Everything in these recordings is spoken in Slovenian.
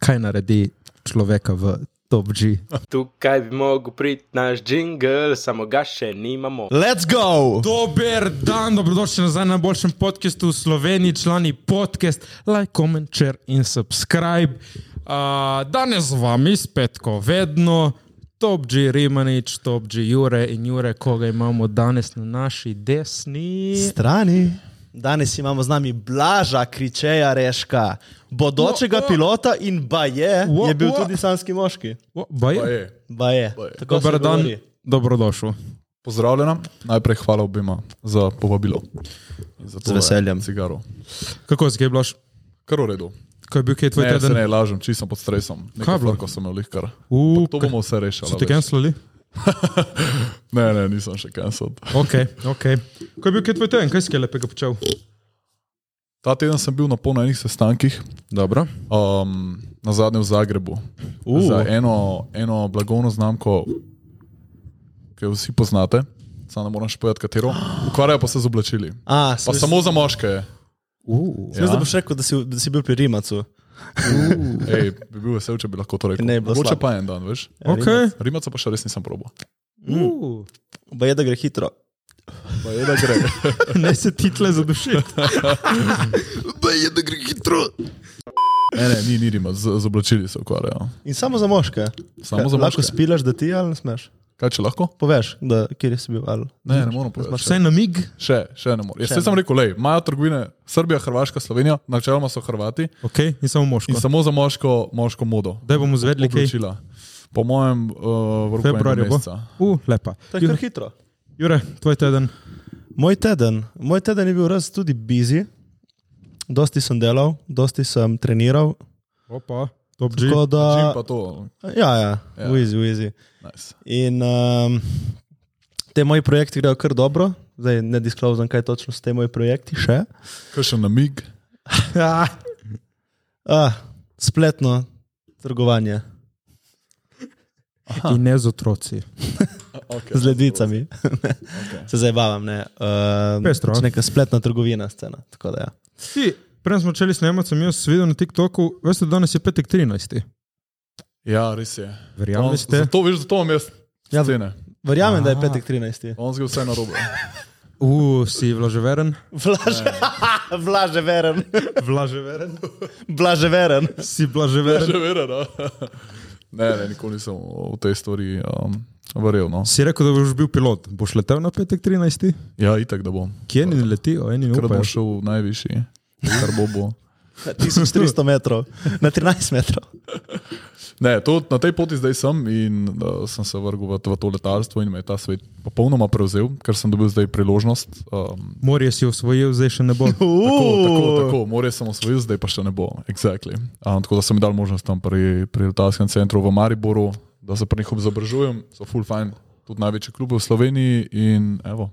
kaj naredi človeka v top G. Tukaj bi mogel priti naš jingle, samo ga še nimamo. Let's go! Dober dan, dobrodošli nazaj na boljšem podkastu v Sloveniji, člani podcast, like, comment, share in subscribe. Uh, danes z vami spet, ko vedno, top G Rimanič, top G Jure in Jure, koga imamo danes na naši desni. Strani. Danes imamo z nami Blaža Kričeja Reška, bodočega Wo, wo. pilota in baje, Wo, je bil wo. tudi sanski moški. O, baje, Je. Baje. Baje. Tako se dober dan, govori. dobrodošel. Pozdravljena, najprej hvala obima za povabilo. In Za Z veseljem. Cigaro. Kako si, kaj blaš? Kar v redu. Kaj je bil kaj tvoj Ne, se teden? ne lažem, čisto sem pod stresom. Kaj je Nekaj bilo? lahko sem imel kar. Uh, To bomo vse rešili. So ti veš. kancelali? Ne, ne, nisem še cancelled. Ok, ok. Kaj je bil kaj tvoj teden, kaj si kaj lepega počel? Ta teden sem bil na polno enih sestankih, Dobro. um, na zadnjem v Zagrebu. Uh. Za eno, eno blagovno znamko, ki jo vsi poznate, samo ne moram še povedati, katero. Ukvarjajo pa se z oblačili. A, Pa sem samo za moške. je. Uh, Jaz sem boš rekel, da si, da si bil pri Rimacu. Ej, bi bil vesel, če bi lahko to rekel. Ne, bilo Mogoče slabo. Ja. pa en dan, veš. okay. Rimaca pa še res nisem probo. uh. Baje, da gre hitro. Je, da gre. Ne se title zadušiti. je, da gre hitro. Ne, ne, ni, ni Rimac, z, z oblačili se ukvarjajo. In samo za moške. Samo za Lahko moške. spilaš, da ti ali ne smeš. Kaj če lahko? Poveš, da, kjer si bil. Ali. Ne, ne moram povedati. Vse na mig. Še, še ne morem. Jaz Še sem ne. rekel, lej, imajo trgovine Srbija, Hrvaška, Slovenija, načeloma so Hrvati Ok, in samo moško. in samo za moško, moško modo. Daj bomo izvedli kaj. Odločila. Po mojem, uh, v roku Februarja enega bo. meseca. Uh, lepa. To je Jure, kar hitro. Jure, tvoj teden. Moj teden, moj teden je bil res tudi busy. Dosti sem delal, dosti sem treniral. Opa, top G. Tako Čim da, pa to. ja, ja, Ja. uizi, uizi. Nice. In um, te moji projekti grejo kar dobro, zdaj ne disklozam, kaj točno so te moji projekti še. Kakšen namig? Ah, ah, spletno trgovanje In ne z otroci. Okay. z ledvicami. Se zdaj bavam, ne. Um, Pestro, a? neka spletna trgovina scena. tako da Ja. Ti, prej smo začeli snemati, sem jaz videl na TikToku, veste, danes je petek 13. Ja, res je. Verjamem, ste. Zato, veš, zato imam jaz Ja, v- cene. Verjamem, da je Ah. petek 13. On zgolj vse narobe. Uh, si vlaževeren. Vlaže, vlaže veren, Vlaževeren. vlaže veren. Si vlaževeren. Že vera, da. no. Ne, ne, nikoli nisem v tej stvari um, verjel. No. Si rekel, da boš bil pilot. Boš letel na petek 13. Ja, itak da bom. Kje ni letijo, eni Ker bom upajo. šel najvišji, kar bo bo. 1300 metrov, na 13 metrov. Ne, to, na tej poti zdaj sem in uh, sem se vrgel v, v to letalstvo in me je ta svet popolnoma prevzel, ker sem dobil zdaj priložnost. Um, Morje si osvojil, zdaj še ne bo. Tako, tako, Uh. tako, more sem osvojil, zdaj pa še ne bo. Exactly. Um, tako da sem mi dal možnost tam pri, pri letalskem centru v Mariboru, da se pri njih izobražujem, so full fine, tudi največji klub v Sloveniji in evo,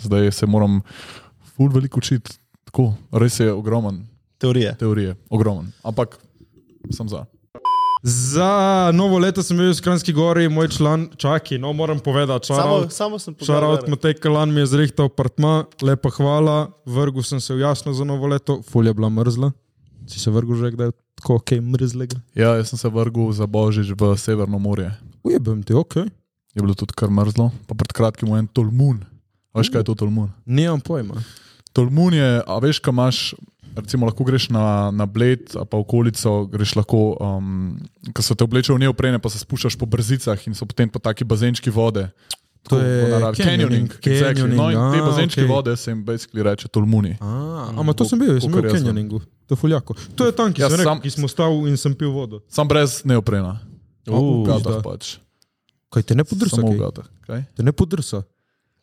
zdaj se moram full veliko učiti. Tako, res je ogromen, Teorije. teorije, ogromen, ampak sem za. Za novo leto sem bil v Kranjski gori, moj član, čaki, no moram povedati, Samo, čarovnik. samo sem pogledal. Šarovt Matej Kalan mi je zrihtal apartma, lepa hvala, vrgel sem se v jasno za novo leto, fulje bila mrzla. Si se vrgel že kdaj tako, ok, mrzlega? Ja, jaz sem se vrgel za božič v Severno morje. Ujebem ti, ok. Je bilo tudi kar mrzlo, pa pred kratkim v en tolmun. A Veš kaj je to tolmun? Nimam pojma. Tolmun je, a veš, kaj imaš, recimo lahko greš na, na Bled, a pa okolico, greš lahko, um, ko so te obleče v neoprene, pa se spuščaš po brzicah in so potem pa taki bazenčki vode. To je canyoning, canyoning. Exactly. canyoning, No, in te a, ok. bazenčke okay. vode se jim basically reče tolmuni. A, ama to sem bil, jaz sem bil kakor v jaz vem. Kenjaningu, to je fuljako. To je tam, ki, Ja, ja, rekel, sam- ki smo stavili in sem pil vodo. Sam brez neoprena. U, v da. gatah pač. Kaj te ne podrsa? Samo Kaj? v gatah. Kaj? Te ne podrsa.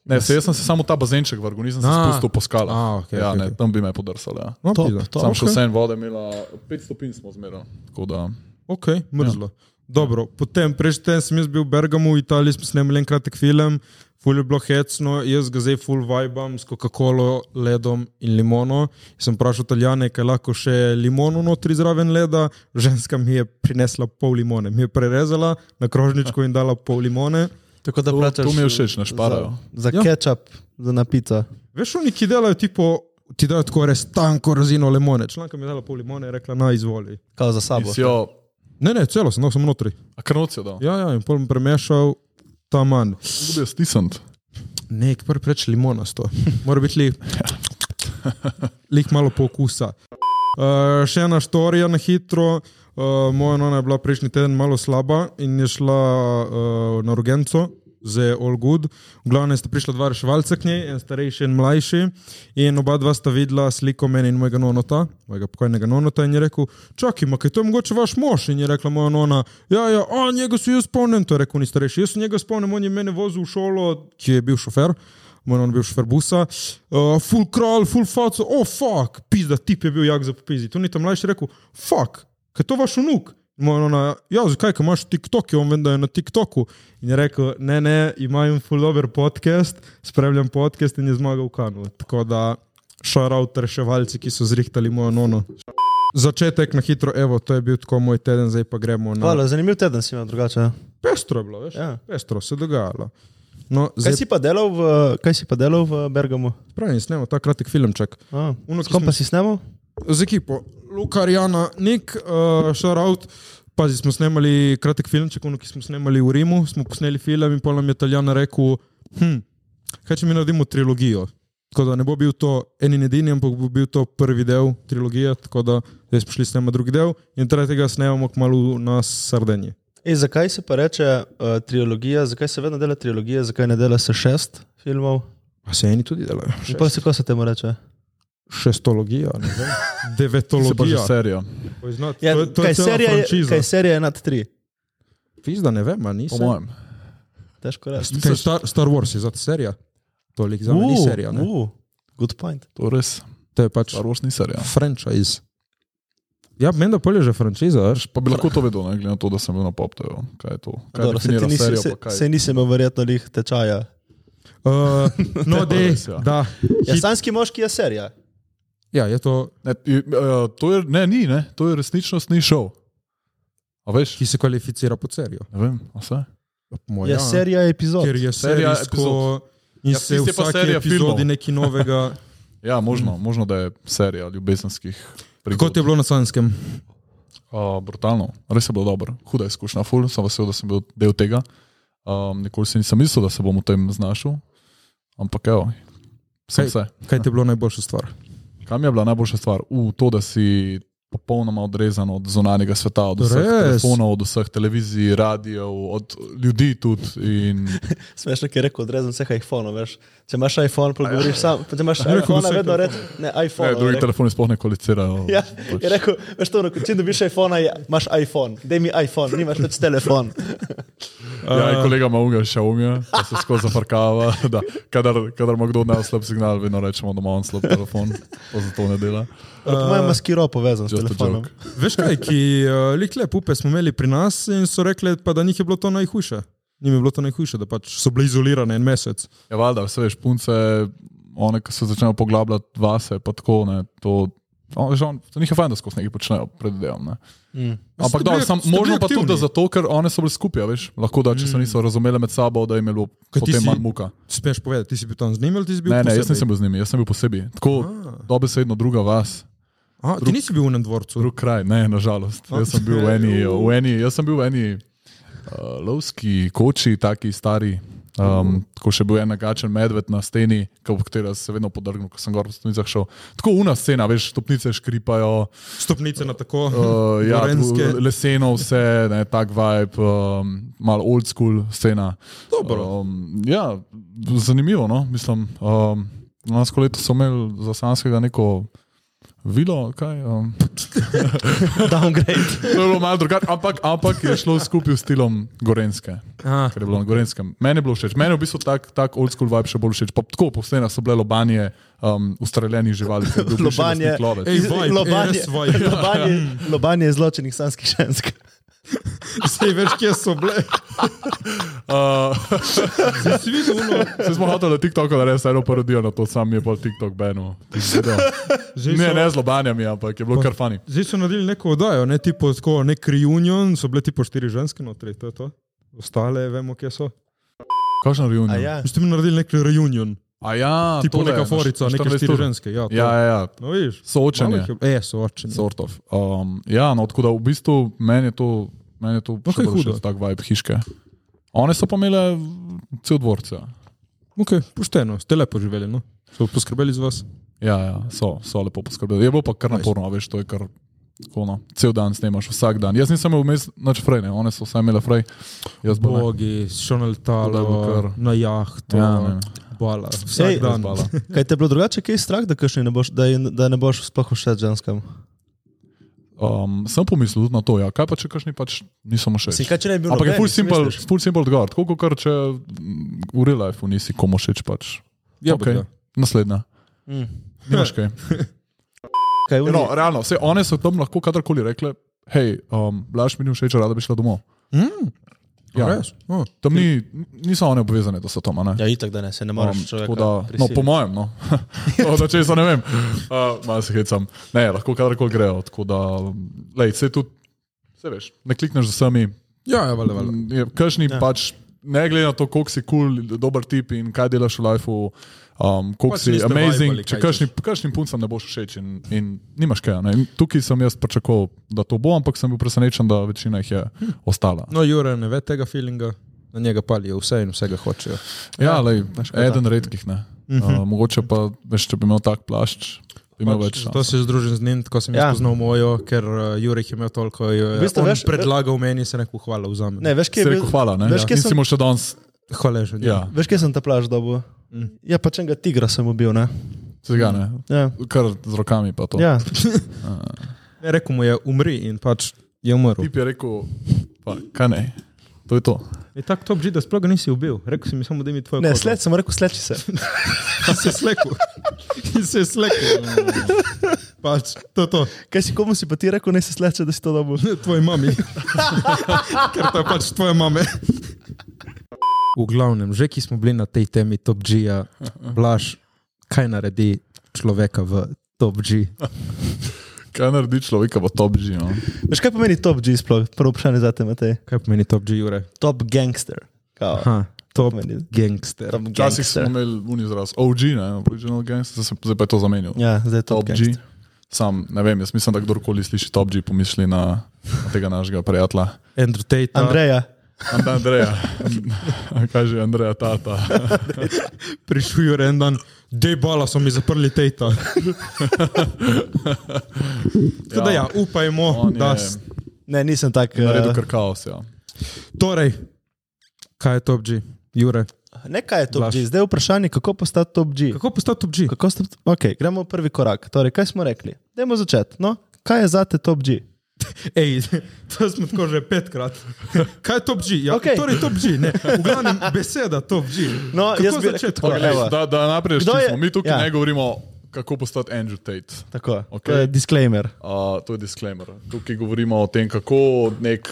Ne, se, jaz sem se samo ta bazenček vrgel, nisem se A. spustil po skalah. A, okej, ja, okej, ne, okej. tam bi me podarsal. Ja. No, Top, pizda. top. Sam še Okej. vsem voda imela 5 stopinj smo zmerali. Tako da, Ok, mrzlo. Ja. Dobro, potem prejšnji teden sem jaz bil v Bergamu, v Italiji smo snemali en kratek film, ful je bilo hecno, jaz ga zdaj ful vibam s Coca-Colo, ledom in limono. Sem vprašal Italijane, kaj lahko še limono notri zraven leda, ženska mi je prinesla pol limone, mi je prerezala na krožničku in dala pol limone. Tako da To- plačaš. to mi je všeč, ne šparajo. Ja. Za, za kečap, za napico. Veš, oni ki delajo tipo, ti dajo tako res tanko razino limone. Članka mi je dala pol limone in rekla, naj izvoli. Kao za sabo. si jo Ne, ne, celo sem, dal sem notri. A krnocijo dal. Ja. Ja, ja, in pol sem premešal tam manj. Bil je stisnjen. Nek prvi preč limonasto, mora biti lih, lih malo po okusa. Uh, še ena štorija na hitro. Uh, moja nona je bila prejšnji teden malo slaba in je šla uh, na urgenco. Zdaj je all good. V glavnem sta prišla dva reševalca k njej, en starejši in mlajši. In oba dva sta videla sliko mene in mojega nonota, mojega pokojnega nonota. In je rekel: Čakaj, ma, kaj to je mogoče vaš mož? In je rekla moja nona: Ja, ja, a njega se jaz spomnim, to je rekel ni starejši. Jaz se njega spomnim, on je mene vozil v šolo, ki je bil šofer moj non je bil šofer busa, uh, full kralj, full faco, oh fuck, pizda, tip je bil jak za popizi. Tu ni tam mlajši rekel, fuck, kaj to vaš unuk? Moj nona, ja, zakaj, ko imaš TikTok, je on vem, da je na TikToku. In je rekel, ne, ne, imam full dober podcast, spremljam podcast in je zmagal v kanu. Tako da, šaraut reševalci, ki so zrihtali mojo nono. Začetek na hitro, evo, to je bil tako moj teden, zdaj pa gremo na... Hvala, zanimiv teden si imel drugače. ja. Pestro je bilo, veš? Ja. Pestro se je dogajalo. No, Kaj zdaj si pa delal v, kaj si pa delal v Bergamu? pravi, snemo ta kratek filmček. Ah, Ono, ki S kom pa si snemal? z ekipo. Luka, Jana, Nik, uh, Šaraut. Pazi, smo snemali kratek filmček, ono, ki smo snemali v Rimu, smo posneli film in pol nam je Italijan rekel, hm, kaj če mi naredimo trilogijo. Tako da ne bo bil to en in edini, ampak bo bil to prvi del trilogije, tako da zdaj smo šli snemati drugi del in tretjega snemamo kmalo na Sardeniji. E, zakaj se pa reče uh, trilogija, zakaj se vedno dela trilogija, zakaj ne dela se šest filmov? A se eni tudi delajo? In pa se ko se temu reče? Šestologija, ne vem. Se pa že Devetologija. serija. Poznat, Ja, to, je- to kaj, je cela serija je, franšiza. kaj serija je nad tri? Pizda, ne vem, a Po nisem. mojem. Težko reči. Kaj, Star, Star Wars je zato serija. To je za me ni serija. Ne? Uh, good point. To res. To je pač Star Wars ni serija. franšiz. Ja, meni da polje že franšiza, veš. Pa bi lahko to vedel, ne glede na to, da sem bil na popteju. Kaj je to? Kaj Dobro, se ti definira nisi, serijo, se, pa kaj? se nisi imel verjetno lih tečaja. Uh, no, dej, res, ja. da. Ja, Hit- Sanski moški je serija. Ja, je to, Ne, i- eh, to je, ne, ni, ne, to je resničnostni šov. A veš? ki se kvalificira pod serijo. Ne vem, a vse? Ja, po mojem, Ja, serija je epizod. Ker je Serija serijsko epizod. in Ja, ja, se tisti v je pa vsaki serija epizodi filmov. nekaj novega. Ja, možno, možno da je serija ljubezenskih Kako prigod. ti je bilo na Sanskem? Uh, brutalno, res je bilo dobro, huda izkušnja, ful, sem vesel, da sem bil del tega. Um, nikoli si nisem mislil, da se bom v tem znašel, ampak evo, sem Kaj- vse. Kaj ti je bilo najboljša stvar? Kam je bila najboljša stvar? V to, da si popolnoma odrezan od zunanjega sveta, od vseh Res. telefonov, od vseh televizij, radijev, od ljudi tudi. In... Smešno, ker je rekel, odrezan vseh iPhone, veš. Če imaš iPhone, pogovoriš sam, pa če imaš rekel iPhone, vseh vedno reče, ne, iPhone. Ne, je drugi rekel. telefoni sploh ne kolicirajo. Ja, pač. je rekel, veš to, no, ko ti dobiš iPhone, je, imaš iPhone, daj mi iPhone, nimaš več telefon. Ja, in kolega ima unga, še unga, pa se skozi zafrkava. da, Kadar, kadar ima kdo od nas slab signal, vedno rečemo, da ima on slab telefon, pa zato ne dela. Moj ima skiro povezan s Just a telefonom. joke. Veš kaj, ki uh, likle pupe smo imeli pri nas in so rekli, pa, da njih je bilo to najhujše. Njim je bilo to najhujše, da pač so bile izolirane en mesec. Ja, valjda, vse veš, punce, one, ki se začnejo poglabljati vase, pa tako ne. To, on, veš, on, to njih je fajn, da skozi nekaj počnejo, predvidevam. Ne. Ampak Ste da, bili- sam, ste bili možno pa tudi aktivni? Mm. da zato, ker one so bile skupaj, a veš, lahko da, če se niso razumele med sabo, da jim je bilo Kaj ti potem si- malo muka. Smeš povedati, ti si bil tam z njim ali ti si bil Ne, ne, posebej? Ah. jaz nisem bil z njimi, jaz sem bil posebej. Tako dobesedno druga vas, Aha, ti nisi bil v enem dvorcu. drug kraj, ne, nažalost. Jaz sem bil v eni, v eni, jaz sem bil v eni uh, lovski koči, taki stari. Mhm. Um, tako še bil en nagačen medved na steni, ob katero sem se vedno podrgnil, ko sem gor po stopnicah šel. Tako una scena, veš, stopnice škripajo, Stopnice na tako. uh, ja, Mhm. gorenjske. tako leseno vse, ne, tak vibe, um, malo old school scena. Dobro. Um, ja, zanimivo, no, mislim. Um, Lansko leto so imeli za Sanskega neko vilo, kaj. Um, Downgrade. To je bilo malo drugače, ampak, ampak je šlo skupaj s stilom Gorenske, Aha. ker je bilo na Gorenskem. Meni je bilo všeč, meni je v bistvu tak, tak old school vibe še bolj všeč. Pa tako posnela so bile lobanje um, ustreljenih živali, ker je bil bivši Lobanje, lastnik lovec. Ej, iz- vibe, lobanje, res vibe. lobanje, lobanje izločenih sanskih žensk. Sej veš, kje so bile. Uh, Si videl, no, Vsi smo hoteli na TikToku, da res eno parodijo na to, sam je pa TikTok benu. že Ne, so, ne z lobanjami, ampak je bilo kar fani. zdaj so naredili neko oddajo, ne tipo tako, nek reunion, so bile tipo štiri ženske notri, to je to. Ostale vemo, kje so. Kakšen reunion? A ja, Mi ste mi naredili nek reunion. A ja, Tipo tole, neka na forica, neke 14 štiri ur. ženske. Ja, to. Ja, ja, ja. No, vidiš. Malo Soočenje. jih je- E, soočenje. So. Sort of. Um, ja, no, tako da v bistvu meni je to, meni je No, to kaj še bolj hudo. všeč, tak vibe hiške. One so pa imele cel dvorce. Okay, pošteno, ste lepo živeli, no? so poskrbeli za vas. Ja, ja so, so lepo poskrbeli. Je bilo pa kar naporno, a veš, to je kar tako, no, cel dan snemaš, vsak dan. Jaz nisem imel vmes nič frej, ne, one so vse imele frej. Jaz pa ne. Bogi, šel na Tako da je bilo letalo, kar- na jahto, Ja, ne, ja, ne. bala. Vsak Ej, Ej, dan. Zbala. Kaj te je bilo drugače, kaj je strah, da, kakšni ne boš, da, je, da ne boš sploh všeč ženskam? Um, sem pomislil tudi na to, ja. kaj pa če kakšni pač niso mu Si všeč. kaj, če ne bi bil Ampak je noben, full si simple, misliš? full simple odgovor, tako kot če mm, v real lifeu nisi komu všeč pač. Ja, Okej, okay. Naslednja. Mm. Nimaš kaj. Kaj, Ja, oni- No, realno, vse one so tam lahko kadarkoli rekle, hej, um, Blaž mi ni všeč, rada bi šla domov. ja. Mm. Ja, Res? O, tam ni, niso one obvezane, da so tam. a Ne? Oh, Ja, itak, da ne, se ne moreš Um, človeka tako da, no, prisiliti. po mojem, no. Od česa ne vem, uh, malo se hecam. Ne, lahko kadarkoli grejo. Tako da, lej, se tudi, se veš, ne klikneš z vsemi, ja, ja, vale, vale. Kršni ja. pač, ne glede na to, koliko si kul, cool, dober tip in kaj delaš v lifeu, um, koliko Pač si niste amazing, vibali, če kaj kršni, kršnim puncem ne boš všeč in, in nimaš kaj. a Ne? In tukaj sem jaz pričakoval, da to bo, ampak sem bil presenečen, da večina jih je ostala. No, Jure ne ve tega feelinga, na njega palijo vse in vsega hočejo. Ja, lej, eden redkih. Ne? Uh, mogoče pa, veš, če bi imel tak plašč, bi imel več. Pač, To šans. si združen z njim, tako sem Ja. ja. poznal mojo, ker uh, Jurek je imel toliko, jo je V bistvu on veš- predlagal meni, se neko hvala vzame. Ne, veš, Si kje je rekel bil- Hvala, ne? Veš, Ja. kje sem, Nisi mu še danes. Hvaležen. Ja, veš, kje sem ta plaž dobil? Mm. Ja, pa če enega tigra sem ubil, ne? se ga ne. Ja. Kar z rokami pa to. ja. Ne, Ja, rekel mu je, umri in pač je umrl. Tip je rekel, pa kaj ne. To je to. Je tako top že, da sploh ga nisi ubil. Rekel si mi samo, da mi tvoje Ne, kožo. sled sem rekel, sleči se. In se je slekel. In se je slekel. Pač, to je to. Kaj si komu si pa ti rekel, naj se sleče, da si to dobil? Tvoji mami. Ker to je pač tvoje mame. V glavnem, že ki smo bili na tej temi Top G-ja, Blaž, kaj naredi človeka v Top G? Kaj naredi človeka v top G? No? Veš, kaj pomeni top G sploh? Prvo vprašanje za te, Matej. Kaj pomeni Top G, Jure? Top gangster. Kao, Aha, top pomeni- gangster. top Včasih smo gangster. imeli unizaraz OG, ne, original gangster, zdaj, se- zdaj pa je to zamenjal. Ja, zdaj je top, Top top G. gangster. Sam ne vem, jaz mislim, da kdorkoli sliši Top G, pomisli na, na tega našega prijatelja. Andrew Tate. Andreja. Ant- Andreja, kaj že Andreja, tata. Prišel je en dan, debala so mi zaprli Tate. Tako da ja, upajmo, on je da s- naredil Ne, nisem tak. eh, kar kaos. Ja. Torej, kaj je top G, Jure? Ne, kaj je top Blaž. G? Zdaj je vprašanje, kako postati top G. Kako postati top G? Kako ste, okay, gremo v prvi korak. Torej, kaj smo rekli? Dajmo začeti. No? Kaj je za te top G? Ej, to smo tako že petkrat. Kaj je top G? Ja, Okej. okay. Torej, top G, ne. V glavnem, beseda top G. No, Kako jaz bi začeti? rekel tako. Okej. evo. Da, da naprej Kdo je- rečemo, mi tukaj ja. ja. ne govorimo, kako postati Andrew Tate. Tako, okay. Okej. To je disclaimer. Uh, to je disclaimer. Tukaj govorimo o tem, kako nek,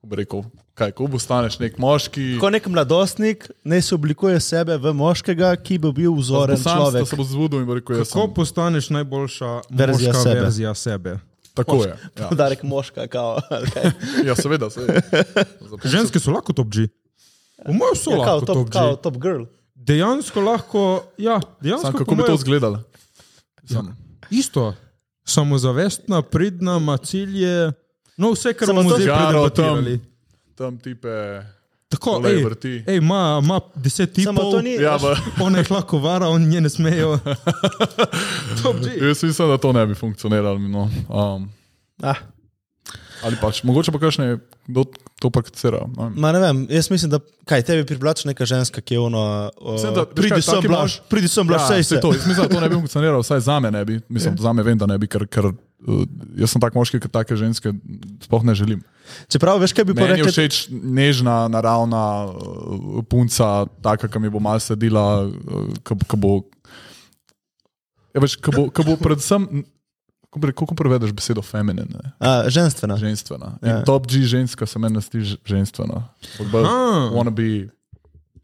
kako bi rekel, kaj, ko postaneš nek moški. Ko nek mladostnik naj se oblikuje sebe v moškega, ki bi bil Sam vzoren sem človek. se bo zbudil in bi rekel, jaz Kako sem. postaneš najboljša Verzija verzija moška sebe. sebe. verzija sebe? Tako je. Ja. Podarek moška, kao. ali kaj? Ja, seveda. seveda. Ženske so lahko top G. V mojem so Ja, kao lahko top, top, kao G. top girl. Dejansko lahko, ja, Sam, dejansko kako po bi to mojem- izgledalo? Ja. Isto, samozavestna, pridna, ima cilje, no vse, kar Samo bomo to- zdaj Žaro tam, predebatirali. tam tipe. Tako, Tole ej, vrti. ej, ima, ima deset tipov, Samo to ni. Ja, veš, v, ona jih lahko vara, oni nje ne smejo. Top G. jaz mislim, da to ne bi funkcioniralo. No. Um, ah, ali pač, mogoče pa kakšne, kdo to prakticira. ne vem. ma ne vem, jaz mislim, da kaj tebi privlači neka ženska, ki je ono. Uh, Mislim, da- veš pridi kaj, sem taki blaž, mož- pridi sem blaž, Ja, sej saj Ja. se. to. Jaz mislim, da to ne bi funkcioniralo, vsaj za me ne bi. Mislim, za me vem, da ne bi, ker, ker uh, jaz sem tak moški, ker take ženske sploh ne želim. Čeprav veš, kaj bi Meni je porekel. všeč nežna, naravna uh, punca, taka, ki mi bo malo sedela, uh, ki ki bo. Ja, veš, ki bo, ki bo predvsem. Kako, bi rekel, kako prevedeš besedo feminin, ne? A, Ženstvena. ženstvena? Ja. Ja. Top G ženska se meni sti ženstvena. Aha. Wanna be.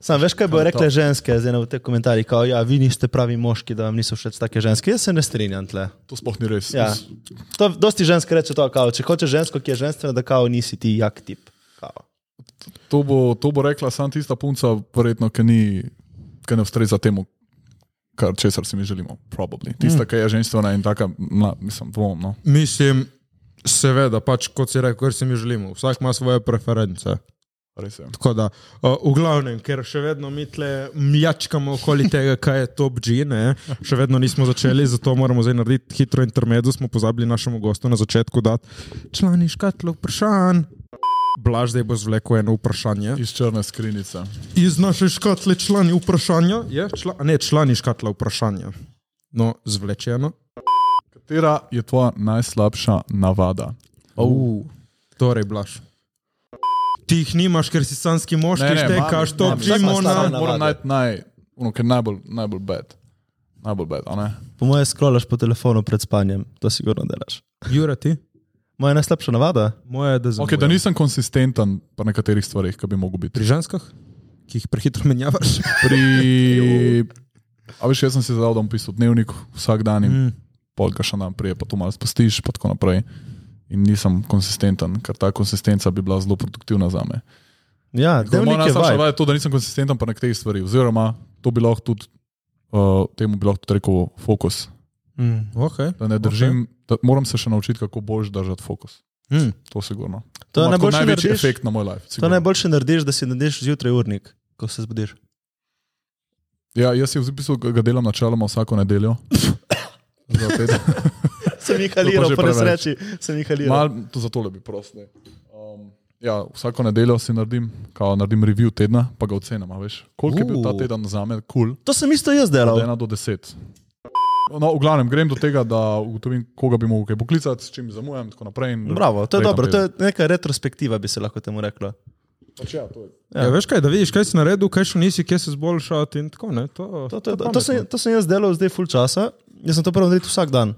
Sam veš, kaj Kaj bojo je rekle to? ženske zdaj na- v teh komentarjih, kao, ja, vi niste pravi moški, da vam niso všeč take ženske. Jaz se ne strinjam tle. To sploh ni res. Ja. Jaz- To, dosti žensk reče to, kao, če hočeš žensko, ki je ženstvena, da kao nisi ti jak tip. Kao. To, bo, to bo rekla samo tista punca, verjetno, ki ni ki ne ustreza temu, kar česar si mi želimo. Probably. Tista, mm. ki je ženstvena in taka, mla, mislim, dvom. No. Mislim, seveda, pač kot si rekel, kar si mi želimo. Vsak ima svoje preference. Res je. Tako da, uh, v glavnem, ker še vedno mi tle mjačkamo okoli tega, kaj je top G, ne? še vedno nismo začeli, zato moramo zdaj narediti hitro intermezzo. Smo pozabili našemu gostu na začetku dati člani škatlo vprašanj. Blaž, zdaj bo zvlekel eno vprašanje. Iz črne skrinjice. Iz naše škatle člani vprašanja, je, čla, ne člani škatla vprašanja. No, zvlečeno. Katera je tvoja najslabša navada? Uh. Torej, Blaž. Ti jih nimaš, ker si sanski mož, ki štekaš imam- top imam- G, vsak ima svoje mona. navade. Moram najti naj, ono, ker najbolj, najbolj bed. Najbolj bed, a ne? Po mojem, skrolaš po telefonu pred spanjem, to sigurno delaš. Jure, ti? Moja najslabša navada, Moja je, da Ok, zamujam. da nisem konsistenten pri nekaterih stvarih, ki bi mogel biti. Pri ženskah, ki jih prehitro menjavaš. Pri... A veš, jaz sem si zadal, da bom pisal dnevnik vsak dan in mm. polka še dan prije, pa to malo spustiš, pa tako naprej. In nisem konsistenten, ker ta konsistenca bi bila zelo produktivna za me. ja, dnevnik Moja je najslabša vaj. navada je to, da nisem konsistenten pri nekaterih stvarih, oziroma to bi lahko tudi, uh, temu bi lahko tudi rekel fokus. Mm. Okay. Da ne držim, okay. da moram se še naučiti, kako boš držati fokus. Mm. To sigurno. Hmm. To je ima tako najboljši največji narediš- efekt na moj life. To sigurno. najboljše narediš, da si narediš zjutraj urnik, ko se zbudiš. Ja, jaz si v zapisu ga delam načeloma vsako nedeljo. Za teden. Sem jih To pa haliral, že po preveč. nesreči, sem jih haliral. Mal, to za tole bi prosil. Um, ja, vsako nedeljo si naredim, kao, naredim review tedna, pa ga ocenim. a Veš, koliko je bil ta Uh. teden za me kul, To sem isto jaz cool, od delal. 1 do 10. No, v glavnem grem do tega, da ugotovim, koga bi mogel kaj poklicati, s čim zamujam in tako naprej. In Bravo, to je Prijetno dobro, to teden. je neka retrospektiva, bi se lahko temu reklo. Pač ja, to je. Ja, veš kaj, da vidiš, kaj si naredil, kaj še nisi, kje se zboljšati in tako ne. To, To, to, je do- to, pametno. sem, to sem jaz delal zdaj full časa, jaz sem to prvo naredil vsak dan.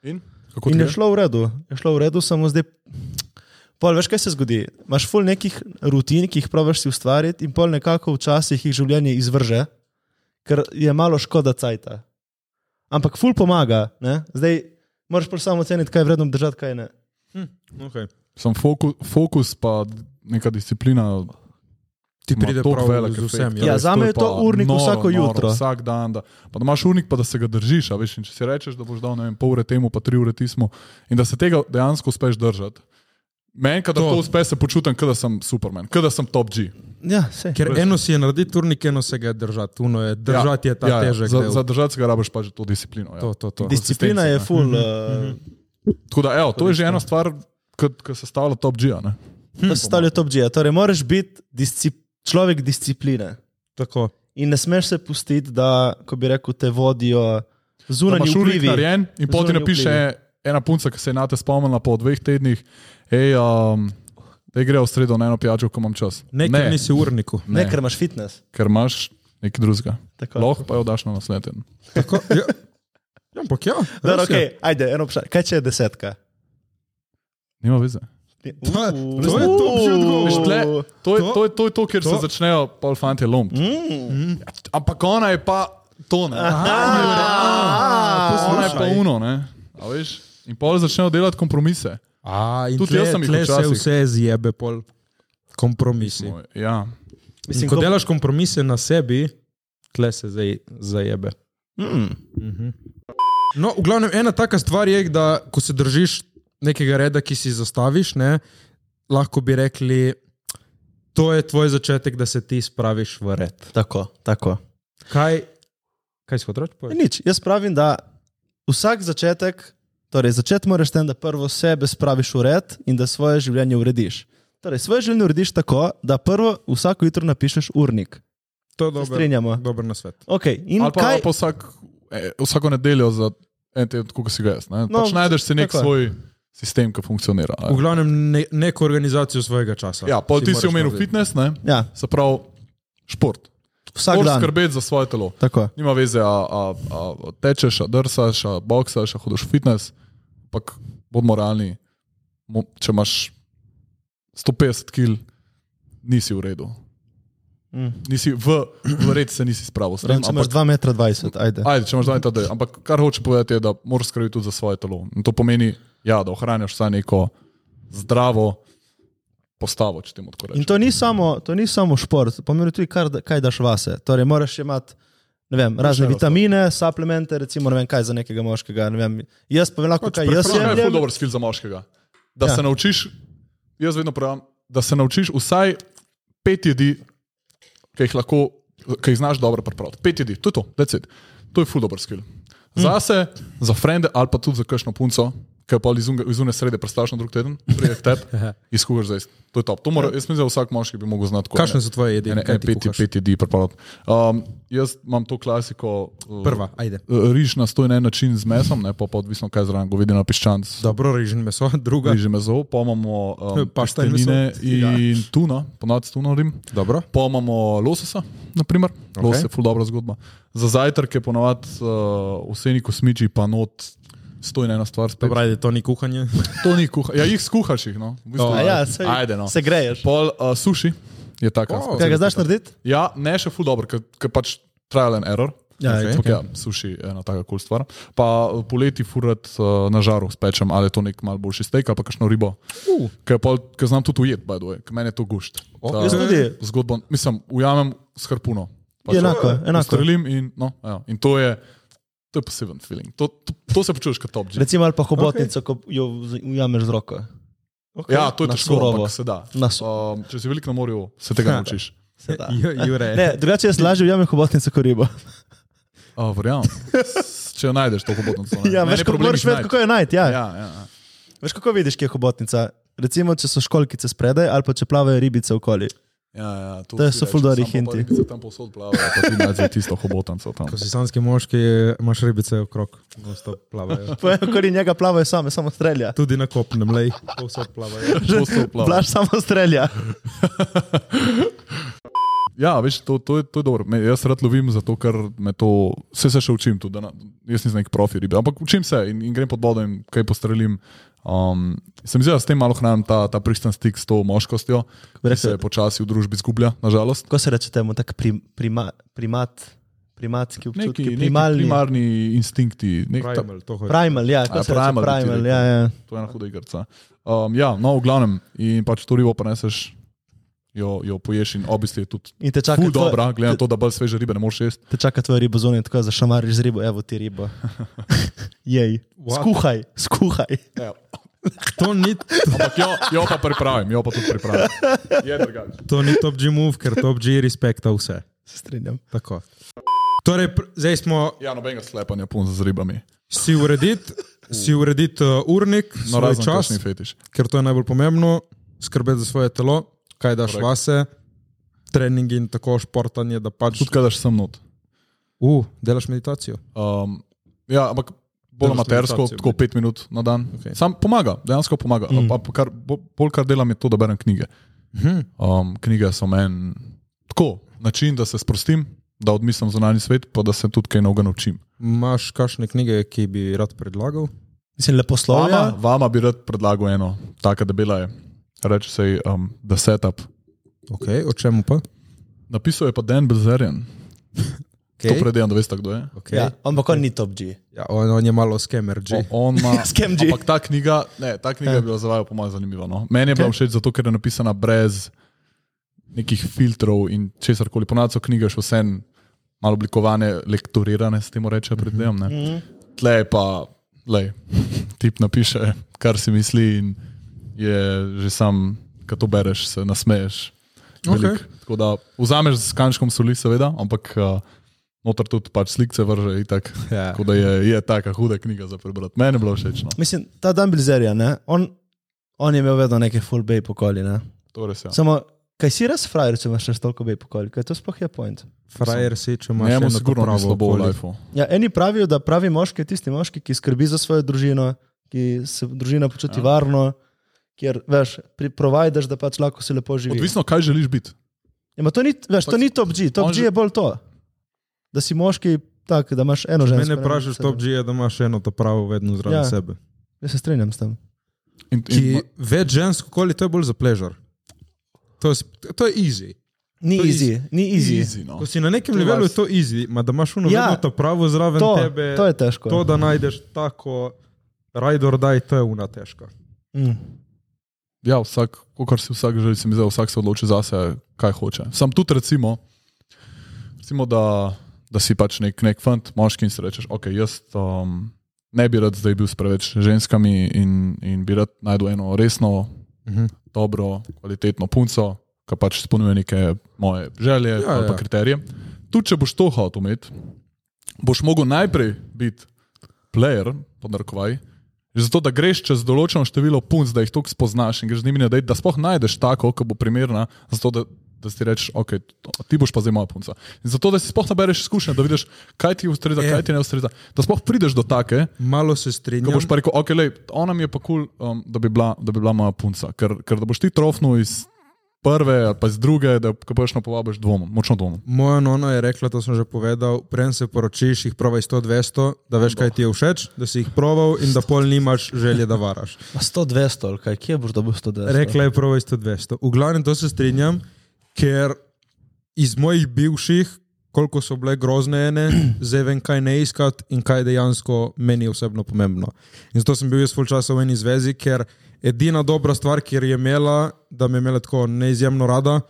In kako ti In je je? šlo v redu, je šlo v redu, samo zdaj. Pol veš, kaj se zgodi. Imáš ful nekih rutin, ki jih praviš si ustvariti, in pol nekako včasih jih življenje izvrže, ker je malo škoda cajta. Ampak ful pomaga, ne? zdaj moraš pa samo oceniti, kaj je vredno držati, kaj ne. Okay. Sem fokus, fokus, pa neka disciplina. Ti Ma, pride toliko prav velik z efekt, vsem. Ja, res, zame je pa to urnik noro, vsako noro, jutro. Vsak dan, da, pa da imaš urnik, pa da se ga držiš. a Veš, in če si rečeš, da boš dal ne vem, pol ure temu, pa tri ure tismu, in da se tega dejansko uspeš držati. Meni, kadar To. to, to uspe, se počutim, kot da sem Superman, kot da sem top G. Ja, saj. Ker eno si je narediti turnik, eno se ga je držati. Uno je držati ja, je ta ja, težek. Za, del. za držati se ga rabiš pa že to disciplino. Ja. to, to, to. Disciplina no. je ful. Mhm. Uh, Tako da, evo, to je že ena ja. stvar, ki se stavlja top G. Mhm. to se stavlja top G. Torej, moraš biti discip, človek discipline. Tako. In ne smeš se pustiti, da, ko bi rekel, te vodijo zunanji Imaš urnik vplivi. narejen in potem ti Zunanji napiše vplivi. ena punca, ki se je na te spomnila po dveh tednih, hej, um, hej gre v sredo na eno pijačo, ko imam čas. Nekaj ne. nisi v urniku. Ne, Ne. ker imaš fitness. ker imaš nekaj drugega. Tako. Lahko pa jo daš na naslednji. teden. Tako, ja. Ja, ampak ja. Dobro, res je. okay, ajde, eno vprašanje. Kaj če je desetka? Nima veze. Pa, To je top že odgovor. Veš, tle, to, je, To- to, je, to je to, kjer to? to- Hm? se začnejo pol fanti lomiti. Mm. Ampak ona je pa to, ne. Ah. Ona je pa uno, ne. A veš? In pol začnejo delati kompromise. A, in Tudi tle, jaz sem jih tle se včasih. vse zjebe, pol kompromisi. Moj, Ja. Mislim, ko delaš kompromise na sebi, tle se zdaj zajebe. Mm. No, v glavnem, ena taka stvar je, da ko se držiš nekega reda, ki si zastaviš, ne, lahko bi rekli, to je tvoj začetek, da se ti spraviš v red. Tako, tako. Kaj, kaj si hotel reči? E, Povej. Nič, jaz pravim, da vsak začetek, torej začeti moraš tem, da prvo sebe spraviš v red in da svoje življenje urediš. Torej, svoje življenje urediš tako, da prvo vsako jutro napišeš urnik. To je Se dobro. strinjamo. Dober nasvet. Okay, in Ali pa, kaj, ali pa vsak, eh, vsako nedeljo za en teden, kot si ga jaz. No, No, pač najdeš si nek tako je. svoj sistem, ki funkcionira. a V ja. glavnem, ne, neko organizacijo svojega časa. Ja, pol ti si moraš omenil narediti. fitness, ne? ja, Se pravi, šport. vsak Moraš dan. skrbeti za svoje telo. Tako. Nima veze, a, a, a tečeš, a drsaš, a boksaš, a hodiš v fitness, ampak bodimo realni. mo- Če imaš 150 kg, nisi v redu. Mm. Nisi v, v red, se nisi spravil. s tem, Razen, Torej, Če imaš ampak- 2,20 metra, ajde. Ajde, če imaš zdaj ta del. Ampak kar hoče povedati je, da moraš skrbeti tudi za svoje telo. In to pomeni, ja, da ohranjaš vsaj neko zdravo postavo, če temu tako In rečem. to ni samo, to ni samo šport, pomeni tudi, kar, da- kaj daš vase. Torej, moraš še imeti ne vem, razne Vse vitamine, suplemente, recimo ne vem kaj za nekega moškega. ne Vem, jaz povem lahko, Pač kaj jaz To je prehrana zelo jem. dober skill za moškega. Da Ja. ja. se naučiš, jaz vedno pravim, da se naučiš vsaj pet jedi, ki jih lahko, ki jih znaš dobro pripraviti. Pet jedi, to je to, that's it. To je ful dober skill. Mm. Zase, za frende ali pa tudi za kakšno punco, ki je pa izune srede, prestaš na drug teden, prijeti tep, Ja. izkuhaš zdaj. To je top. To mora, jaz mislim, da vsak moški bi mogel znati. tako, Kakšne ne. so tvoje jedi? Ene, Kaj ene, ti pet, kuhaš? pet jedi pripravljati. Um, jaz imam to klasiko. uh, Prva, ajde. Riž na stojen način z mesom, ne pa, pa odvisno kaj zraven, govedina piščanc, Dobro, rižen meso, druga. riže meso, pa imamo um, Pašta in pašteline meso. in, in tuna, ponad s tuno rim. Dobro. Pa imamo lososa, naprimer. Okay. Los Ok. je ful dobra zgodba. Za zajtrk je ponovadi uh, vseni kosmiči, pa not stojna ena stvar spet. Dobro, ajde, to ni kuhanje. To ni kuha. Ja, jih skuhaš jih, no. V bistvu, No, A Ja, sej, Ajde, no. Se greješ. Pol uh, suši je taka. O, Kaj specialna ga znaš narediti? Ja, ne še ful dobro, ker pač trial and error. Ja, Ok. je Okay. Ja, suši je ena taka kul cool stvar. Pa eh, poleti furat uh, na žaru spečem, ali je to nek mal boljši steak ali pa kakšno ribo. Uh. Ker pol- ker znam tudi ujet, by the way, ker meni je to gušt. Ok. Ta Jaz tudi. Zgodbo, mislim, ujamem s harpuno. Je enako, je, enako. Strelim in, no, ja, in to je, to je poseben feeling. To, to, to se počutiš kot top G. Recimo ali pa hobotnico, ko jo vz- ujameš z roko. Ja, to je Na težko, surovo. ampak se da. Na su- Um, če si velik na morju, se tega Ja. naučiš. Se da. Ju- Jure. Ne, drugače jaz lažje ujamem hobotnico kot ribo. A, Verjamem. S- Če jo najdeš, to hobotnico. ne. Ja, Meni veš, je kako problem moraš jih vedeti, najti. kako jo najti. Ja. Ja. Ja, ja, ja. Veš, kako vidiš, kje je hobotnica? Recimo, če so školkice spredaj ali pa če plavajo ribice okoli. Ja, ja, to To vsi so ful rečejo, dobri samo pa hinti. ribice Tam povsod plavajo, pa ti najdeš tisto hobotnico tam. Ko si sanski moški, imaš ribice okrog, gosto plavajo. Pa okoli njega plavajo same, samo strelja. Tudi na kopnem, lej, povsod plavajo. Povsod plavajo. Blaž samo strelja. Ja, veš, to, to, je, to je dobro. Me, jaz rad lovim, zato ker me to, vse se še učim, tudi, da na, jaz nisem nek profi ribe, ampak učim se in, in grem pod vodo in kaj postrelim. Um, se mi zdi, da s tem malo hranim ta, ta pristen stik s to moškostjo, bi ki rekel? se počasi v družbi izgublja, nažalost. Kako se reče temu, tak prim, prima, primat, primatski občutek, Neki, neki primalni. primarni instinkti, nek, ta, Primal, to hoče. Primal, ja, A, kako se reče primal bi ti primal, rekel. ja, ja. to je ena huda igrica. Um, ja, no, v glavnem, in pač to ribo preneseš, jo, jo poješ in obisti je tudi. In te čaka, Ful tvoj- dobra, glede na to, da bolj sveže ribe ne moreš jesti. te čaka tvoja riba zunaj, tako zašamariš z ribo, evo ti riba. Jej, What? skuhaj, skuhaj. Ja. To ni, Ampak jo, jo pa pripravim, jo pa tudi pripravim. Je drugače. to ni top G move, ker top G respekta vse. Se strinjam. Tako. Torej, pr- zdaj smo Ja, nobenega sklepanja punca z ribami. si urediti si uredit, uh, urnik, No, svoj razen čas čas, ni fetiš. ker to je najbolj pomembno, skrbeti za svoje telo, kaj daš Korrekt. vase, treningi in tako športanje, da pač Tudi kadaš sem not. uh, delaš meditacijo. Um, ja, ampak bolj Delaš amatersko, meditacijo, tako bi. pet minut na dan. Okej. Okay. Sam pomaga, dejansko pomaga. Mm. Pa, kar, bo- bolj kar delam je to, da berem knjige. Mhm. Um, knjige so meni tako, način, da se sprostim, da odmislim zunanji svet, pa da se tudi kaj novega naučim. Imaš kakšne knjige, ki bi rad predlagal? Mislim, ja. ja. leposlovja. Vama, vama bi rad predlagal eno, taka debela je. Reče se ji um, The Setup. Okay, o čemu pa? Napisal je pa Dan Bezerjan. Okay. To Okej. predem, da veste, kdo je. Okay. Ja. Ja, ampak on ni top G. Ja, on, on je malo skemer, že. O, on ima. Scam G. Ampak ta knjiga, ne, ta knjiga je bila za vaju, po mojem, zanimiva. No? Meni je bila všeč zato, ker je napisana brez nekih filtrov in česar koli. Ponad so knjige še vse malo oblikovane, lektorirane, s tem reče, predvidevam. ne. Tle je pa, lej, tip napiše, kar si misli in je že sam, ko to bereš, se nasmeješ. veliko. Okej. Tako da vzameš s kančkom soli, seveda, ampak uh, noter tudi pač slikce vrže itak. Ja. Tako da je, je taka huda knjiga za prebrati. Meni je bilo všeč. No. Mislim, ta Dan Bilzerja, ne, on, on je imel vedno neke full bay pokoli, ne. To res je. Samo, kaj si res frajer, če imaš še toliko bay pokoli, kaj to sploh je point? Frajer si, če imaš Njemu eno sigurno pravo ni slabo v okolje. lifeu. Ja, eni pravijo, da pravi moški je tisti moški, ki skrbi za svojo družino, ki se družina počuti ja. varno, kjer veš, provajdeš, da pač lahko si lepo živi. Odvisno, kaj želiš biti. Ja, ma to, ni, veš, Pač to Ampak ni top G, top on G že- je bolj to, da si moški tak, da imaš eno žensko. Mene ne vprašaš, sebe. top G je, da imaš eno to pravo vedno zraven Ja. ja. sebe. Jaz se strinjam s tem. In, in, Ki več žensk, koli to je bolj za pležar. To je, s- to je easy. Ni To je easy, ni easy. easy. no. Ko si na nekem To levelu, je vas- to easy, ma da imaš uno Ja. ja. vedno to pravo zraven To, tebe. to je težko. to, da najdeš tako, rajdor daj, to je una težka. Mm. ja, vsak, kar si vsak želi, se mi zdi, vsak se odloči zase, kaj hoče. Sam tudi recimo, recimo da, da si pač nek, nek fant, moški in si rečeš, ok, jaz um, ne bi rad zdaj bil s preveč ženskami in, in bi rad najdel eno resno, Mhm. dobro, kvalitetno punco, ki pač izpolnjuje neke moje želje ja, ali pa ja. ja. kriterije. Tudi če boš to hotel imeti, boš mogel najprej biti player, pod narkovaj, že zato, da greš čez določeno število punc, da jih toliko spoznaš in greš z njimi na dejt, da spoh najdeš tako, ki bo primerna, zato da, da si rečeš, ok, to, ti boš pa zdaj moja punca. In zato, da si spoh nabereš izkušnje, da vidiš, kaj ti ustreza, Ja. Ja. kaj ti ne ustreza, da spoh prideš do take, Malo se Ko strinjam. boš pa rekel, ok, lej, ona mi je pa kul, cool, um, da, bi bila- da bi bila moja punca, ker, ker da boš ti trofnil iz prve ali pa iz druge, da ko boš na povabiš dvomom, močno dvomom. Moja nona je rekla, to sem že povedal, preden se poročiš, jih provaj 100-200, da veš, kaj ti je všeč, da si jih proval in da pol nimaš želje, da varaš. 100-200, ali kaj, kje boš dobil 100-200? Rekla je provaj 100-200. V glavnem to se strinjam, ker iz mojih bivših, koliko so bile grozne ene, zdaj vem, kaj ne iskati in kaj dejansko meni osebno pomembno. In zato sem bil jaz full časa v eni zvezi, ker edina dobra stvar, ki je imela, da me je imela tako neizjemno rada,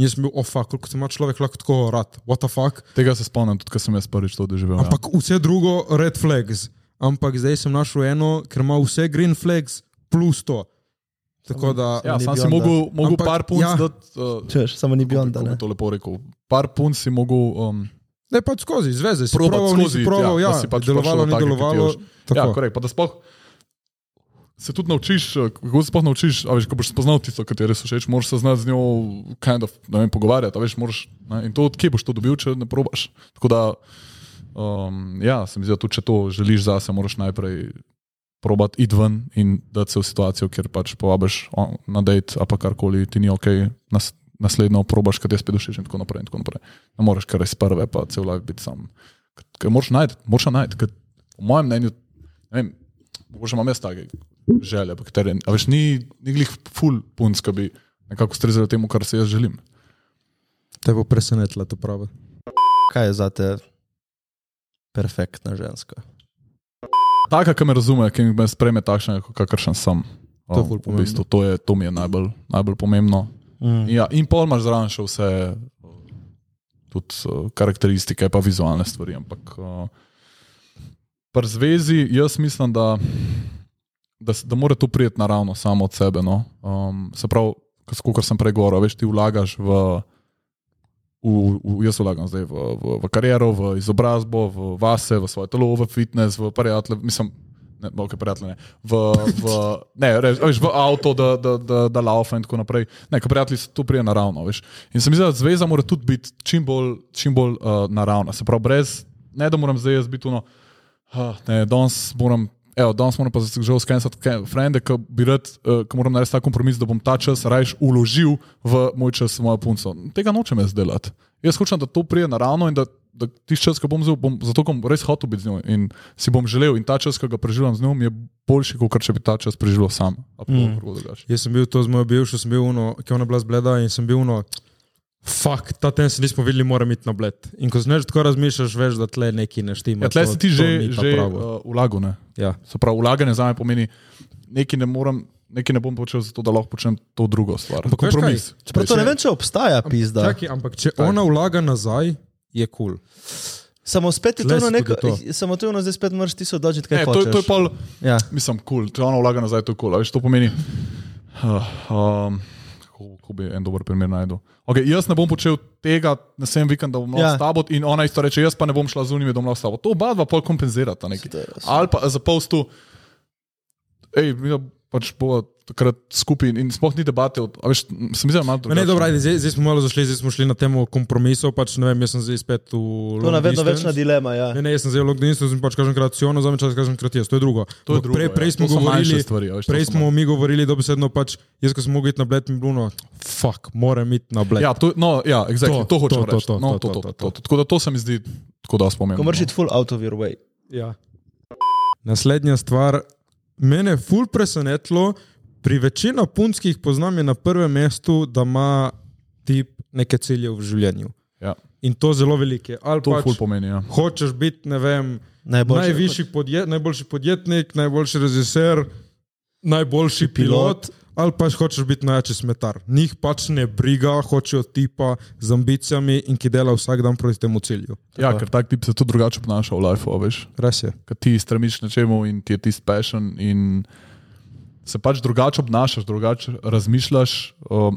in jaz sem bil, ofa, oh, koliko se ima človek lahko tako rad, what the fuck. Tega se spomnim, tudi ko sem jaz prvič to doživel. ja. Ampak vse drugo, red flags. Ampak zdaj sem našel eno, ker ima vse green flags plus to. Tako da, ja, ni sam si Beyonda. mogel, mogel Ampak, par punc ja. ja. dati. Uh, Češ, samo ni Bionda. Kako bi to lepo rekel? Par punc si mogel. Um, ne pač skozi, zveze, si Probat proval, skozi nisi iti, proval, ja, ja, da si ja, pač pač delovalo, prišel do ni take, ki ti delovalo. je Tako. ja, korekt, pa da spoh, se tudi naučiš, eh, kako se sploh naučiš, a veš, ko boš spoznal tisto, katero so všeč, moraš se znati z njo kind of, ne vem, pogovarjati, a veš, moraš, ne, in to odkje boš to dobil, če ne probaš. Tako da, um, ja, se mi zdi, da tudi če to želiš zase, moraš najprej probati id ven in dati se v situacijo, kjer pač povabiš o, na dejt, a pa karkoli ti ni ok, nas, naslednjo probaš, kaj ti je spet všeč in tako naprej. In tako naprej. Ne moreš kar iz prve, pa cel life biti sam. K- Ker moraš najti, moraš jo najti. ker Po mojem mnenju, ne vem, mogoče imam jaz take želje, pa katere, a veš, ni, ni glih full punc, ki bi nekako strezali temu, kar se jaz želim. Te bo presenetila to pravo. Kaj je za te perfektna ženska? Taka, ki me razume, ki me sprejme takšnega, kakršen sem. To je Um, ful v bistvu, to, je, to mi je najbolj, najbolj pomembno. Mm. Ja, in pol imaš zraven še vse, tudi uh, karakteristike, pa vizualne stvari. Ampak uh, pri zvezi, jaz mislim, da, da, s- da mora to priti naravno, samo od sebe. No? Um, se pravi, kot sem prej govoril, a veš, ti vlagaš v. V, v, jaz vlagam zdaj v, v, v kariero, v izobrazbo, v vase, v svoje telo, v fitness, v prijatelje, mislim, ne, okay, prijatelje ne, v, v, ne, res, a veš, v avto, da, da, da, da laufa in tako naprej. Ne, ker prijatelji so tu prije naravno. Veš. In se mi zdi, da zveza mora tudi biti čim bolj, čim bolj uh, naravna. Se pravi, brez, ne da moram zdaj jaz biti ono, ah, ne, danes moram. Evo, danes moram pa se že skenirati frende, ki bi rad, uh, ki moram narediti ta kompromis, da bom ta čas rajš uložil v moj čas s mojo punco. Tega nočem jaz delati. Jaz hočem, da to prije naravno in da, da tisti čas, ki bom vzel, bom, zato ker bom res hotel biti z njo in si bom želel in ta čas, ki ga preživljam z njo, mi je boljši, kot če bi ta čas preživljal sam. Mm. Jaz sem bil to z mojo bivšo, sem bil uno, ki je ona bila zbleda in sem bil uno, fuck, ta ten se nismo videli, moram iti na bled. In ko znaš tako razmišljaš, veš, da tle neki neštima. Ja, tle si ti to, to že, ni ta že pravo. uh, vlago, ne? Ja. Se pravi, vlaganje za me pomeni, nekaj ne morem, nekaj ne bom počel, zato da lahko počnem to drugo stvar. Ampak veš kaj? kompromis. Čeprav to ne vem, če obstaja, pizda. Čaki, ampak če ona vlaga nazaj, je kul. Cool. Samo spet je to Tle ono se neko, tudi samo to je ono, zdaj spet moraš ti se odločiti, kaj Ne, to, je- hočeš. to je pol, Ja. mislim, kul, cool. če ona vlaga nazaj, to je kul. Cool. a Veš, to pomeni, uh, um, kako, kako bi en dober primer najdel. Okay, jaz ne bom počel tega, ne sem vikend, da bom lahko Ja. ja. s tabo in ona isto reče, jaz pa ne bom šla z unimi, da bom lahko s tabo. To oba dva pol kompenzirata nekaj. Ali pa za polstu, hej, mi da pač bova takrat skupaj in, in sploh ni debate, od, a veš, sem zdaj Ma malo Ne, drugačen. dobro, ajde, zdaj, zdaj smo malo zašli, zdaj smo šli na temo kompromisov. Pač, ne vem, jaz sem zdaj spet v. To je long ena vedno distance. večna dilema. Ja. Ne, ne, jaz sem zelo logdinist, sem pač kažem krat Siono, zame čas kažem krat jaz, to je drugo. To je Ampak drugo, prej, ja. prej smo To so manjše govorili, stvari, a veš, to prej so smo mi govorili dobesedno pač, jaz ko sem mogel iti na bled, mi je bilo, no, fuck, moram iti na bled. Ja, to, no, ja, exactly, to, to hočem to, reči. To, to, no, to, to, to, to, to. Tako da to se mi zdi, tako da spomnim. Ko moraš iti full out of your way. Ja. Naslednja stvar, mene je ful presenetilo, pri večini punc, ki jih poznam, je na prvem mestu, da ima tip neke cilje v življenju. Ja. In to zelo velike. Ali To pač, pač ful pomeni. Ja. hočeš biti, ne vem, Najboljši- najboljši, najvišji podjet, najboljši podjetnik, najboljši režiser, najboljši Pilot. pilot. pilot. ali pač hočeš biti največji smetar. Njih pač ne briga, hočejo tipa z ambicijami in ki dela vsak dan proti temu cilju. Ja, ker tak tip se tudi drugače obnaša v lifeu, a veš. Res je. Ker ti stremiš nečemu in ti je tisti passion in se pač drugače obnašaš, drugače razmišljaš. Um,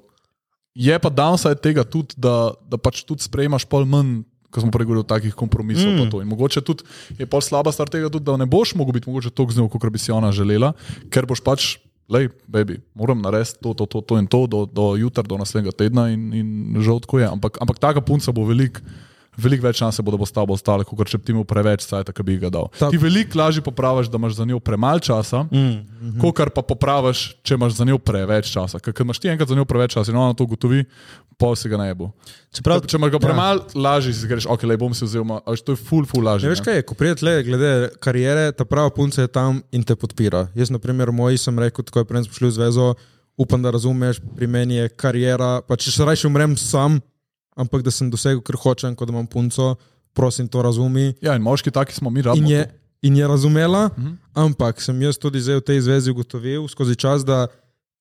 je pa downside tega tudi, da, da pač tudi sprejemaš pol manj, ko smo prej govorili o takih kompromisih. Mm. In mogoče tudi je pol slaba stvar tega tudi, da ne boš mogel biti mogoče toliko z njo, kot bi si ona želela, ker boš pač. Lej, baby, moram narediti to, to, to, to in to do, do jutra, do naslednjega tedna, in, in žal tako je. Ampak, ampak taka punca bo veliko velik več časa bo, da bo s tabo ostala, kot če bi ti imel preveč časa, ki bi ga dal. Ta- Ta... Ti veliko lažje popraviš, da imaš za njo premalo časa, mm, mm -hmm. kot pa popraviš, če imaš za njo preveč časa. Ker ker imaš ti enkrat za njo preveč časa in ona to ugotovi, pa se ga ne bo. Čeprav, Če imaš ga premalo, ja. lažje si greš, ok, le bom si vzel, ma- a veš, to je ful, ful Ne lažje. Ja, veš kaj je, ko prijeti le glede karijere, ta prava punca je tam in te podpira. Jaz, na primer, moji sem rekel, ko je prej smo šli v zvezo, upam, da razumeš, pri meni je karijera, pa če še rajši umrem sam, ampak da sem dosegel, kar hočem, kot da imam punco, prosim, to razumi. Ja, in moški taki smo mi, In rabimo. je, in je razumela, ampak sem jaz tudi zdaj v tej zvezi ugotovil skozi čas, da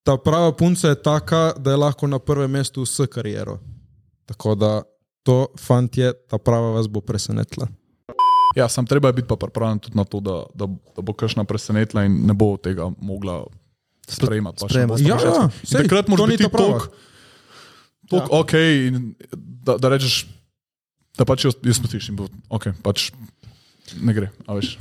ta prava punca je taka, da je lahko na prvem mestu s kariero. Tako da to, fantje, ta prava vas bo presenetila. Ja, sam treba je biti pa pripravljen tudi na to, da, da, da bo kakšna presenetila in ne bo tega mogla sprejemati. pač ne bo sprejemati. s tem Ja, časom. ja, In sej, takrat to moraš ni biti ta prava. tako ja. ok, in, da, da rečeš, da pač jaz, jaz spustiš in bo ok, pač ne gre. a veš.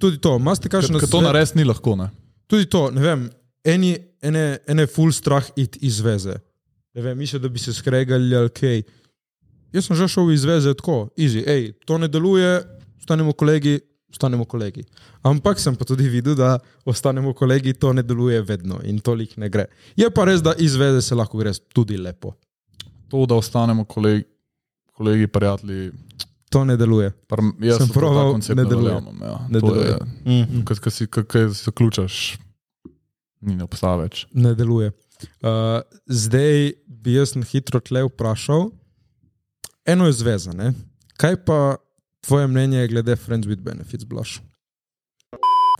Tudi to, imate kakšno Ker ker to zve- nares ni lahko. Ne? Tudi to, ne vem, eni, ene, ene full strah iti iz veze. Ne vem, mislijo, da bi se skregali ali kaj. Jaz sem že šel iz veze tako, easy, hej, to ne deluje, ostanemo kolegi, ostanemo kolegi. Ampak sem pa tudi videl, da ostanemo kolegi, to ne deluje vedno in toliko ne gre. Je pa res, da iz veze se lahko gre tudi lepo. To, da ostanemo kolegi, kolegi prijatelji. To ne deluje. Par, jaz Sem v ta proval, koncept ne deluje. verjamem, Ja, Ne to deluje. Mm. Je, kaj, kaj, si, kaj, kaj zaključaš, ni ne obstaja več. Ne deluje. Uh, zdaj bi jaz na hitro tle vprašal, eno je zveza, ne? kaj pa tvoje mnenje glede Friends with Benefits, Blaž?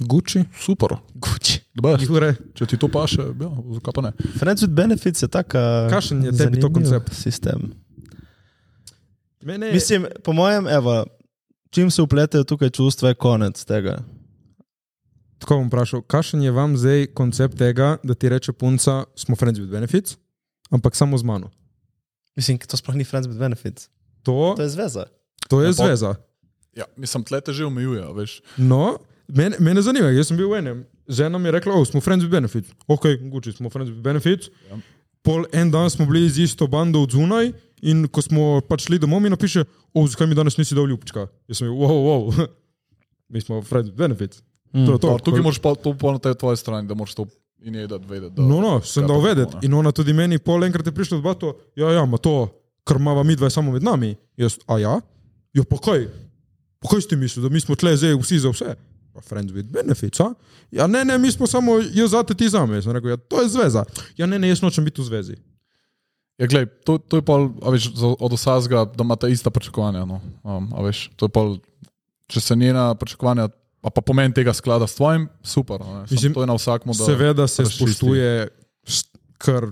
Gucci, Super. Gucci. Dobar, Jure, če ti to paše, ja, zakaj pa ne? Friends with benefits je taka. Kakšen je tebi to zanimiv koncept? Sistem. mene je Mislim, po mojem, evo, čim se upletejo tukaj čustva, je konec tega. tako bom vprašal, kakšen je vam zdaj koncept tega, da ti reče punca, smo Friends with Benefits, ampak samo z mano. Mislim, to sploh ni friends with benefits. To, To je zveza. to je Ja, pa- zveza. Ja, mislim, tle te že omejuje, a veš. No, mene, mene zanima, jaz sem bil v enem. Z eno mi je rekla, oh, smo friends with benefits. Ok, mogoče smo friends with benefits. Ja. Pol en dan smo bili z isto bando od zunaj in ko smo pač šli domov, mi napiše, oh, zakaj mi danes nisi dal ljubčka. Jaz sem bil, wow, wow, mi smo friends with benefits. Mm, to, je To, tukaj Ko- moraš pa to pa na tej tvoji strani, da moraš to in jedeti, vedeti. Da, No, no, sem kaj dal pa vedeti. tako, ne. In ona tudi meni, pol enkrat je prišla dva to, ja, ja, ma to, kar mava mi dva je samo med nami. Jaz, a ja, jo pa kaj, pa kaj si ti mislil, da mi smo tle zdaj vsi za vse? Pa friends with benefits, a? Ja, ne, ne, mi smo samo, jaz zate ti zame. Jaz sem rekel, ja, to je zveza. Ja, ne, ne, jaz nočem biti v zvezi. Ja, glej, to, to je pol, a veš, za- od osazga, da ima ta ista pričakovanja. No. Um, a veš, to je pol, če se njena pričakovanja, a pa pomen tega sklada s tvojim, super. a Ne, Mislim, Mislim, to je na vsakmo, da Seveda se razčisti. spoštuje, s- kar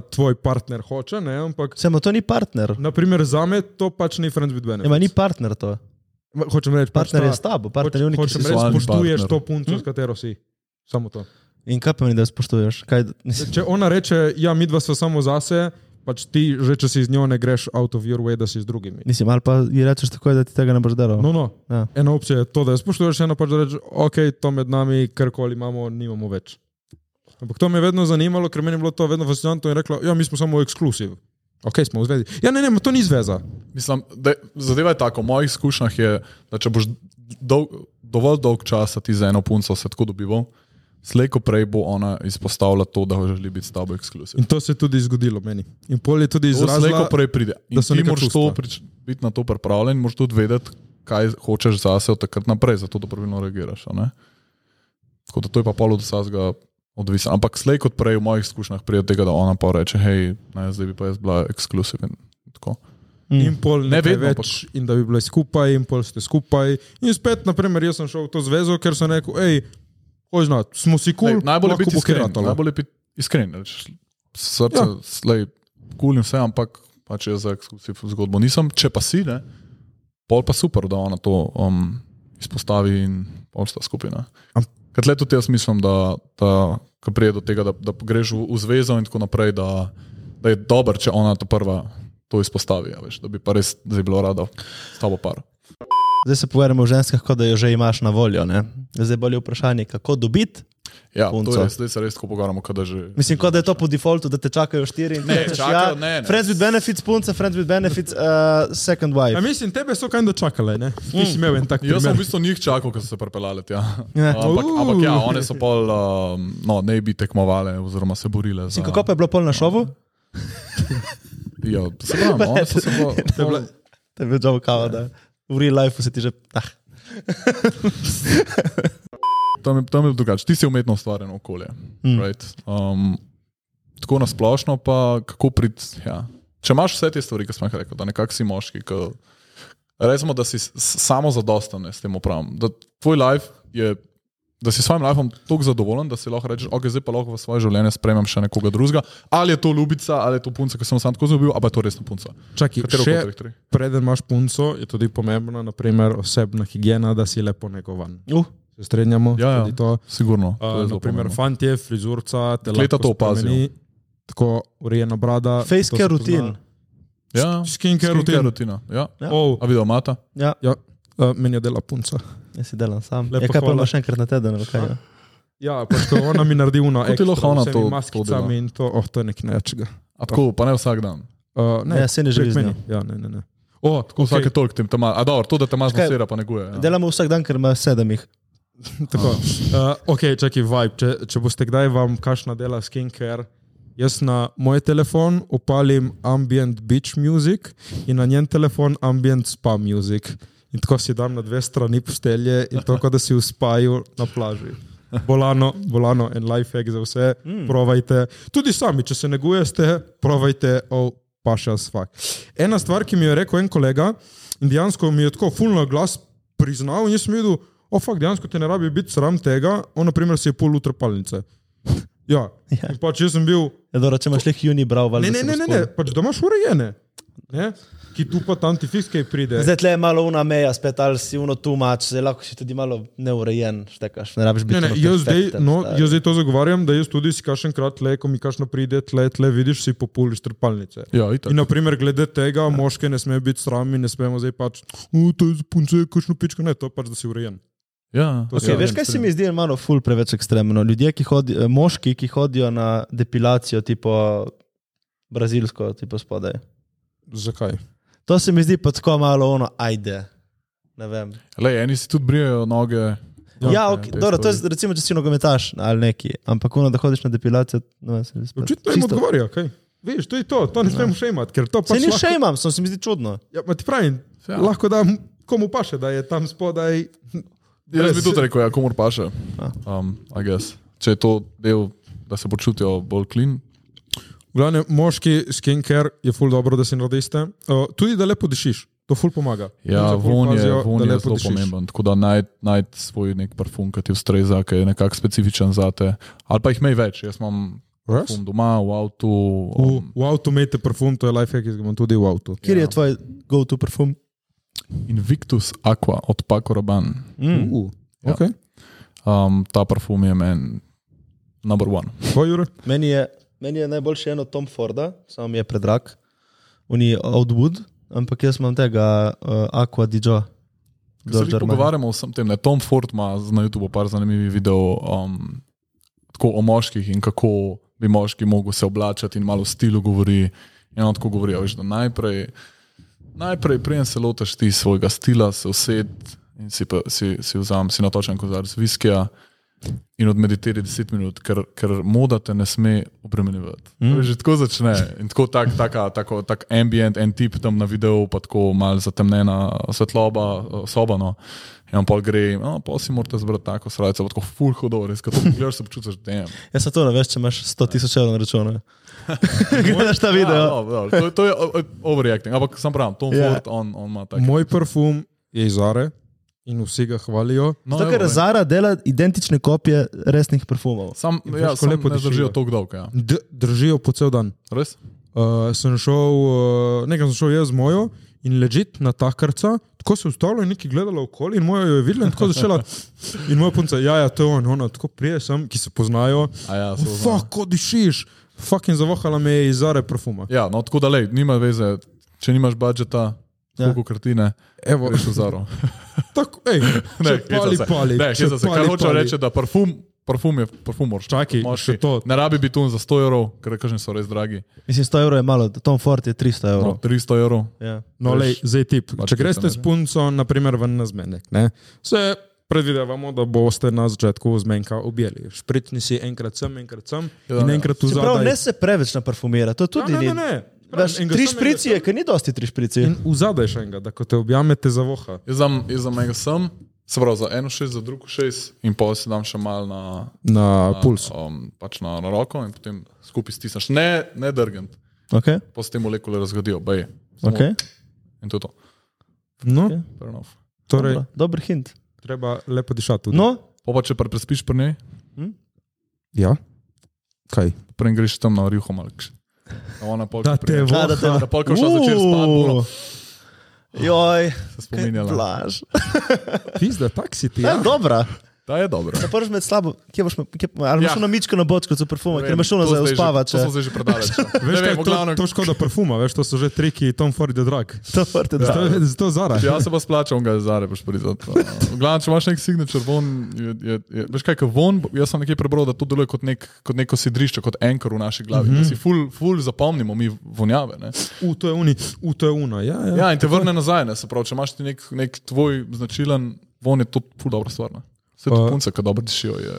ta tvoj partner hoče, ne, ampak Samo to ni partner. naprimer za me to pač ni friends with benefits. Ema, ni partner to. Ma, Hočem reči, pač Partner ta- je s tabo, partner je Hoč- unik. Hočem Hoč, reči- reči, Seksualni spoštuješ partner. to punco, s katero si. Samo to. in kaj pomeni, da jo spoštuješ? Kaj, mislim, Če ona reče, ja, mi dva smo samo zase, pač ti že, če si z njo ne greš out of your way, da si z drugimi. mislim, ali pa ji rečeš tako, da ti tega ne boš delal. No, no. No. Ja. Ena opcija je to, da jo spoštuješ, ena pač da rečeš, ok, to med nami, karkoli imamo, nimamo več. Ampak to me je vedno zanimalo, ker meni je bilo to vedno fascinantno in reklo, ja, mi smo samo ekskluziv. Ok, smo v zvezi. Ja, ne, ne, ma to ni zveza. Mislim, da, je- zadeva je tako. V mojih izkušnjah je, da če boš dol, dovolj dolg časa ti za eno punco se tako dobival, slej ko prej bo ona izpostavila to, da želi biti s tabo ekskluzivna. In to se je tudi zgodilo meni. In pol je tudi Zelo izrazila, prej pride. In da so ti neka moraš čustva. to prič- biti na to pripravljen, moraš tudi vedeti, kaj hočeš zase od takrat naprej, zato da pravilno reagiraš. a ne. Tako da to je pa pol od vsega odvisno. Ampak slej kot prej v mojih izkušnjah pride do tega, da ona pa reče, hej, ne, zdaj bi pa jaz bila ekskluziven. Tako. Mm. in pol ne več, Mm. vedno, ampak... in da bi bili skupaj, in pol ste skupaj. In spet, naprimer, jaz sem šel v to zvezo, ker sem rekel, hej, ozna, smo si kul, Lej, cool, najbolje je lahko biti bo iskren. ratalo." Najbolje je biti iskren, rečeš, srce, ja. slej, kul in vse, ampak pač jaz za ekskluzivno zgodbo nisem. Če pa si, ne, pol pa super, da ona to um, izpostavi in osta skupina. Am- Ker le tudi jaz mislim, da, da ko pride do tega, da, da greš v, v zvezo in tako naprej, da, da je dober, če ona ta prva to izpostavi, a veš, da bi pa res zdaj bilo rada s tabo par. Zdaj se pogovarjamo o ženskah, kot da jo že imaš na voljo. Ne? Zdaj bolje vprašanje, kako dobiti. Ja, to Punco. je, zdaj se res tako pogovarjamo, kot da že. Mislim, kot da je to po defaultu, da te čakajo štiri in Ne, rečeš, ja, čakajo, ne, ne. Friends with benefits, punca, friends with benefits, uh, second Ja, wife. mislim, tebe so kaj dočakale, ne? Ti si imel en tak Mm. Jaz sem v primer. bistvu njih čakal, ko so se prepeljali tja. Ja. Ampak, Uh. ampak ja, one so pol, um, no, ne bi tekmovale oziroma se borile. Za, Mislim, kako pa je bilo pol na šovu? Ja, se pravi, one so se pol, pol, To je bil job kava, da v real life se ti že. Ah. tam, je- tam je drugače. Ti si umetno ustvarjen okolje. Mm. Right? Um, tako nasplošno, pa kako priti. Ja. Če imaš vse te stvari, ki sem jih rekel, da nekako si moški, ki, recimo, da si s- samo zadosten, ne, s tem upravim. Da tvoj life je. Da si s svojim lifeom tako zadovoljen, da si lahko rečeš, ok, zdaj pa lahko v svoje življenje spremem še nekoga drugega. Ali je to ljubica, ali je to punca, ki sem jo sam tako zgubil, ali pa je to resna punca. Čakaj, Katero še od teh treh? preden imaš punco, je tudi pomembna, naprimer, osebna higiena, da si lepo negovan. Uh. Se strinjamo? Ja, ja. Tudi to. Sigurno. to je Uh, zelo naprimer, pomembno. fantje, frizurca, telo. Dekleta to opazijo. Tako urejena brada. Face to se care pozna. rutin. ja, Skincare skincare rutin. rutina. Ja. Ja. Oh, A videl, mata? Ja, ja, uh, meni je dela punca. jaz si delam sam. Lepa Ja, kaj pa hvala. imaš še enkrat na teden? ali Kaj, ja? Ja, pač ko ona mi naredi uno, Kako ti lahko ona to- to dela? maskicami in to, oh, to je nekaj najjačega. A tako, pa ne vsak dan. Uh, Ne, saj ne prek živi z njo. meni. Ja, ne, ne, ne. O, Tako okay. vsake toliko tem tam, a dobro, to, da te imaš Čakaj, masera, pa ne guje. Ja. Delamo vsak dan, ker ima sedem jih. Tako. Uh, ok, čakaj, vibe. Če, če boste kdaj vam kašna dela skincare, jaz na moj telefon upalim ambient beach music in na njen telefon ambient spa music. In tako si dam na dve strani postelje in tako, da si v spaju na plaži. Bolano, bolano en life hack za vse, mm. provajte. Tudi sami, če se negujete, provajte, oh, paša svak. Ena stvar, ki mi jo je rekel en kolega, in dejansko mi je tako fulno glas priznal, in jaz sem videl, o, fakt, dejansko te ne rabi biti sram tega, on, na primer, si je pol utrpalnice. Ja, Ja. ja. in pač jaz sem bil, Ja, dobro, če imaš leh juni brav, valjda. ne, ne, se ne, bo ne, ne spomnil. pač da imaš urejene, ne? ki tu pa tam ti fiskaj pride. Zdaj tle je malo una meja, spet ali si uno tumač, zdaj lahko si tudi malo neurejen, štekaš, ne rabiš biti. Ne, ne, ono jaz zdaj, perfekten, no, stari. jaz zdaj to zagovarjam, da jaz tudi si kašen krat le, ko mi kašno pride, tle, tle vidiš si populiš trpalnice. Ja, itak. In naprimer, glede tega, moške ne sme biti srami, ne smemo zdaj pač, "U, to je punce, kašno pičko, ne, to je pač, da si urejen. Ja, To si- Ja, Okay, veš, kaj se mi zdi malo ful preveč ekstremno? Ljudje, ki hodi, eh, moški, ki hodijo na depilacijo, tipo brazilsko, tipo spodaj. Zakaj? To se mi zdi pa tako malo ono, ajde. Ne vem. Le, eni si tudi brijejo noge. Ja, ja te okay, dobro, to je stvari. recimo, če si nogometaš ali neki, ampak ono, da hodiš na depilacijo, no, vem, se mi spet- Očitno jim čisto- odgovarja, kaj? Veš, to je to, to ne smemo še imati, ker to Se pač ni lahko, še imam, sem se mi zdi čudno. ja, ma ti pravim, Ja. ja. lahko da komu paše, da je tam spodaj. Jaz bi Res. tudi rekel, ja, komor paše. Um, I guess. Če je to del, da se počutijo bolj clean. Glavne, moški skincare je ful dobro, da si narediste. Uh, tudi da lepo dišiš, to ful pomaga. Ja, Punce ful von je, pazijo, von da je lepo zelo dišiš. pomemben. Tako da najd najd svoj nek parfum, ki ti ustreza, ki je nekako specifičen za te. Ali pa jih imej več. Jaz imam Res? parfum doma, v avtu. V, Um, v avtu imejte parfum, to je life hack, ki ga imam tudi v avtu. Kjer je tvoj go-to parfum? Invictus Aqua od Paco Rabanne. Mm. Uh, Ja. okay. Um, ta parfum je meni number one. Tvoj Jure? Meni je, meni je najboljše eno Tom Forda, samo mi je predrag, oni Outwood, ampak jaz imam tega uh, Aqua Dijo. Ko Se že pogovarjamo o vsem tem. Ne? Tom Ford ima z- na YouTubu par zanimivih videov um, tako o moških in kako bi moški mogli se oblačati in malo v stilu govori. In on tako govori, a veš, da najprej, najprej preden se lotiš ti svojega stila, se used in si, pa, si, si vzam, si natočen kozarec viskija in odmeditiraj 10 minut, ker, ker moda te ne sme obremenjevati. Mm. Že tako začne. In tako tak, taka, tako, tak ambient, en tip tam na videu, pa tako malo zatemnjena svetloba, eh, soba. No. In pa gre, no, pa si morate zbrati tako srajco, pa tako full hudo, res, kot gledaš, se počutiš, da je. Jaz sem Ja, to ne veš, če imaš 100 tisoč evrov na računu. Gledaš ta video. Ja, To, to je eh, o- o- overreacting, ampak sam pravim, Tom Ja. yeah. Ford, on, on ima tako. Moj parfum je iz Are, in vsi ga hvalijo. No, Zato, evo, ker ne. Zara dela identične kopije resnih parfumov. Sam, In ja, Vaško sam lepo ne diši, držijo ja. toliko dolga. Ja. D držijo po cel dan. Res? Uh, sem šel, uh, nekaj sem šel jaz z mojo in ležit na takarca, tako se je ustavila in nekaj gledala okoli in moja jo je videla in tako začela. In moja punca, ja, ja, to je on, ona tako prije sem, ki se poznajo. "Oh, A Ja, Oh, se poznajo. Fak, ko dišiš, fucking zavohala me je iz zare profuma. ja, no tako da lej, nima veze, če nimaš budžeta, Ja. koliko kartine, Evo, greš v zaro. tako, hej, ne, hecam pali, se. pali. Ne, če hecam se. Kar pali, hočem pali. reči, da parfum, parfum je parfum, moraš. Čakaj, moraš še to. Ne rabi biti tu za 100 evrov, ker kažem so res dragi. Mislim, 100 evrov je malo, Tom Ford je 300 No, evrov. 300 evrov. Ja. No, lej, zdaj tip. pač Če greste tipcem, s ne. punco, naprimer, ven na zmenek, ne, se predvidevamo, da boste na začetku zmenka objeli. Špritni si enkrat sem, enkrat sem Ja, ja, in ja. enkrat tu Čeprav zadaj. ne se preveč naparfumira, to tudi ja, ne, ni. ne, ne. Veš, Enega tri sem, šprici je, enega sem. ker ni dosti tri šprici. In v zadaj še enega, da ko te objamete za voha. Jaz dam, jaz dam enega sem, se pravi za eno šest, za drugo šest in pol si dam še mal na, Na puls. um, pač na, na roko in potem skupaj stisneš. Ne, ne drgant, Okay. pa se te molekule razgradijo, bej. Samo- Okay. In to je to. No, Fair enough. torej, Dobro, Dober hint. treba lepo dišati. Tudi. No, Pa, pa če pa prespiš pri njej, Ja. Kaj? preden greš tam na rjuho malk. Ona pol, Da ko pride- te Da, da te voha. Da pol, ko šla začeti spati, Uuu. ono, Joj, se kaj spominjala. plaž. Pizda, tak si ti. Ja, Ja. dobra. Da je dobro. Ta prvič med slabo, kje boš, me- kje, ali boš Ja. šel na mičko na bočko za parfum, ker Vem, imaš šuno za to zdaj že- uspavače. To smo zdaj že predaleč. Veš, Ne kaj, vem, v to, glavnem. to škoda parfuma, veš, to so že triki Tom Ford je drag. To vrte, Ja, da. Zato, zato Zara. Če jaz Ja, se pa splačam, ga je zare, boš prizad. Glavno, če imaš nek signature von, je, je, je, veš kaj, ka von, jaz sem nekje prebral, da to deluje kot, nek, kot neko sidrišče, kot enkor v naši glavi. Mhm. Mm -hmm. Si ful, ful zapomnimo mi vonjave. Ne? U, to je uni, u, to je una. Ja, ja. Ja, in te vrne nazaj, ne se pravi, če imaš ti nek, nek tvoj značilen von, je to ful dobra stvar. Ne? Vse Pa- to punce, ki dobro dišijo, je,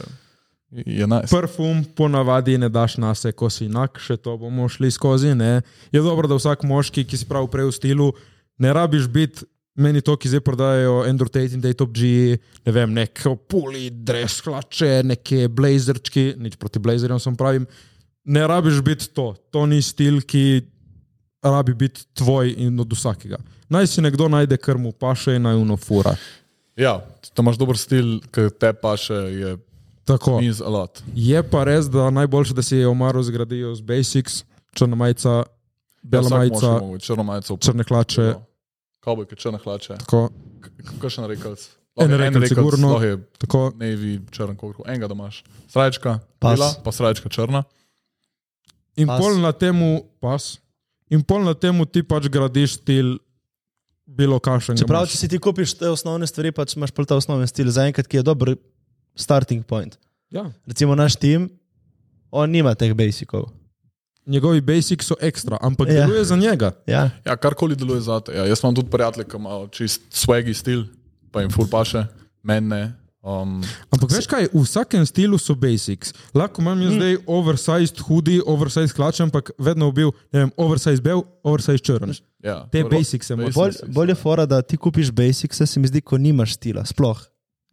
je najs. Nice. Perfum ponavadi ne daš na se, ko si enak, še to bomo šli skozi. Ne? Je dobro, da vsak moški, ki si prav prej v stilu, ne rabiš biti. Meni to, ki zdaj prodajajo Andrew Tate in Daytop G, ne vem, neke puli, dres, hlače, neke blazerčki, nič proti blazerjem sem pravim. Ne rabiš biti to, to ni stil, ki rabi biti tvoj in od vsakega. Naj si nekdo najde, kar mu paše in naj unofura. Ja, če imaš dober stil, ki te pa še je Tako. means a lot. Ja, Je pa res, da najboljše, da si omaro zgradijo z basics, črna majica, bela Ja, Vsak mož Ja. je majica, mogel, Črno majico. črne hlače. Kavbojke, črne hlače. Tako, Kakšen rekalc? En rekelc sigurno. tako. Nevi črn, koliko enega domaš. Srajčka, Pas. bela, pa srajčka črna. In Pas. pol na temu pas, in pol na temu ti pač gradiš stil, bilo kakšen. ga Čeprav, imaš. če si ti kupiš te osnovne stvari, pač imaš pol ta osnovni stil zaenkrat, ki je dober starting point. Ja. Recimo naš tim, on nima teh basicov. Njegovi basics so ekstra, ampak Ja. ja. deluje za njega. Ja. Ja, karkoli deluje za te. Ja, jaz imam tudi prijatelje, ki imajo čist swaggy stil, pa jim ful paše, meni ne. Um, Ampak veš kaj, v vsakem stilu so basics. Lahko imam jaz mm. zdaj oversized hudi, oversized hlače, ampak vedno bil, ne vem, oversized bel, oversized črn. ja, Te Ro- basics imaš. basics, Bolj, ja. bolj je fora, da ti kupiš basicse, se mi zdi, ko nimaš stila. Sploh.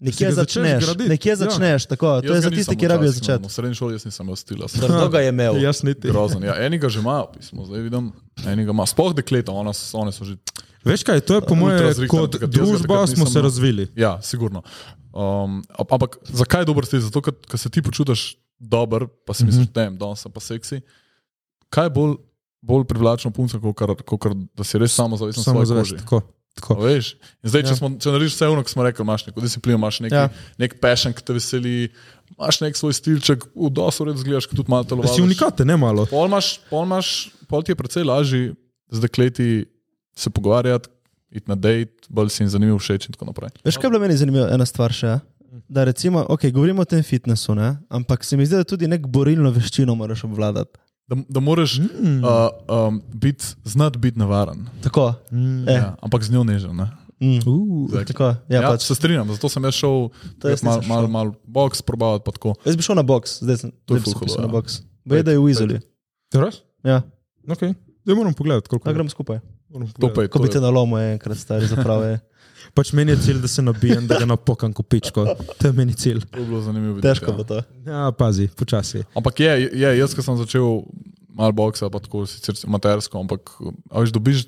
Nekje ga začneš začneš, graditi, nekje ja. začneš, tako. To Jaz je ga za nisem tiste, ki rabijo včasih imel, začeti. V srednji šoli jaz nisem imel stila. Trdo ga je imel. Jaz niti. Grozen. Ja, enega že ima, smo zdaj vidim, enega ima. Sploh dekleta, ona, s- one so že Veš kaj, to je po mojem, razrihtano, kot takrat jaz ga družba takrat smo nisem se imel. razvili. Ja, sigurno. Um, a- ampak zakaj je dober stil? Zato, ker ker se ti počutiš dober, pa si Mhm. misliš, da mm -hmm. sem pa seksi. Kaj je bolj, bolj privlačno punce, kot da si res samozavesten samo Samo v svoji zavest. koži? Tako, A tako. Veš, In zdaj, če, Ja. smo, če narediš vse ono, kar smo rekli, imaš neko disciplino, imaš nek, Ja. ja. nek passion, ki te veseli, imaš nek svoj stilček, v dosu red zgledaš, kot tudi malo Da telovadiš. si unikate, ne malo. Pol, imaš, pol, imaš, pol ti je precej lažje z dekleti se pogovarjati, iti na dejt, bolj si jim zanimiv, všeč in tako naprej. Veš, kaj je bila meni zanimiva ena stvar še? Da recimo, ok, govorimo o tem fitnessu, ne? ampak se mi zdi, da tudi nek borilno veščino moraš obvladati. Da, da moraš mm. uh, um, bit, znati biti navaren, Tako. Mm, eh, ja, ampak z njo nežen. Ne? mm, Uh, tako ja, Ja, ja, ja, pač. se strinjam, zato sem jaz šel To jaz malo nisem mal, šel. mal boks probavati. pa tako. Jaz bi šel na boks, zdaj sem To je zdaj bi se ful hudo, vpisal ja. na boks. Bej, da je v izoli. Res? Ja, Okay. Zdaj moram pogledati, koliko da je. grem skupaj. Moram pogledati. To pa je Ko to. bi je- te nalomil enkrat, stari zaprave. Pač meni je cilj, da se nabijem, da ga napokam kopičko. To je meni cilj. To je bilo zanimivo. videti, Težko ja. bo to. Ja, pazi, počasi. Ampak je, je, jaz, ko sem začel malo boksa, pa tako sicer amatersko, ampak a veš, dobiš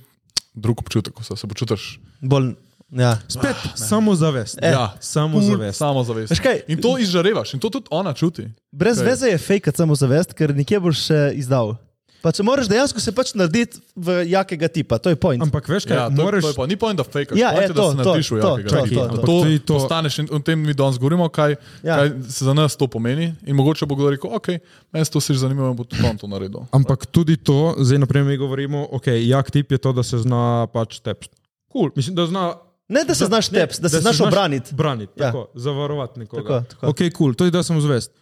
drug občutek, ko se, se počutiš Bolj Ja. Spet Ah, samozavest. Eh, Ja. samozavest. Samo zavest. Veš kaj? In to izžarevaš, in to tudi ona čuti. Brez Kaj? okay. veze je fejkat samo zavest, ker nekje boš še izdal. Pa če moraš dejansko se pač narediti v jakega tipa, to je point. Ampak veš kaj, Ja, ja, to, moraš... moraš... to je pa, ni point, da fejkaš, Ja, e, point je, da to, se to, narediš v to, jakega to, tipa. to, to. Ampak to, Tudi to to- postaneš in o tem mi danes govorimo, kaj, ja. Ja. kaj se za nas to pomeni. In mogoče bo kdo rekel, ok, meni se to sicer zanimivo in bo tudi on to naredil. Ampak tudi to, zdaj naprimer mi govorimo, ok, jak tip je to, da se zna pač tepst. Cool. Mislim, da zna Ne, da se znaš teps, da se znaš obraniti. Braniti, Ja. tako, zavarovati nekoga. Tako, tako. Ok, kul, cool. to je da sem zvest.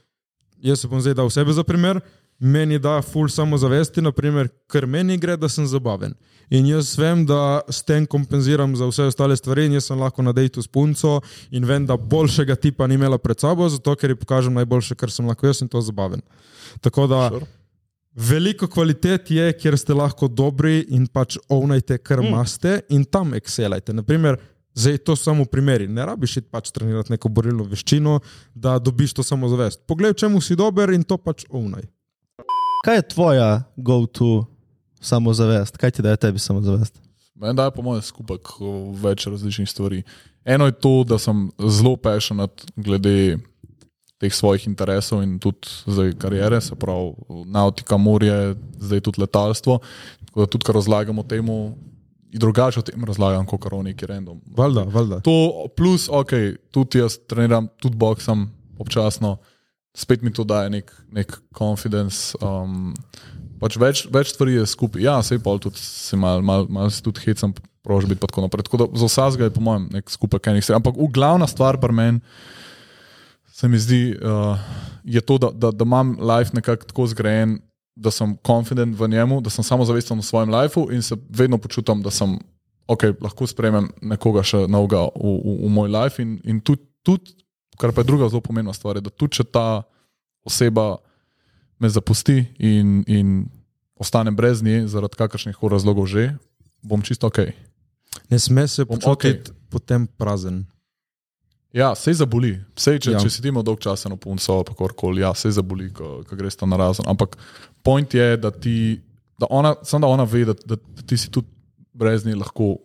Jaz se bom zdaj dal sebe za primer, meni da ful samozavesti, naprimer, ker meni gre, da sem zabaven. In jaz vem, da s tem kompenziram za vse ostale stvari, in jaz sem lahko na dejtu s punco in vem, da boljšega tipa ni imela pred sabo, zato ker ji pokažem najboljše, kar sem lahko jaz in to zabaven. Tako da. Sure. Veliko kvalitet je, kjer ste lahko dobri in pač ovnajte, kar imate, mm. in tam excelajte. Naprimer, zdaj to samo primeri. Ne rabiš iti pač trenirati neko borilno veščino, da dobiš to samozavest. Poglej, v čemu si dober in to pač ovnaj. Kaj je tvoja go-to samozavest? Kaj ti daje tebi samozavest? Meni daje, po mojem, skupek eh, več različnih stvari. Eno je to, da sem zelo passionat glede teh svojih interesov in tudi zdaj karijere, se pravi nautika, morje, zdaj tudi letalstvo. Tako da tudi, kar razlagamo temu, drugače o tem razlagam, kot kar o neki random. Valjda, valjda. To, plus, ok, tudi jaz treniram, tudi boksam občasno, spet mi to daje nek, nek confidence. Um, pač več, več stvari je skupaj. Ja, sej pol tudi se mal, mal, mal se tudi hecam, prožbit pa tako naprej. Tako da za vsazga je po mojem nek skupek enih stvari. Ampak v glavna stvar pri meni se mi zdi, uh, je to, da, da, da imam life nekako tako zgrajen, da sem confident v njemu, da sem samozavesten v svojem lifeu in se vedno počutim, da sem, ok, lahko sprejmem nekoga še novega v, v, v moj life. In, in tudi, tudi, kar pa je druga zelo pomembna stvar, je, da tudi če ta oseba me zapusti in, in ostanem brez nje, zaradi kakršnih koli razlogov že, bom čisto ok. Ne sme se Bom počutiti okay. potem prazen. Ja, sej zaboli. Sej, če, ja. Ja. če sedimo dolg časa na punco, pa karkoli, ja, sej zaboli, ko, ko greš tam na razen. Ampak point je, da ti, da ona, samo da ona ve, da, da, da ti si tudi brez nje lahko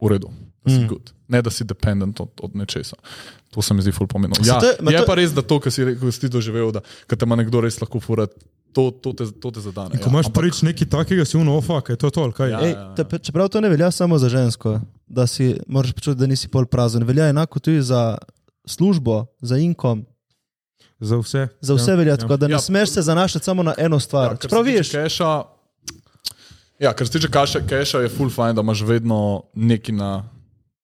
v redu. Da Mhm. si mm. good. Ne, da si dependent od, od nečesa. To se mi zdi ful pomembno. Ja, to je- ma je to- pa res, da to, kar si rekel, si ti doživel, da ko te ima nekdo res lahko furat, to, to, te, to te zadane. Ko imaš prvič nekaj takega, si uno, ofak, je to to, ali kaj? Ja. Ja. Ej, te, pa- čeprav to ne velja samo za žensko, da si moraš počutiti, da nisi pol prazen. Velja enako tudi za službo, za inkom, Za vse. za vse ja, velja ja. tako, da ne ja. Ja. smeš se zanašati samo na eno stvar. Ja, kar se čeprav tiče vidiš, Keša, ja, kar se tiče kaša, keša, je full fajn, da imaš vedno neki na,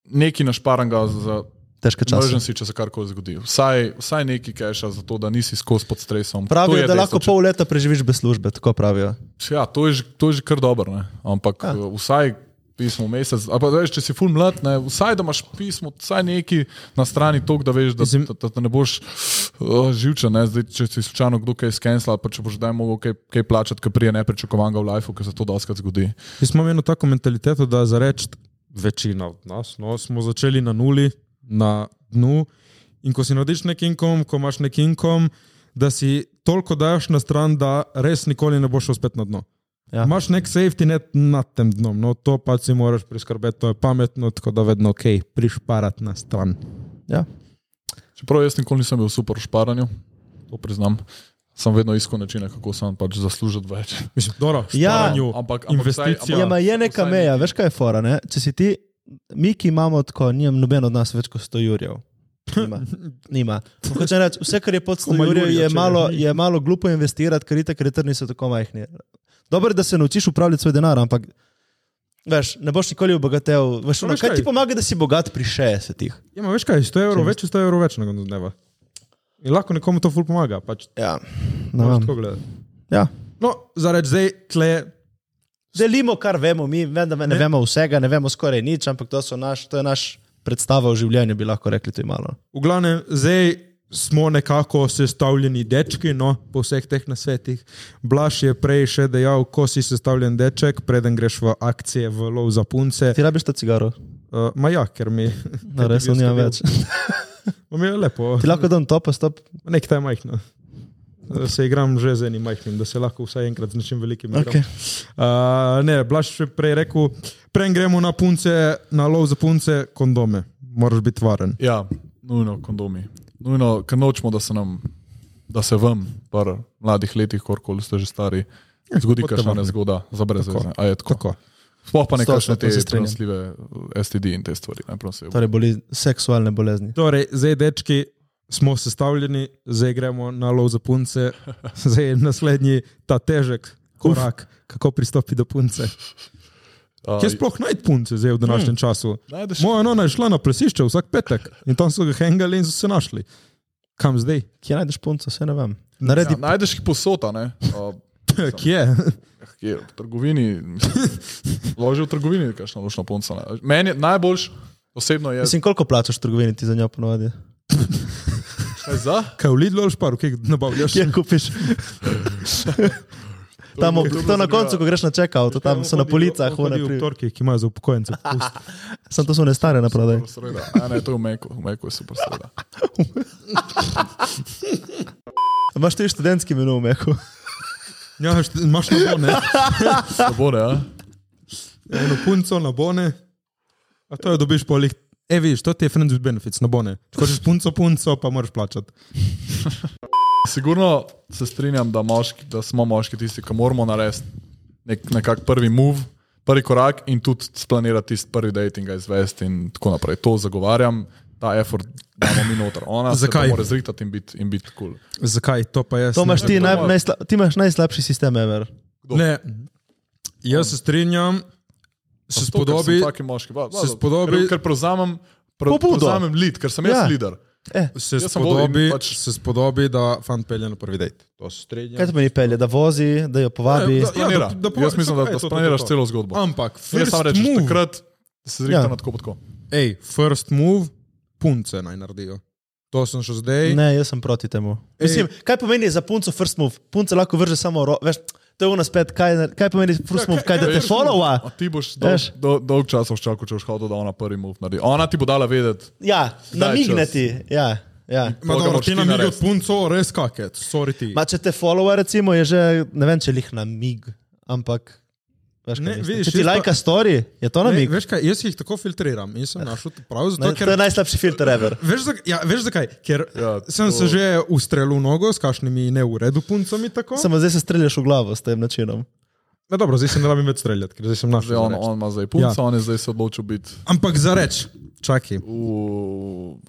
neki našparanga za težke čase. emergency, če se karkoli zgodi. Vsaj, vsaj neki keša, zato da nisi skozi pod stresom. To Pravijo, je da dejstvo, lahko če- pol leta preživiš brez službe, tako pravijo. Ja, to je, že- to je že kar dobro, ne? ampak ja. Ja. vsaj pismo mesec, ali pa veš, če si full mlad, ne? vsaj da imaš pismo, vsaj neki na strani tok, da veš, da, Mislim- da, da, da ne boš uh, živčen, ne? Zdaj, če si slučajno kdo kaj skensla, pa če boš daj mogel kaj, kaj plačati, ker prije neprečakovanega v lifeu, ker se to doskrat zgodi. Mi smo imeli eno tako mentaliteto, da za reči večina od nas, no, smo začeli na nuli, na dnu. In ko si narediš nekim kom, ko imaš nekim kom, da si toliko daš na stran, da res nikoli ne boš šel spet na dno. Ja. Ja. Imaš nek safety net nad tem dnom, no to pa si moraš priskrbeti, to je pametno, tako da vedno ok, prišparati na stran. Ja. Čeprav jaz nikoli nisem bil super v šparanju, to priznam. Sem vedno iskal načine, kako sem pač zaslužil več. Mislim, dobro, Ja. šparanju, Ampak- ampak ampak, vsaj- ampak investicija. Ja, Ampak, ma je neka vsaj meja, nekaj. veš kaj je fora. Ne? Če si ti, mi, ki imamo tako, nijem noben od nas več kot 100 jurjev. Nima. Nima. Hočem Reči, vse, kar je pod 100 Ko ima jurjev, jurja, je če malo, ga ni. je malo glupo investirati, ker itak returni so tako majhni. Dobro je, da se naučiš upravljati svoj denar, ampak veš, ne boš nikoli obogatel. Veš, Pa ono, veš kaj ti kaj? pomaga, da si bogat pri 60-ih? ja, ma veš kaj, 100 evrov več, je 100 evrov več na koncu dneva. In lahko nekomu to ful pomaga, pač Ja. no. No, tako gledati. ja. No, za reč zdaj, tle, Delimo, kar vemo, mi vem, da ne, ne vemo vsega, ne vemo skoraj nič, ampak to, so naš, to je naš predstava o življenju, bi lahko rekli, to je malo. v glavnem, zdaj smo nekako sestavljeni dečki, no, po vseh teh nasvetih. Blaž je prej še dejal, ko si sestavljen deček, preden greš v akcije, v lov za punce. Ti rabiš ta cigaro? Uh, ma ja, ker mi. Ja. No, res ne več. Mi je lepo, Ti lahko dam to, pa stop. nekaj je majhno. eh, se igram že z enim majhnim, da se lahko vsaj enkrat z nečim velikim igram. Okay. Uh, ne, Blaž je prej rekel, prej gremo na punce, na lov za punce, kondome. Moraš biti varen. Ja, nujno kondomi. Nujno, ker nočemo, da se nam, da se vam, par mladih letih, korkoli ste že stari, zgodi potem kakšna Ja, vam. nezgoda za brez Tako. veze. A je tako? Tako. Sploh pa ne Stotno, kakšne to te se strinjam. prenosljive eh, STD in te stvari. Ne, prosim. Torej, boli seksualne bolezni. Torej, zdaj, dečki, smo sestavljeni, zdaj gremo na lov za punce, zdaj je naslednji ta težek korak, Uf. kako pristopi do punce. A, Kje sploh najti punce zdaj v današnjem hmm. času? Najdeš, Moja nona je šla na plesišče vsak petek in tam so ga hengali in so se našli. Kam zdaj? Kje najdeš punco, se ne vem. Naredi ja, najdeš jih posota, ne? A, ja, Kje? Kje, v trgovini, loži v trgovini, kakšno lušno punco. Ne. Meni je najboljš, osebno je. Mislim, koliko plačaš v trgovini ti za njo ponovadi? Kaj za? Kaj v Lidlu ali šparu, kje nabavljaš? Kje kupiš? tam, ob- to na koncu, ko greš na check-out, tam so na policah, one v pri- torki, ki imajo za upokojence. popust. Samo to so ne stare naprodaj. Seveda, a ne, to je v Meku, v Meku je super, seveda. Imaš ti študentski menu v mehu? Ja, št- imaš nabone, Dobro, ja. eno punco, nabone. A to jo dobiš polih. E, vidiš, to ti je friends with benefits, nabone. Če hočeš punco, punco, pa moraš plačati. Sigurno se strinjam, da, moški, da smo moški tisti, ki moramo narediti nek, nekak prvi move, prvi korak in tudi splanirati tisti prvi dating, ga izvesti in tako naprej. To zagovarjam, ta effort damo mi noter. Ona Zakaj? se mora zrihtati in biti in bit cool. Zakaj to pa jaz? To ne imaš vem. ti, naj, moje. najsla, ti imaš najslabši sistem, ever. Ne, jaz se strinjam, se spodobi. Taki moški, ba, ba, se spodobi- Ker, ker prevzamem, pre, Pobudo. prevzamem lid, ker sem jaz Ja. ja. lider. Eh, Se Jaz sem bolj spodobi, in pač... pač- se spodobi, da fant pelje na prvi dejt. To se strinjam. kaj te meni pelje, da vozi, da jo povabi? Ja, Planira. da- da povem, jaz mislim, samo, da, ej, to, da to, to, splaniraš to. celo zgodbo. Ampak, Jaz first sam rečem, move, takrat se zrihtam Ja. ja. tako, pa tako. ej, first move, punce naj naredijo. To sem še zdaj. Ne, jaz sem proti temu. Mislim, kaj pomeni za punco first move? Punce lahko vrže samo ro, veš, to je ono spet, kaj, kaj pomeni first move, kaj da te Veš, no, followa? a Ti boš Veš. dolg, do, dolg časa čakal, če boš hotel, da ona prvi move naredi. Ona ti bo dala vedeti. Ja, namigne ti. Ja, ja. Ma Pol ga dobro, moraš ti ti nam igraš narediti. punco, res kaket, sorry ti. Ma, če te followa, recimo, je že, ne vem, če lih namig, ampak. Veš, Ne, ne, vidiš, vidiš, če ti jaz pa- lajka pa... story, je to Ne, namig. Ne, veš kaj, jaz jih tako filtriram in sem našel prav ne, zato, to je ker... najslabši filter ever. Veš, zak, ja, veš zakaj? Ker ja, Ja, to... sem to- se že ustrelil v nogo s kašnimi neuredu puncami tako. Sem... Samo zdaj se streljaš v glavo s tem načinom. Ne, dobro, zdaj se ne rabim več streljati, ker zdaj sem našel. Zdaj on, za reči. on ima zdaj punco, Ja. ja. on je zdaj se odločil biti Ampak za reč, čakaj.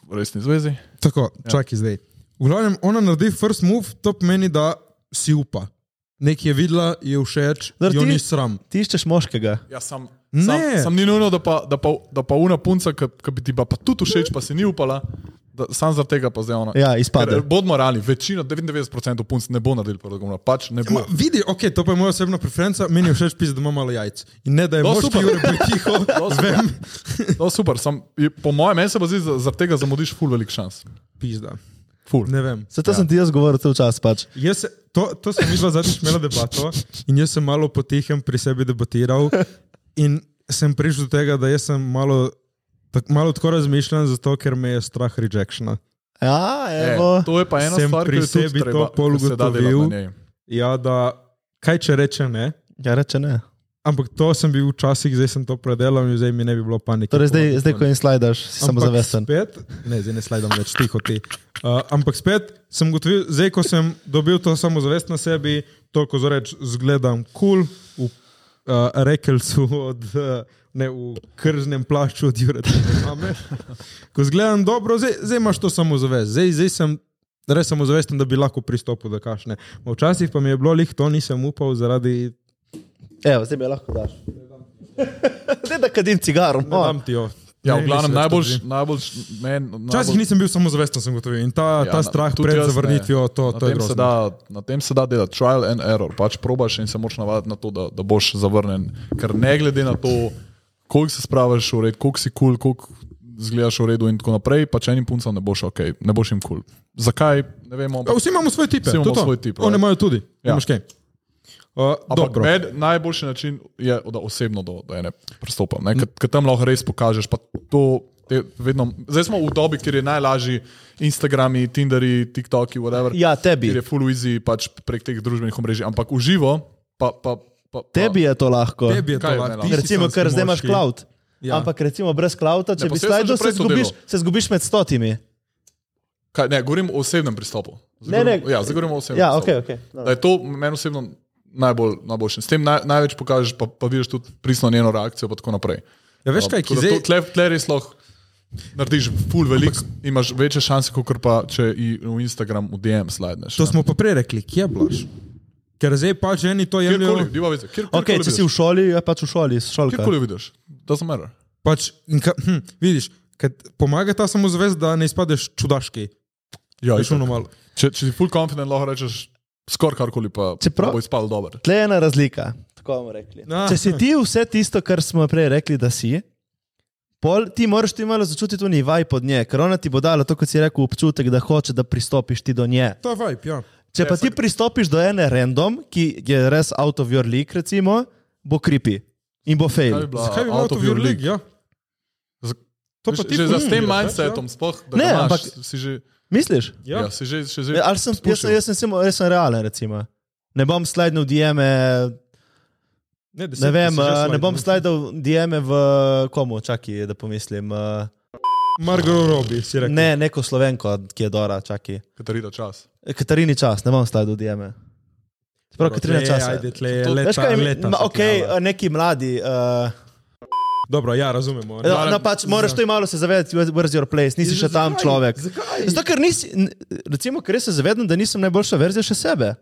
v resni zvezi. Tako, Ja. čakaj zdaj. V glavnem, ona naredi first move, to pomeni, da si upa. Nek je videla, je všeč, Zdaj, jo ti- ni sram. Ti iščeš moškega. Ja, sam, Ne. sam, sam ni nujno, da pa, da pa, da pa una punca, ki bi ti pa, pa tudi všeč, pa si ni upala. Da, sam zaradi tega pa zdaj ona. Ja, izpade. Ker, eh, Bodimo realni, večina, 99% punc ne bo naredil prvega, pač ne bo. Ma, vidi, okay, to pa je moja osebna preferenca, meni je všeč pisati, da ima malo jajc. In ne, da je No, moški, super. ki je tiho, No, super. No, super. Sam, je- po mojem, meni se pa zdi, da zaradi tega zamudiš ful velik šans. pizda. Ful. Ne vem. Zato ja. sem ti jaz govoril cel čas. Pač. Jaz, se- to, to sem videl zadnjič, imela debato in jaz sem malo potihem pri sebi debatiral in sem prišel do tega, da jaz sem malo, tak, malo tako razmišljam, zato ker me je strah rejectiona. Ja, E, evo. to je pa ena Sem stvar, ki pri jo je tudi sebi to treba- pol ki se da delati na ugotovil. njej. Ja, da kaj če reče ne, Ja, reče ne. ampak to sem bil včasih, zdaj sem to predelal in zdaj mi ne bi bilo panike. Torej, zdaj, zdaj ko jim slajdaš, si samo Ampak zavesten. Spet, ne, zdaj ne slajdam več tiho ti. Uh, ampak spet sem gotovil, zdaj ko sem dobil to samozavest na sebi, toliko za reč zgledam kul, cool, v uh, rekelcu od. Uh, Ne v krznem plašču od Jureta. mame. Ko zgledam dobro, zdaj, zdaj imaš to samozavest. Zdaj, zdaj sem res samozavesten, da bi lahko pristopil do kašne. Včasih pa mi je bilo lih, to nisem upal zaradi Evo, zdaj mi jo lahko daš. Zdaj da kadim cigaro. Dam No. ti jo. Ja, Ne, v nisem glavnem več najbolj, to najbolj, men, Včasih nisem bil samozavesten, sem gotovil. In ta, ja, Ja, ta na- strah tudi pred jaz ne. zavrnitvijo, to, na to je tem, se grozno. da, na tem se da delati, trial and error. Pač probaš in se moraš navaditi na to, da, da boš zavrnen. Ker ne glede na to, koliko se spravaš v red, koliko si kul, cool, koliko zgledaš v redu in tako naprej, pač enim puncem ne boš ok, ne boš jim kul. Cool. Zakaj? Ne vemo. Pa Vsi imamo svoje tipe. Vsi imamo to je to. svoj tip, Oni right. imajo tudi. Ja. Ja. Uh, Ampak dobro. med, najboljši način je, da osebno do, do ene pristopam. Ker tam lahko res pokažeš, pa to, te, vedno, zdaj smo v dobi, kjer je najlažji Instagrami, Tinderi, TikToki, whatever. Ja, tebi. Ker je full easy pač prek teh družbenih omrežij, ampak v živo pa. pa, pa, pa Tebi je to lahko. Tebi je to Kaj je lahko. meni? Ti si Recimo, sanjski ker zdaj imaš moški. cloud. Ja. Ja. Ampak recimo brez clouda, če Ne, ne, pa bi saj jaz sem slajdil, že prej se, to zgubiš- delal. se zgubiš med stotimi. Kaj, ne, govorim o osebnem pristopu. Zdaj Ne, ne. govorim- Ja, zdaj govorimo o osebnem Ja, pristopu. ok, ok. Da je to meni osebno najbolj, najboljše. S tem naj, največ pokažeš, pa, pa vidiš tudi prisno njeno reakcijo in tako naprej. Ja, No, veš kaj, ki zdaj... Tle, tle res lahko narediš full velik, imaš večje šanse, kot pa če ji v Instagram v DM slidneš. To smo pa prej rekli, kje blaš? Ker zdaj pač eni to Kjerkoli, jemljajo. diva veze, kjerkoli Okay, če si v vidiš. šoli, je pač v šoli, šolka. Kjerkoli vidiš, doesn't matter. Pač, in ka, hm, vidiš, kad pomaga ta samozavest, da ne izpadeš čudaški. Ja, Veš, itak. ono malo. če, če si full confident, lahko rečeš skoraj karkoli, pa Čeprav- bo izpadlo dobro. Tle je ena razlika. Tako bomo rekli. Ah. Če si ti vse tisto, kar smo prej rekli, da si, pol, ti moraš ti malo začutiti tudi vaj pod nje, ker ona ti bo dala to, kot si rekel, občutek, da hoče, da pristopiš ti do nje. To je vibe, ja. Če pa ti pristopiš do ene random, ki je res out of your league, recimo, bo kripi in bo Kaj fail. bi bila Zakaj bi out imel of to vir your lig? league? Ja. Z- To pa ti že za s tem funkcionira, mindsetom, sploh, da Ne, ne, imaš, ampak- ampak, si že, Misliš? Ja. ja. Ja, si že, še zdaj. Ja, ali sem, jaz, sem- jaz sem, sem, jaz sem realen, recimo. Ne bom slajdil DM-e, Ne, deset, ne, vem, si že eh, ne slide, bom slajdil DM-e v komu, čakaj, da pomislim. eh, Margot Robbie si rekel. Ne, neko slovenko, ki je Dora, čakaj. Katarina čas. Katarini čas, ne bom slajdil DM-e. Prav, Katarina Tle je, čas. Ajde, tle je To- leta, Veš kaj, mi- leta. ma, so ok, plava. eh, neki mladi. Uh, Dobro, ja, E, razumemo. ne. no, no, pač moraš to malo se zavedati, where- where's your place, Ja, nisi še tam človek. Zakaj? Zato, ker nisi, n- recimo, ker res se zavedam, da nisem najboljša verzija še sebe.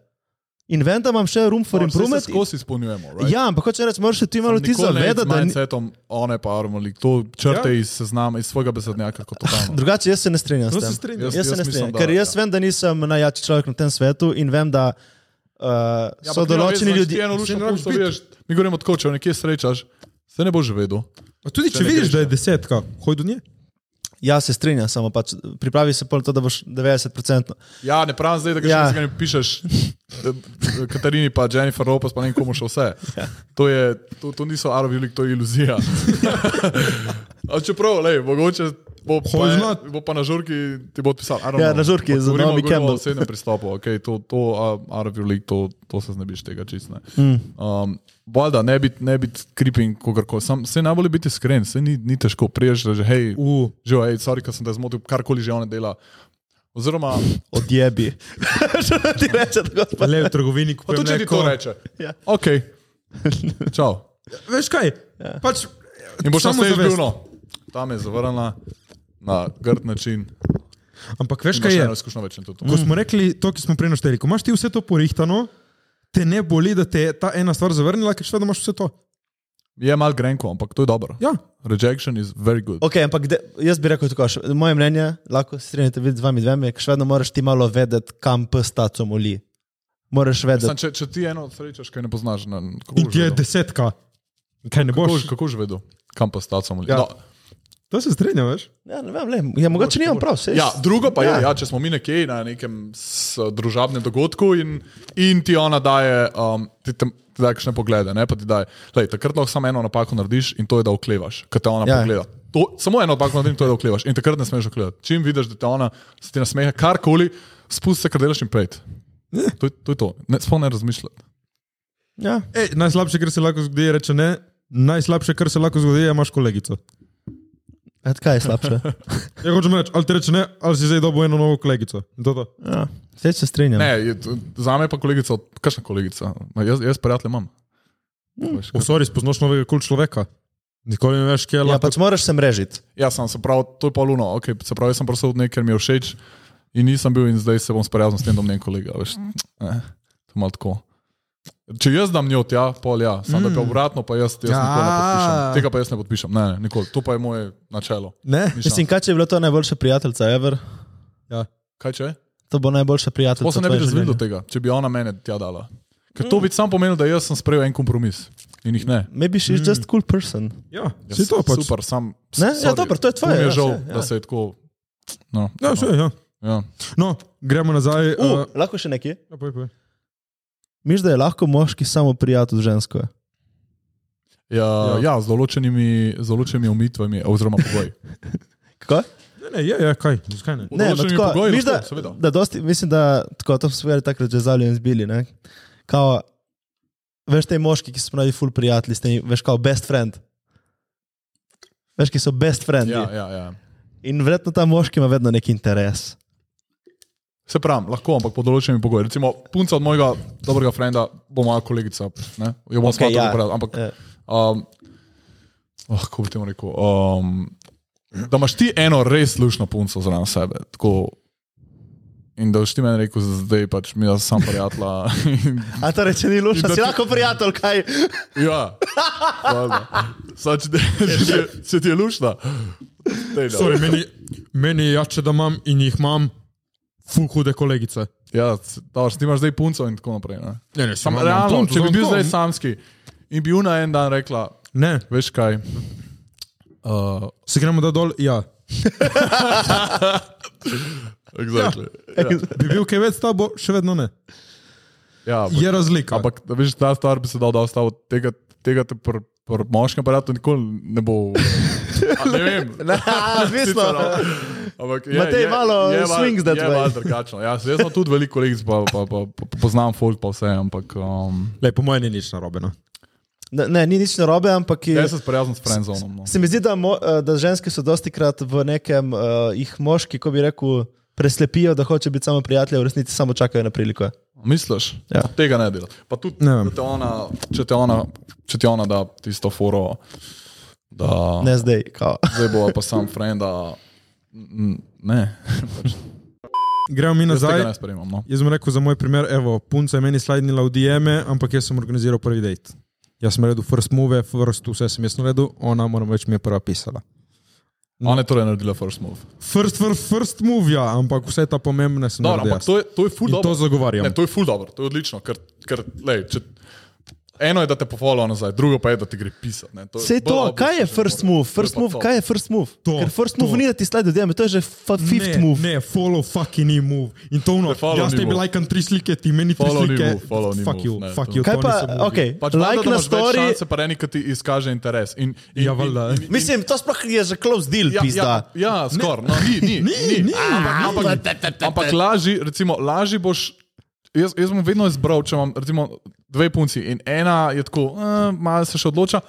In vem, da imam še room for Moram improvement. No, skozi izpolnjujemo. Right? Torej, Ja, ampak hoče reči, moraš se ti malo ti zavedati, da ni... Mindsetom, one pa armor league, to črte Ja. ja. iz seznama, iz svojega besednjaka kot totalno. drugače jaz se ne strinjam. s No, tem. se strinjam. Jaz, Jaz- jaz se jaz ne mislim, strinjam, da- ker jaz ja. vem, da nisem najjači človek na tem svetu in vem, da uh, ja, so določeni ljudje. Eno Se lušno ne rabiš punco biti. vidiš, mi govorimo tako, če jo nekje srečaš, se ne boš vedel. A Tudi če Če ne vidiš, greš, da je ja. desetka, hoj do nje. Ja, se strinjam, samo pač pripravi se pol to, da boš 90%. Ja, ne pravim zdaj, da greš Ja. ja. ne pišeš eh, eh, Katarini pa Jennifer Lopez pa ne vem komu še vse. Ja. To, je, to, to niso Arabi lik, to je iluzija. A čeprav, lej, mogoče bo Hoš pa, znat. bo pa na žurki ti bo odpisal. Ja, na žurki z Naomi Campbell. Vse ne pristopu, okay, to, to a, Arabi lik, to, to se znebiš tega čistne. Mm. Um, Valjda, ne biti ne bit creeping, kogarkoli. Sam, se najbolje biti iskren, se ni, ni težko. Priješ, da že hej, U, že hej, sorry, ker sem te zmotil, karkoli že ona dela. Oziroma, Odjebi. Še ne ti reče, da gospod. le v trgovini Pa kupujem tudi, če ti to mleko. reče. Ja. Ok. Čau. Veš kaj? Ja. Pač, In boš samo samozavest. zdaj no. Tam je zavrnjena na grd način. Ampak veš kaj In imaš je? Mhm. eno izkušnjo več na to. Ko smo rekli to, ki smo prej našteli, ko imaš ti vse to porihtano, te ne boli, da te je ta ena stvar zavrnila, ker še vedno imaš vse to. Je mal grenko, ampak to je dobro. Ja. Rejection is very good. Ok, ampak de, jaz bi rekel tako, še, moje mnenje, lahko se strinjate vi z vami dvemi, je, ke še vedno moraš ti malo vedeti, kam pes taco moli. Moraš Sam, vedeti. če, če ti eno srečaš, kaj ne poznaš, ne, kako In boš ti je vedel? desetka. Kaj ne no. Kako, boš- boš? kako že vedel? Kam pa stacom ali Ja. no, To se strinja, veš? Ja, ne vem, le, ja, mogoče nimam prav. Seš, ja, drugo pa ja. Ja. je, ja, če smo mi nekje na nekem s- družabnem dogodku in, in ti ona daje, um, ti, tam- ti daje kakšne poglede, ne pa ti daje. Lej, takrat lahko samo eno napako narediš in to je, da oklevaš, ko te ona Ja. ja. pogleda. To, samo eno napako narediš in to je, da oklevaš. In takrat ne smeš okledati. Čim vidiš, da te ona se ti nasmeha, karkoli, spusti se, kar delaš in pejt. To, je- to je to, ne, sploh ne razmišljati. ja. Ej, najslabše, kar se lahko zgodi, je reče ne. Najslabše, kar se lahko zgodi, je, da imaš kolegico. Et kaj je slabše? Ja, hočem reči, ali ti reče ne, ali si zdaj dobil eno novo kolegico. In to je to. Ja. Vse se strinjam. Ne, je, to- za me je pa kolegica, kakšna kolegica? Ma, Jaz, jaz prijatelje imam. Veš, O, sorry, spoznaš novega kul človeka. Nikoli ne veš, kje je Ja, lahko. pač moraš se mrežiti. Ja, sem se prav, to je pa luno. Okay, se pravi, jaz sem prosil od nekaj, ker mi je všeč in nisem bil in zdaj se bom sprijaznil s tem, da bom njen kolega. Veš, Mhm. eh, to je malo tako. Če jaz dam njo tja, pol ja, sam mm. Mhm. da je pa obratno, pa jaz, jaz nikoli ne Ja. podpišem. Tega pa jaz ne podpišem, ne, ne nikoli. To pa je moje načelo. Ne? Ni Mislim, šans. kaj če je bila to najboljša prijateljica, ever? Ja. Kaj če? To bo najboljša prijateljica. Posem ne bi tvojega razvil do življenja. tega, če bi ona mene tja dala. Ker Mhm. to bi samo pomenilo, da jaz sem sprejel en kompromis in jih ne. Maybe she's mm. just cool person. Ja, Ja, si to pač. Super, sam. Ne, ja, dobro, to je tvoje, Mi ja, je žal, saj, ja. da se je tako. No, Ja, še, ja. ja. No, gremo nazaj. Mm. Uh, Uh, uh, lahko še nekaj? ja, poj, poj. Miš, da je lahko moški samo prijatelj z žensko. Ja, ja. ja z, določenimi, z določenimi omitvami, oziroma pogoji. Kako? Ne, ne, ja, ja, kaj, zakaj ne? Ne, no, določenimi tako, pogoji viš, lahko, da, seveda. da dosti, mislim, da tako, to smo se takrat že zavljeni zbili. Ne? Kao, veš, te moški, ki so pravi ful prijatelji, s temi, veš, kao best friend. Veš, ki so best friend. Ja, ja, ja. In verjetno ta moški ima vedno nek interes. Se pravi, lahko, ampak pod določenimi pogoji. Recimo, punca od mojega dobrega frenda bo moja kolegica. Ne? Jo bom Okej, okay, ja. ja. Ampak, Ja. um, oh, kako bi temu rekel? Um, da imaš ti eno res lušno punco zraven sebe. Tako, in da boš ti meni rekel, zdaj pač mi je sam prijatla. A to reče ni lušno, In da si ti- lahko prijatelj, kaj? ja, hvala. Sad, če, ti- če, ti- če ti je lušna. Daj, no. Sorry, meni, meni je jače, da imam in jih imam ful hude kolegice. Ja, daš, nimaš zdaj punco in tako naprej. Ne? Ne, ne, Sam, imam- imam realno, punco, če bi imam bil to. zdaj samski in bi una en dan rekla, Ne, veš kaj. Uh, se gremo da dol, ja. exactly. Bi bil kaj več s tabo, še vedno ne. ja, ampak, Je razlika. ampak da veš, ta stvar bi se dal, da ostalo tega, tega te pri pr moškem aparatu nikoli ne bo. A, ne vem. A, Zvisno. Sicer, no. Ampak je, Matej, je, malo je, malo- swings that je way. malo drugačno. Ja, jaz imam tudi veliko kolegic, pa, pa, pa, pa poznam folk, pa vse, ampak um, Le, po mojem ni nič narobe. No. Ne, ne, ni nič narobe, ampak je, Ja, jaz sem sprijaznjen s friendzonom. No. se mi zdi, da, mo, eh, da ženske so dosti krat v nekem, uh, jih moški, ko bi rekel, preslepijo, da hoče biti samo prijatelji, v resnici samo čakajo na priliko. Misliš? Ja. Tega ne dela. Pa tudi, Ne ne. vem. Da te ona, če, te ona, če ti ona da tisto foro, da ne. Ne zdaj, kao. zdaj bo pa sam frenda. n- Ne, pač, Gremo mi jaz tega nazaj. ne sprejemam. No. Jaz sem rekel za moj primer, evo, punca je meni slajdnila v DM-e, ampak jaz sem organiziral prvi dejt. Jaz sem naredil first move, first vse sem jaz naredil, ona moram reči, mi je prva pisala. Ona je torej naredila first move. First, first, first move, ja, ampak vse ta pomembne sem Dobro, naredil. ja. ampak jaz. to je, to je ful In dobro. to zagovarjam. Ne, to je ful dobro, to je odlično. Ker, ker, lej, če, eno je, da te pofollowa nazaj, drugo pa je, da ti gre pisati. ne. je Sej bolj to, obvious, kaj je ne first more. move? To je First pa move, to. kaj je first move? To, Ker first to. move ni, da ti slide odjem, to je že fa- fifth ne, move. Ne, follow fucking ni move. In to ono, Ne, follow jaz ni tebi move. lajkam tri slike, ti meni tri Follow ni slike. move, follow ni fuck move, you, ne, fuck to- you. Kaj to pa, niso movi. okej, Pač like na story, Se pa eni, ki ti izkaže interes. In, in, Ja, in- valjda. in- in- mislim, to sploh je že close deal, Ja, ja, pizda. ja skoraj. No, ni, ni, Ni, ni, ni, Ampak, ampak, ampak lažji, recimo, lažji boš. Jaz, jaz bom vedno izbral, če imam recimo, dve punci in ena je tako, eh, malo se še odloča.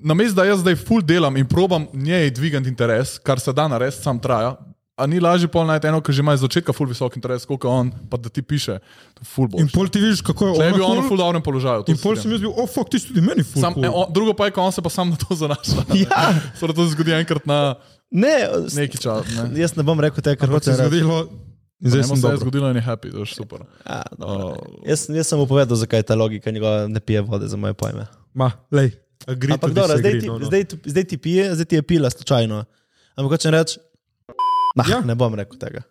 Namesto da jaz zdaj full delam in probam njej dvigati interes, kar se da narediti, sam traja. A ni lažje pol najti eno, ki že ima iz začetka full visok interes, kot on, pa da ti piše, to je full In boš. pol ti vidiš, kako je Ne bi on ono. v full dobrem položaju. to In se pol strinjam. sem jaz bil, oh fuck, ti si tudi meni full. Sam, cool. e, on, drugo pa je, ko on se pa sam na to zanaša. Ja. Sora to se zgodi enkrat na Ne, s- neki čas. Ne. jaz ne bom rekel tega, kar Ampak se hočeš je reči. zgodilo. In zdaj Zdaj sem se je dobro. zgodilo in je happy, to je super. Ja, dobro. Uh, Jaz, jaz sem mu povedal, zakaj je ta logika njegova ne pije vode za moje pojme. Ma, lej, agree Ampak to dobro, zdaj, disagree, ti, no, no. zdaj, tu- zdaj ti pije, zdaj ti je pila slučajno. Ampak hočem reči, nah, Ja. ne bom rekel tega.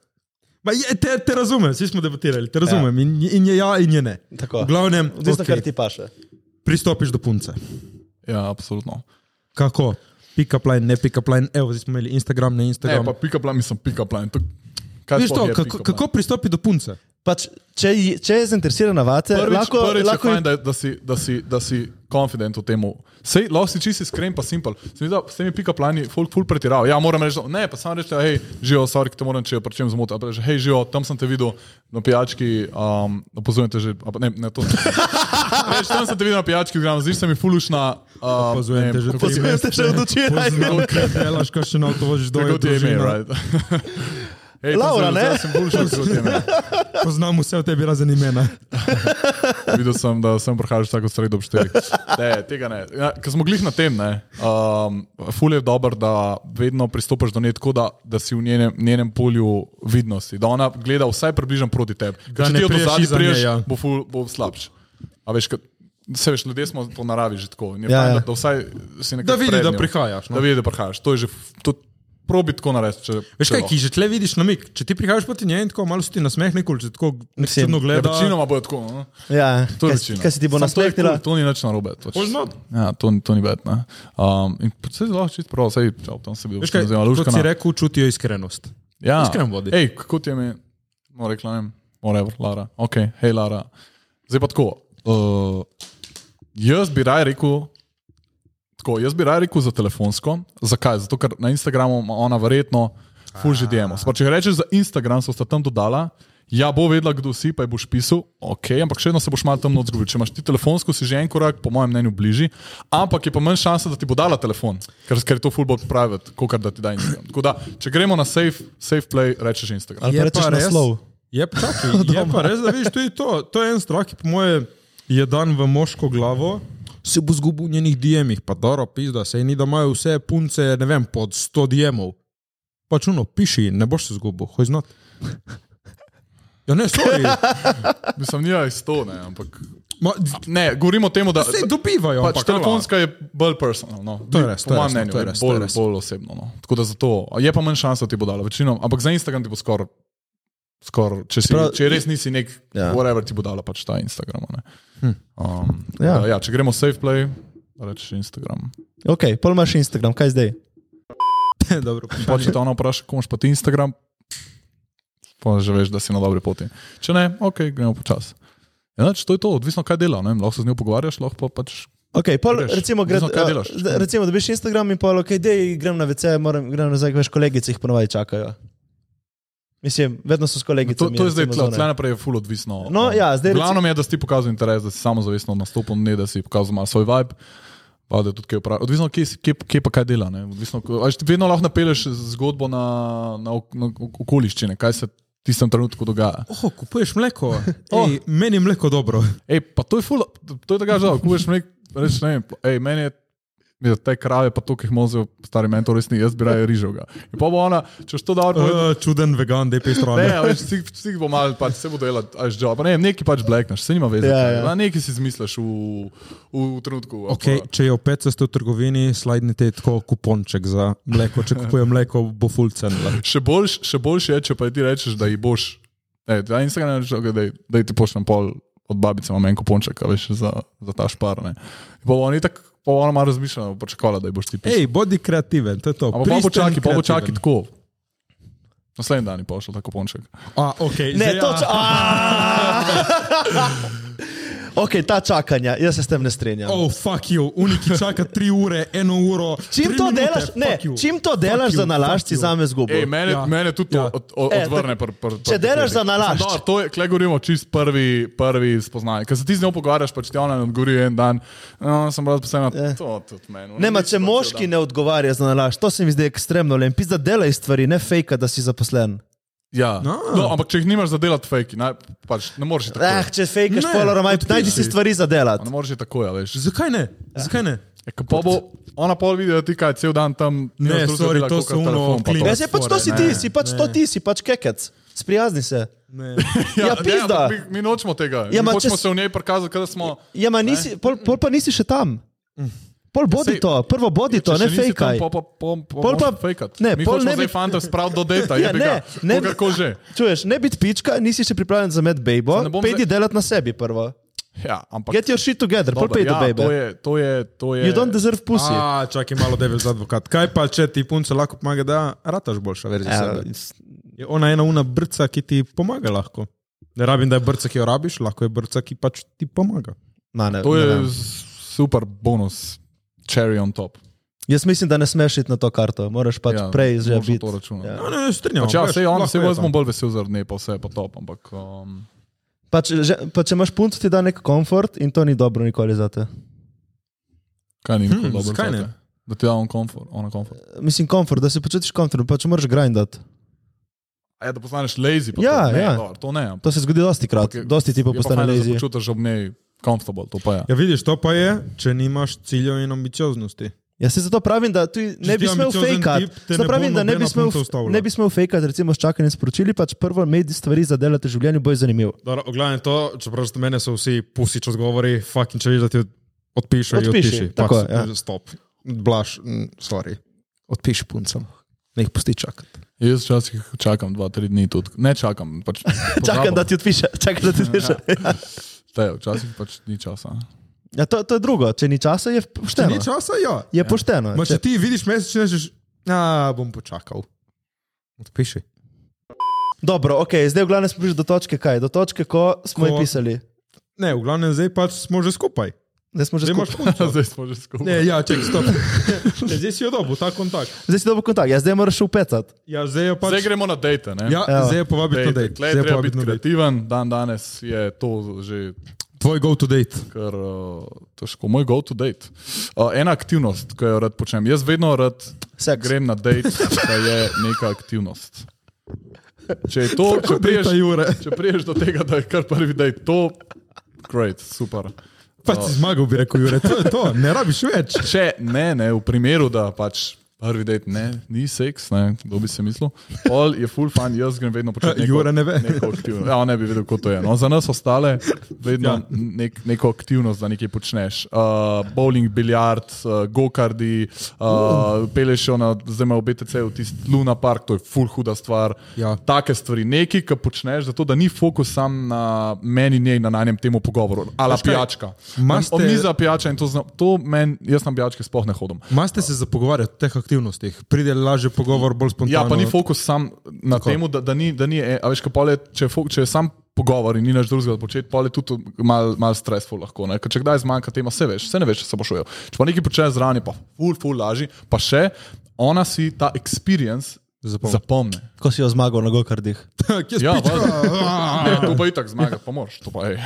Ma, je, te, te razumem, vsi smo debatirali, te razumem. Ja. In, in je ja, in je ne. Tako. V glavnem, Odvisno, okay. kar okay, ti paše. pristopiš do punce. ja, absolutno. Kako? Pika plajn, ne pika plajn. Evo, zdaj smo imeli Instagram, ne Ne, Instagram. E, pa pika plan, mislim, pika plan. To, kaj Veš sploh to, je kako, pick-up kako line? Ja, pristopi do punce? Pač, če, ji- če je zainteresirana vate, Prvič, lahko, prvič lahko je ji fajn, da, je- da, si, da, si, da si confident v tem. Sej, lahko si čisto iskren, pa simpel. Se mi zdi, da S temi pika plani folk ful pretirajo. Ja, moram reči, da- ne, pa sam reči, da, hej, živo, sorry, ki te moram, če prečem zmotil. Ali pa reče, hej, živo, tam sem te videl na pijački, um, opozorujem te že, ali pa ne, ne, to ne. Reč, tam sem te videl na pijački, gram, zdi se mi fulušna. Opazujem te že tri Pozivam te še od včeraj. Poznam, kaj delaš, kaj še na avto voziš dol. ja. Tako ti je ime, družina. right? Hej, tam Laura, sem- ne? zdaj Sem fulušna, kot ti je ime. Poznam vse o tebi razen imena. Videl sem, da sem prihajaš tako sredo ob 4. Ne, tega ne. Ja, Ker smo glih na tem, ne. Um, ful je dober, da vedno pristopaš do nje tako, da, da si v njenem, njenem polju vidnosti, da ona gleda vsaj približno proti tebi. Da Ker če ne ti jo do priješ zadnji izza nje, priješ, ja. bo, ful, bo slabš. A veš, kad, se veš, ljudje smo po naravi že tako. In je Ja, fajn, ja. Da, da vsaj si nekaj. Da vidi, da prihajaš, no. Da vidi, da prihajaš. To je že, f- to, probi tako narediti. če- Veš če kaj, lahko. ki že tle vidiš na mik. Če ti prihajaš proti njej in tako malo se ti nasmehne, kul, če tako nek čudno Ja, gledaš. večinoma bo tako. No? Ja, To je kaj- večina. Kaj se ti bo Samo to je nasmehnila? kul, To ni nič narobe. točno. Pol not. Ja, to, ni- to ni bed. ne. Um, in predvsej zelo čist prav, sej, čau, tam se bi Veš kaj, zelo kot si rekel, čutijo iskrenost. Ja, iskreno vodi. Ej, kako ti je mi, no rekla ne, vem, whatever, Lara, ok, hej Lara. Zdaj pa tako, uh, jaz bi raj rekel, Tako, jaz bi raje rekel za telefonsko. Zakaj? Zato, ker na Instagramu ima ona verjetno fuži demo. Če rečeš za Instagram, so sta tam dodala, ja, bo vedela, kdo si, pa ji boš pisal, ok, ampak še vedno se boš malo tam odzgubil. Če imaš ti telefonsko, si že en korak, po mojem mnenju, bližji, ampak je pa manj šansa, da ti bo dala telefon, ker, ker je to full bot private, kot da ti da Instagram. Tako da, če gremo na safe, safe play, rečeš Instagram. Ali pa rečeš naslov. Je pa, čakaj, je pa res, da veš, tudi to. To je en strah, ki po moje je dan v moško glavo. Se bo zgubil v njenih DM-ih, pa dobro, pizda, se ni, da imajo vse punce, ne vem, pod 100 DM-ov. Pač uno, piši, ne boš se zgubil, hoj znot. Ja, ne, sorry, Mislim, ni jaz to, ne, ampak. Ma, Ne, govorimo o tem, da. se dobivajo, Pač ampak telefonska je bolj personalna. No. To je res, to po je mojem res, mnenju, to je je res, to je bolj, res. bolj osebno. No. Tako da zato je pa manj šansa, da ti bo dala večino, ampak za Instagram ti bo skoraj. Skor, če, si- Prav- če res nisi nek, Ja. ja. whatever ti bo dala pač ta Instagram. a ne. Hm. Um, Ja. ja. Da, ja, če gremo safe play, rečeš Instagram. Ok, pol imaš Instagram, kaj zdaj? je dobro. Pa če te ona vpraša, komu pa ti Instagram, pa že veš, da si na dobri poti. Če ne, ok, gremo počasi. Enač, to je to, odvisno kaj dela, ne vem, lahko se z njo pogovarjaš, lahko pa pač Okay, pol, Greš, recimo, gre, odvisno, kaj eh, delaš. da- recimo, dobiš Instagram in pol, ok, dej, grem na VC, moram, grem nazaj, veš, kolegice jih ponovadi čakajo. Mislim, vedno so s To, kolegicami. to je zdaj recimo, tle, zunaj. tle naprej je ful odvisno. No, ja, zdaj Glavno je, da si ti pokazal interes, da si samozavestno nastopil, ne da si pokazal malo svoj vibe. Pa da je tudi kaj vprašal. Odvisno, kje, si- kje, kje pa kaj dela. ne. Odvisno, ko- a veš, vedno lahko napeleš zgodbo na, na, ok- na ok- okoliščine, kaj se v tistem trenutku dogaja. Oh, kupuješ mleko. Oh. Ej, meni je mleko dobro. Ej, pa to je ful, to je tega žal, kupuješ mleko, rečeš ne vem, ej, meni je. je Te krave, pa to, ki jih mozijo, stari mentor, resni, jaz bi raje rižal. ga. In pa bo ona, če boš to dobro povedal, Uh, čuden vegan, dej pej Ne, stran. a veš, vsi, vsi bo malo, pač, se bo delal, ajš job. Ne, nekaj pač blekneš, se nima veze. Ja, kaj. ja. Na Nekaj si izmisliš v, v, v trenutku. ali Okay, pa- če je opet ste v trgovini, slajdite tako kuponček za mleko. Če kupuje mleko, bo full cenila. Še boljš, še boljš je, če pa ti rečeš, da ji boš. Ne, na Instagramu rečeš, okay, da, ji- da ji ti pošljem pol od babice, imam en kuponček, a veš, za, za ta špar. Ne. In Pa bo ona tako, pa bo ona malo razmišljala, bo pričakovala, da ji boš ti pisal. Hej, bodi kreativen, to je to. Ampak pa Pristen, počakaj, pa počakaj kreativen. tako. Naslednji dan je pošel ta kuponček. A, ja. okay, Ne, ja. točno. ok, ta čakanja, jaz se s tem ne strinjam. Oh, fuck you, uniki čaka tri ure, eno uro. Čim tri to minute, delaš, fuck ne, you. čim to delaš Fuck za you, fuck nalašči, you. zame zgubo. Ej, mene, Ja. ja. mene tudi to Ja. ja. od, od, E, odvrne. tak- Pr, pr, pr, če delaš za nalašč. Dobro, to je, tle govorimo čist prvi, prvi spoznanje. Ker se ti z njo pogovarjaš, pač ti ona ne odgovori en dan. No, sem bila posebna. Ja. Ja. To tudi meni. Ne, ma, če moški ne odgovarja za nalašč, to se mi zdi ekstremno len. Pizda, delaj stvari, ne fejka, da si zaposlen. Ja. No. no, ampak če jih nimaš za delati fake, naj, pač, ne moreš jih tako. Ah, če fejkaš, Ne, polora, najdi si odpiši. stvari za delati. Ne moreš jih tako, ja, veš. Zakaj ne? Ja. Zakaj ne? E, ko pa bo, ona pol vidi, da ti kaj cel dan tam nimaš drugega sorry, dela, to kakor so ono telefon, pa to. clean. Ja, se pač to si ti, Ne, si pač ne. to ti, si pač kekec. Sprijazni se. ne. Ja, Ja, ne, pizda. ampak Mi, mi nočemo tega. Ja, Ja, ma, mi če hočemo s- se v njej prikazati, da smo. Ja, ma nisi, pol, pol pa nisi še tam. Pol bodi sej- to, prvo Ja, bodi E, to, ne fejkaj. Pa, pa, pa, pa, Pol pa- pa fejkat. ne, Ne, mi pol ne hočemo bi- zdaj fanta spraviti do deta, Ja, ja, ne, ne, ne ne, bi- kako že. Čuješ, ne biti pička, nisi še pripravljen za med bejbo, Se ne bom pejdi zdaj- delati na sebi prvo. Ja, ampak Get your shit together, pol Dobro, pejdi do ja, to bejbe. je, to je, to je. You don't deserve pussy. A, čakaj malo, da je za advokat. Kaj pa, če ti punce lahko pomaga, da rataš boljša verzija Ja, sebe? Je ona ena una brca, ki ti pomaga lahko. Ne rabim, da je brca, ki jo rabiš, lahko je brca, ki pač ti pomaga. ma, ne, to ne je vem. super bonus, cherry on top. Jaz mislim, da ne smeš iti na to karto, moraš pač ja, Ja, prej že moraš na biti. to računati. Ja. No, ne, ne, strinjam. Pač ja, sej on, sej jaz bom bolj. bolj vesel zaradi nje, pa vse je pa top, ampak. Um, Pač, že, pa če imaš punco, ti da nek komfort in to ni dobro nikoli za te. kaj ni Hm, nikoli dobro. zakaj ne? zate? Da ti da on komfort, ona komfort. Mislim, komfort, da se počutiš komfortno, pač moraš grindati. A ja, da postaneš lazy, pa Ja, to, ne, ja. Dobro, to ne, ampak. To se zgodi dosti krat, okay. Ampak je- dosti ti pa je fajn, postane da se lezi. Počutiš ob njej comfortable, to pa je. Ja, vidiš, to pa je, če nimaš ciljev in ambicioznosti. Jaz se Ja, zato pravim, da tu ne bi ti smel ambiciozen fejkati. tip, te Zato ne pravim, bo da ne bi nobena smel, punca ustavila. ne bi smel fejkati, recimo s čakanjem sporočili, pač prvo medij stvari za delate življenje, bo je zanimiv. Dobro, Oglavnem to, čeprav ste mene so vsi pusič odgovori, fucking če vidiš, da ti od- odpišejo, Odpiši, odpiši. tako Pač, je, ja. Stop. Blaž, mm, sorry. Odpiši puncem. Ne jih pusti čakati. Jaz včasih čakam dva, tri dni tudi. Ne čakam, pač. Čakam, pozabim. da ti odpiše. Čakam, da Ja. ti odpiše. Tejo, včasih pač ni časa. Ja, to, to je drugo, če ni časa, je Če pošteno. ni časa, ja. Je pošteno. Ma, no. Če- če ti vidiš mesec, rečeš, a bom počakal. Odpiši. Dobro, ok, zdaj v glavnem smo prišli do točke, kaj? Do točke, ko smo Ko- ko... pisali. Ne, v glavnem zdaj pač smo že skupaj. Zdaj smo že Zdaj imaš skupaj. punco. Zdaj smo že skupaj. Ne, ja, ček, stop. Ne, zdaj si jo dobil, ta kontakt. Zdaj si dobil kontakt, ja, zdaj moraš upecati. Ja, zdaj jo pač. Zdaj gremo na dejte. ne? Ja, Evo. zdaj je povabiti na Dejte. dejt. Tle Zdaj je je treba povabiti biti na dejt. kreativen, dan danes je to že Tvoj go to dejt. kar uh, težko. Moj go to date. Uh, ena aktivnost, ki jo rad počnem. Jaz vedno rad Seks. grem na date, da je neka aktivnost. Če je to, če priješ, Jure. če priješ do tega, da je kar prvi date, to great, super. Pa No. si zmagal, bi rekel Jure. To je to, ne rabiš več. Če ne, ne, v primeru, da pač prvi date ne, ni seks, ne, kdo bi se mislil, pol je full fan, jaz grem vedno početi. neko- Jure ne ve. neko aktivnost. Ja, on ne bi vedel, kako to je. No, za nas ostale vedno Ja. ja. nek, neko aktivnost, da nekaj počneš. Uh, bowling, biljard, uh, gokardi, uh, uh. peleš jo na, zdaj ima v BTC-ju tisti Luna Park, to je full huda stvar. Ja. Take stvari, nekaj, kar počneš, zato da ni fokus sam na meni, njej, na najnem temu pogovoru, ala kaj? pijačka. Maste- Omniza pijača in to, zna, to meni, jaz na pijačke sploh ne hodim. Maste se zapogovarjati o teh aktivnostih, pride lažje pogovor, bolj spontano. Ja, pa ni fokus sam na Tako. tem, da, da ni, da ni e, a veš, kaj pole, če, je fo- če je sam pogovor in ni nič drugega početi, pole tudi malo mal stresful lahko. ne. Ker Če kdaj zmanjka tema, se veš, se ne veš, če se boš ujel. Če pa nekaj počneš zraven, je pa ful, ful lažji, pa še ona si ta experience Zapomni. zapomne. Ko si jo zmagal na gokardih. Kje Ja, spička? valjda. Ne, to pa itak zmaga, pa moraš, to pa je.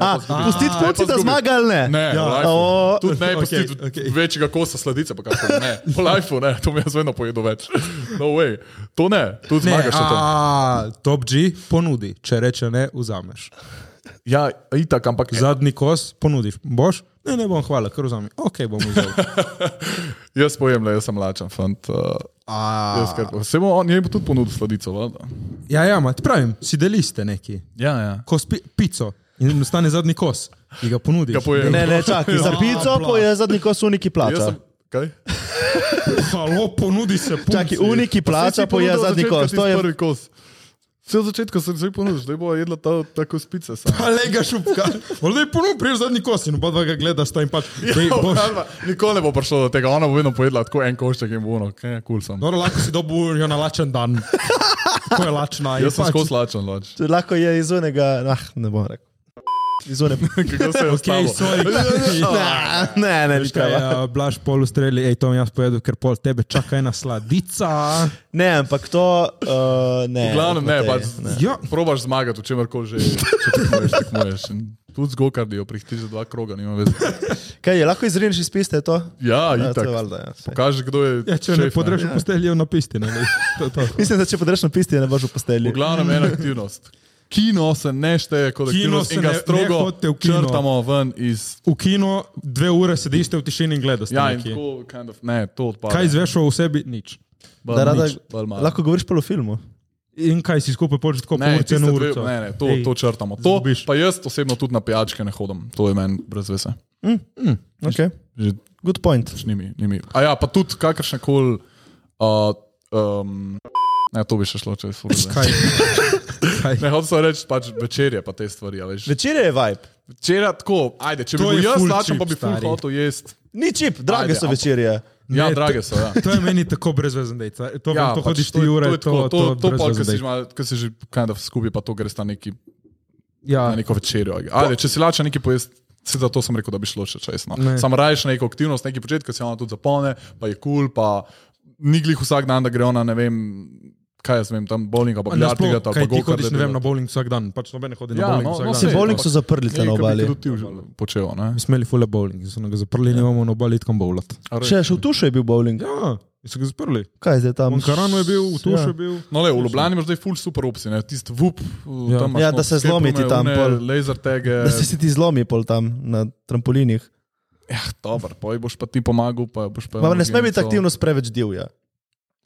A, pustiti koci, da zmaga ali ne? Ne, Ja. ja. O, Tudi ne, okej, okay, pustiti okej. okay. večjega kosa sladice, pa kako ne. Po lifeu ne, to mi jaz vedno pojedo več. No way. To ne, tu Ne, zmagaš na to. a, top G ponudi, če reče ne, vzameš. Ja, itak, ampak Za... Zadnji kos ponudiš. Boš? Ne, ne bom, hvala, ker vzamem. Ok, bom vzel. jaz pojem, le, jaz sem lačen, fant. Uh, jaz kar povem. Se bo on, njej bo tudi ponudil sladico, vlada. Ja, ja, ma, ti pravim, si deliste neki. Ja, ja. Kos pi, pico in ostane zadnji kos, ki ga Ja, ponudiš. Ga pojem. Ne, ne, čakaj, za pico pa je zadnji kos uniki Ja, Jaz plača. sem, kaj? Halo, ponudi se. punci. Čakaj, uniki plača pa je zadnji kos. To je prvi kos. Vse od začetka sem se ponudil, da bo jedla ta, ta kos pice. sama. Pa le ga šupka. Vlej ponudi, priješ zadnji kos in oba dva ga gledaš, to jim pač. Dej, boš, Alba, Nikoli ne bo prišlo do tega, ona bo vedno pojedla tako en košček in bo ono, kaj kul cool sem. No, dobro, lahko si dobil jo na lačen dan. Ko je lačna. je Jaz sem pač- skozi lačen, lač. lahko je iz unega, ah, ne bom rekel. Iz unega. Kako se je Okej, ostalo? sorry. Ne, ne, Kaj ja. ne. je Blaž pol ustreli, hej, to bom jaz povedal, ker pol tebe čaka ena sladica. Ne, ampak to uh, ne. V glavnem ne, Matej, pač Ja, probaš zmagati, v čemer koli že če tekmuješ, tekmuješ. In Tudi z gokardijo prihtiš za dva kroga, nima veze. Kaj je, lahko izrineš iz piste to? Ja, Ja, to itak. je valjda, ja, saj. Pokaži, kdo je. ja če ne šef, podreš, posteljijo na pisti. Ne, ne. To, to. Mislim, da če podreš na pisti, ne boš v V postelji. glavnem ena aktivnost. Kino se ne šteje kot Kino aktivnost se in ga ne- ne strogo hodite v kino. črtamo ven iz. V kino dve ure sediš v tišini in gledaš. Ja, in nekje. tako, kind of, ne, to odpada. kaj izveš o sebi? Nič. Bolj Da rada, nič, bolj malo. lahko govoriš pa o filmu. In kaj si skupaj počneš tako Ne, pomorce tiste na dve- uro? ne, ne, to, to črtamo. To, zgubiš. pa jaz osebno tudi na pijačke ne hodim, to je meni brez vese. Okay. Že Good point. pač ni mi. Ni mi. A ja, pa tudi kakršne koli. Uh, um, ne, to bi še šlo čez vse. Kaj? kaj? Ne, hočem samo reči, pač večerje pa te stvari. a Veš. Večer je vibe. Večerja tako, ajde, če bi To bil je jaz ful lačen, cheap, pa bi full stari. hotel jesti. Ni čip, drage Ajde, so ampak- večerje. Ja, Ne, drage so, ja. To je meni tako brezvezen dejt. To, ja, to pač hodiš ti ure, je to, tako, to, to, to pol, brezvezen ki si, dejt. že malo- ko si že kind of skupaj, pa to greš na, neki, na Ja, neko večerjo. Ajde, če si lačen, nekaj pojesti. Se zato sem rekel, da bi šlo še čez. No. Ne. Sam raješ neko aktivnost, neki početek, ki se ona tudi zapolne, pa je kul, cool, pa ni glih vsak dan, da gre ona, ne vem, kaj jaz vem, tam bowling, pa Na biljard sploh, igrata, kaj pa ti go hodiš, ne vem, na bowling vsak dan, pač noben ne hodi na Ja, bowling no, vsak no, dan. sej, Se bowling ampak- so zaprli tam na obali. Tudi ti že počel, ne? Mi smo imeli fule bowling, so ga zaprli, nimamo na obali kam bowlat. Še, še v tušu je bil bowling. Ja, so ga zaprli. Kaj je zdaj tam? V Ankaranu je bil, v Tušu je Ja. bil. No, le, v Ljubljani imaš zdaj full super opcije, ne? tisti vup, Ja. tam imaš Ja, no da se escape zlomi ti roome, tam one pol. Laser tege. Da eh, se si ti zlomi pol tam na trampolinih. Dobro, poj boš pa ti pomagal, pa boš Ja, pa. Ma, ne sme biti aktivnost preveč divja.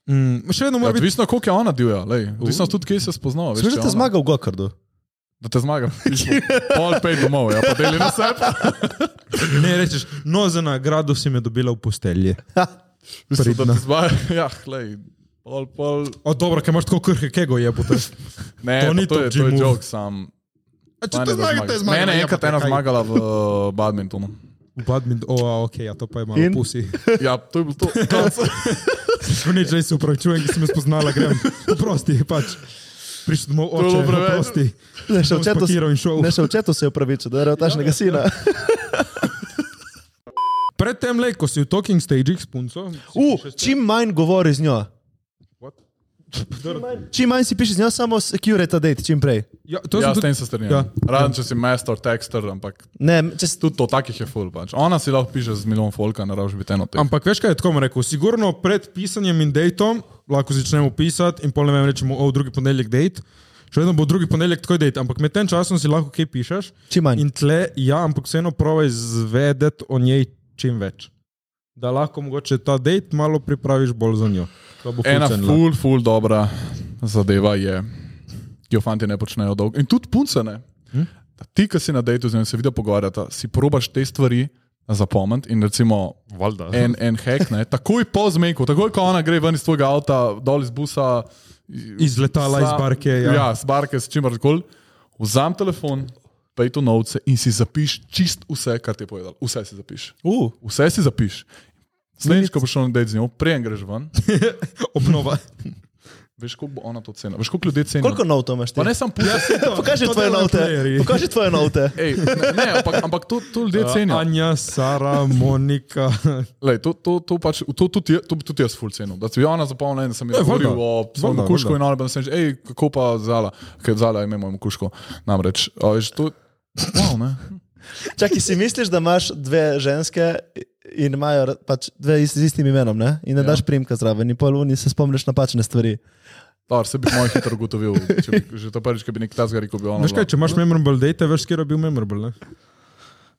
Mm, še vedno Ja, mora biti. odvisno, koliko je ona divja, lej. Uh. odvisno tudi, kje se spoznava. veš, Slišiš, ja, da če je te ona- zmaga v Gokardu? Da te zmaga. Pol pej domov, ja, pa deli na sebe. Ne rečeš, no za nagrado si me dobila v postelji. Mislim, da Pridna. te zmaga. Ja, lej. Pol, pol. O, dobro, ker imaš tako krhke kego, je potem. Ne, To to, ni to, to je, top G to je move. joke sam. A če Mene te da zmaga, zmaga. te zmaga. Mene je ja, enkrat pa ena kaj? zmagala v uh, badmintonu. V badminton, o, a, ok, ja, to pa je malo In? pusi. Ja, to je bilo to. Nič, res se upravičujem, ki sem jo spoznala, grem. Oprosti, pač. Prišel domov, je bilo oče, preveč. oprosti. Ne, še Bom v četu, spakiral in šel. Ja, ne, še v četu se je upravičil, da je rekel tašnega sina. Predtem, le, ko si v talking stagih s punco, U, čim manj govori z njo. What? Čim manj si piši z njo, samo secure ta date, čim prej. ja, to Ja, sem s tem tudi, se strinjam. Ja. Ja. Razen, če si majster, tekster, ampak Ne, če si tu. tudi to takih je full. Pač. Ona si lahko piše z milijon folka, ne rabiš biti eno tega. ampak veš kaj je tako bom rekel, sigurno pred pisanjem in datom lahko začnemo pisati in pol ne vem, rečemo, o, drugi ponedeljek date, še vedno bo drugi ponedeljek takoj date, ampak med tem časom si lahko kaj pišeš Čim manj. in tle, ja, ampak vseeno pravi izvedeti o njej čim več. Da lahko mogoče ta date malo pripraviš bolj za njo. To bo Ena ful cenila. full, full dobra zadeva je, ki jo fanti ne počnejo dolgo. In tudi punce ne. Hm? Ti, ki si na dejtu z njim, se vidi pogovarjata, si probaš te stvari zapomniti in recimo Valjda. en, en hek, ne, takoj po zmeku, takoj ko ona gre ven iz tvojega avta, dol iz busa. Iz letala, iz barke, ja. ja z barke, s čimer koli. Vzam telefon, pej to novce in si zapiš čist vse, kar ti je povedal. Vse si zapiš. U, Vse si zapiš. Slediš, ko boš šel na dejt z njo, prej greš ven, Obnova. veš, koliko bo ona to cenila. Veš, koliko ljudi ceni. koliko notov imaš ti? Pa ne samo pusti. Pokaži Ja, to tvoje delajo note. playerji. Pokaži tvoje note. Ej, ne, ne, ampak, ampak to, to ljudje cenijo. Anja, Sara, Monika. Lej, to, to, to, pač, to, tudi, je- to bi tudi jaz ful cenim. Da se je ona zapomnila in da sem Ja, jaz govoril valjda, o svojem valjda, kušku valjda. in ona pa sem že, hej, kako pa zala, ker zala je imel kuško. Namreč, a veš, to wow, ne. Čakaj, si misliš, da imaš dve ženske in imajo ra- pač dve ist- z istim imenom, ne? In ne Ja. daš primka zraven, in pol uni se spomniš napačne stvari. Dar, se bi moj hitro ugotovil, če bi, že to prvič, ko bi nek tas rekel, bi ona. Veš kaj, bila. če imaš memorable date, veš, kje je bil memorable. Ne?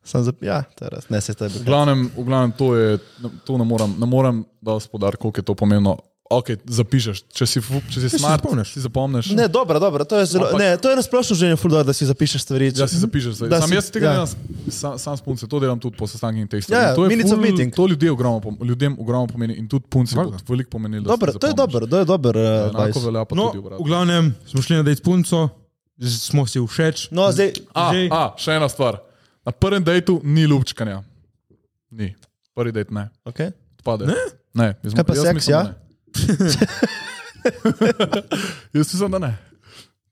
Sam za... Ja, teraz, ne se to je V bilo. glavnem, v glavnem to, je, to ne moram, ne moram dati podar, koliko je to pomembno. Ok, zapišeš, če si, fu- če si si smart, zapomniš. si zapomniš. Ne, dobro, dobro, to je zelo. Ampak- Ampak... Ne, to je nasplošno življenje fuldo, da si zapišeš stvari. Ja, si zapišeš. zdaj. Da Sam si- jaz tega ja. ja. delam, sam, sam s punce, to delam tudi po sestankih in tekstu. Ja, ja, to je minutes of ful- meeting. To ljudje ogromno, pom- ljudem ogromno pomeni in tudi punce bo Valjda. veliko pomeni. da Dobro, si to je zapomniš. Ja, dobro, to je dober. Uh, Enako advice. velja pa No, tudi v obratno. glavnem smo šli na dejt s punco, z- smo si všeč. no, zdaj, A, Že- a, še ena stvar. Na prvem dejtu ni ljubčkanja. Ni. Prvi dejt ne. okay. Odpade. Ne? Ne. Jaz, Kaj pa jaz seks, mislim, ja? da ne. jaz mislim, da ne.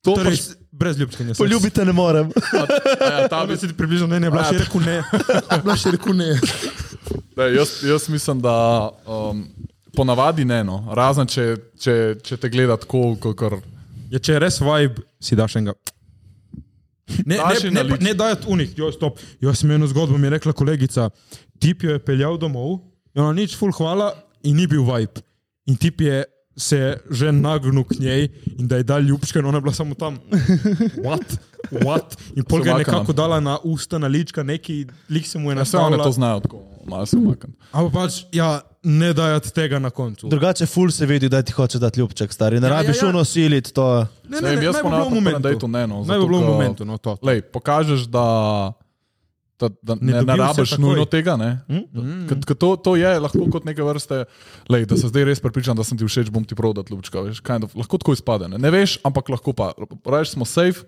To Torej, pač, s- brez ljubčkanja. sem. Poljubite ne morem. a ja, ta Ona bi si ti približno ne, ne, bila A, še reku ne. Bila še reku ne. Ne, jaz, jaz mislim, da um, ponavadi ne, no. razen če, če, če te gleda tako, kot kar. Ja, če je res vibe, si daš enega. Ne, Daš ne, ji ne, na pa- lič. ne dajati unih, jo, stop. Jaz sem eno zgodbo, mi je rekla kolegica, tip jo je peljal domov, in ona nič ful hvala in ni bil vibe. In tip je se že nagnil k njej in da je dal ljubčka in ona je bila samo tam. What? What? In pol ga je Zamaknila. nekako dala na usta, na lička, neki lik se mu je Vse one Ja, to nastavil. znajo, tako malo se umaknem. Ampak pač, ja, ne dajati tega na koncu. Drugače, ful se vidi, da ti hoče dati ljubček, stari. Ne Ja, ja, rabiš ja. unosiliti to. Ne, Ne, ne, ne, jaz naj bo bilo v ponavadi na prvem momentu. dejtu ne, no, Naj zato, bo bilo v ker- momentu, no, to. Lej, pokažeš, da, da, da ne, ne, dobi ne vse rabiš takoj. nujno tega. Ne? Hm? Mm? K, k, to, to je lahko kot neke vrste, lej, da se zdaj res pripričam, da sem ti všeč, bom ti prodal ljubčka. Veš, kind of, lahko tako izpade. Ne? ne veš, ampak lahko pa. Rajš smo safe,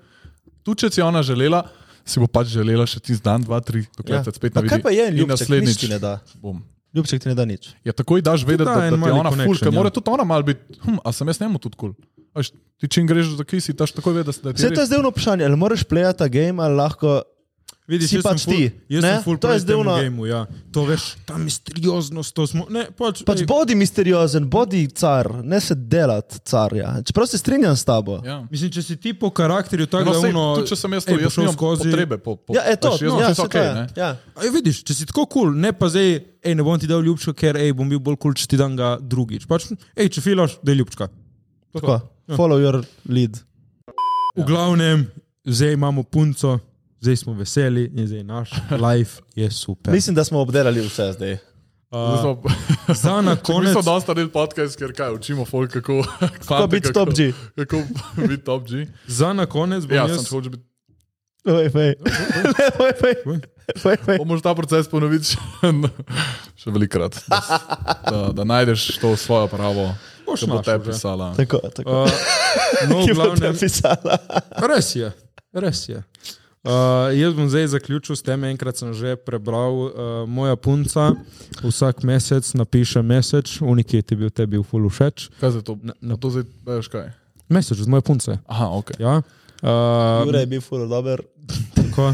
tu če si je ona želela. Si bo pač želela še ti dan, dva, tri, dokler Ja. se spet Pa ne kaj vidi. pa je In ljubček? Nič naslednjič ti ne da. Bom. Ljubček ti ne da nič. Ja, takoj daš vedeti, da da, da en ti je mali ona ful, connection, ker ja. mora tudi ona mal biti, hm, a sem jaz njemu tudi kul. Cool. Ti čim greš za kisi, daš takoj vedeti, da ti Vse je to je res. zdaj eno vprašanje, ali moraš plejati ta game ali lahko. Vidiš, Si jaz sem pač ful- ti, Jaz ne? sem full To je proti zdaj temu ono- gameu, ja. To veš, ta misterioznost, to smo... Ne, pač, Pač ej, bodi misteriozen, bodi car, ne se delati car. Ja. Čeprav se strinjam s tabo. Ja. Mislim, če si ti po karakterju tako, No, da sej, ono... tudi če sem jaz ej, to, jaz pošel nimam potrebe po, po Ja, je to, veš, jaz no, sem ja, čisto saj to okej, je. ne. Ja. Aj, vidiš, če si tako kul, cool, ne pa zdaj, ej, ne bom ti dal ljubčka, ker ej, bom bil bolj kul, cool, če ti dam ga drugič. Pač, ej, če filaš, da je ljubčka. To, Tako, follow your lead. V Ja. glavnem, zdaj imamo punco, zdaj smo veseli in zdaj naš life je super. Mislim, da smo obdelali vse zdaj. Zdaj uh, smo- za na Mi konec... smo dosta naredili podcast, ker kaj, učimo folk, kako, fante, biti top G. Kako biti top G. Za na konec bom Ja, sem jaz... hočel biti. Oj, fej. Ne, oj, fej. Oj, fej. Bomo ta proces ponoviti še, še velikrat. Da, s- da, da najdeš to svojo pravo, Boš ki bo te našel, že. pisala. Tako, tako. Uh, no, Ki v bo te glavnem... pisala. Res je, res je. Uh, jaz bom zdaj zaključil s tem, enkrat sem že prebral, uh, moja punca vsak mesec napiše mesec, unik je ti bil tebi v fulu všeč. Kaj je to? Na- na- Na to zdaj veš kaj. Mesec z moje punce. Aha, ok. Ja. Uh, Jure je bil furo dober. tako.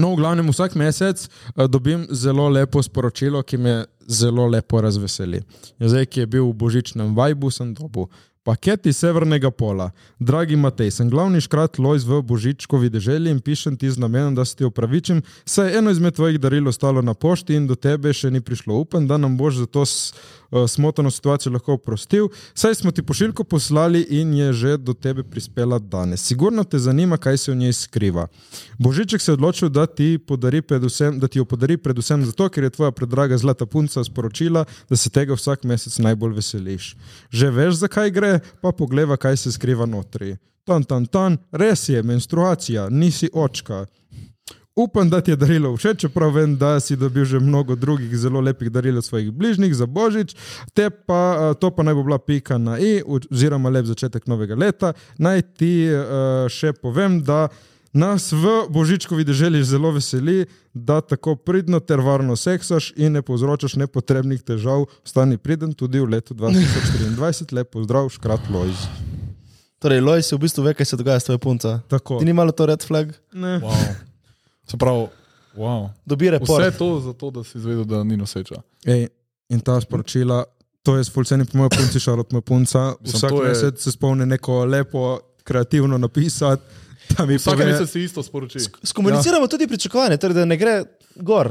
No, v glavnem vsak mesec eh, dobim zelo lepo sporočilo, ki me zelo lepo razveseli. In Zdaj, ki je bil v božičnem vajbu, sem dobil. Paket iz severnega pola. Dragi Matej, sem glavni škrat Lojz v Božičkovi deželi in pišem ti z namenom, da se ti opravičim, saj je eno izmed tvojih daril ostalo na pošti in do tebe še ni prišlo. Upam, da nam boš za to s- eh, smotano situacijo lahko oprostil, saj smo ti pošiljko poslali in je že do tebe prispela danes. Sigurno te zanima, kaj se v njej skriva. Božiček se je odločil, da ti, podari predvsem, da ti jo podari predvsem zato, ker je tvoja predraga zlata punca sporočila, da se tega vsak mesec najbolj veseliš. Že veš, zakaj gre, pa pogleva, kaj se skriva notri. Tan, tan, tan, res je, menstruacija, nisi očka. Upam, da ti je darilo všeč, čeprav vem, da si dobil že mnogo drugih zelo lepih daril od svojih bližnjih za božič, te pa, eh, to pa naj bo bila pika na i, oziroma lep začetek novega leta. Naj ti eh, še povem, da nas v božičkovi deželi zelo veseli, da tako pridno ter varno seksaš in ne povzročaš nepotrebnih težav, stani priden tudi v letu 2023, lepo zdrav, škrat Lojz. Torej, Loj si v bistvu ve, kaj se dogaja s tvojo punco. Tako. Ti ni malo to red flag? Ne. Wow. Se pravi, wow. Dobi report. vse to zato, da si izvedel, da ni noseča. Ej, in ta sporočila, to jaz fulcenim po mojem punci, šarot moja punca. Mislim, Vsak to je- mesec se spomni neko lepo, kreativno napisati, da mi Vsak pove, mesec si isto sporoči. Skomuniciramo ja. tudi pričakovanje, torej, da ne gre gor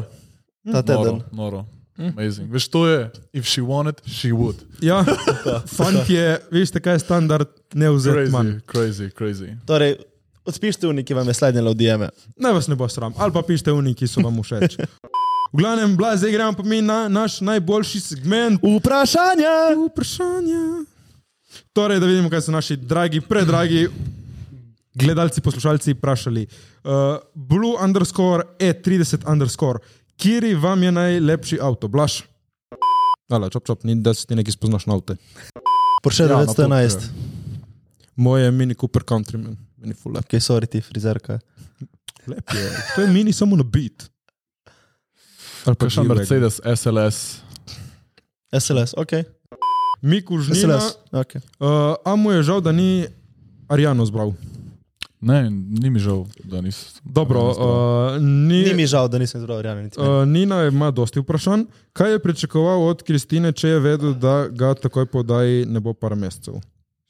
ta Noro, teden. noro. Amazing. Veš, to je, if she wanted, she would. ja, fant je, veste kaj je standard, ne vzeti manj. Crazy, crazy, crazy. Torej, odpišite v neki vam je slednjalo v DM. Naj vas ne bo sram, ali pa pišite v neki, ki so vam všeč. V glavnem, bila, zdaj gremo pa mi na naš najboljši segment. Vprašanja! Vprašanja. Torej, da vidimo, kaj so naši dragi, predragi gledalci, poslušalci vprašali. Uh, Blue underscore E30 underscore, kje vam je najlepši avto, blaš? Ala, čop, čop, ni da se ti nekaj spoznaš na avto. Porsche Ja, na 911. Moje je mini Cooper Countryman, mini full lep. Kaj so ti frizerka? lep je. To je mini samo na bit. Ali pa Kakšen G-Wagon. Mercedes SLS. SLS, ok. Miku Žnina, SLS, ok. uh, a mu je žal, da ni Arijano zbral. Ne, ni mi žal, da nisem. Dobro, uh, Ni mi žal, da nisem zelo verjamem. Eh. Uh, Uh, Nina ima dosti vprašanj. Kaj je pričakoval od Kristine, če je vedel, da ga takoj podaji ne bo par mesecev?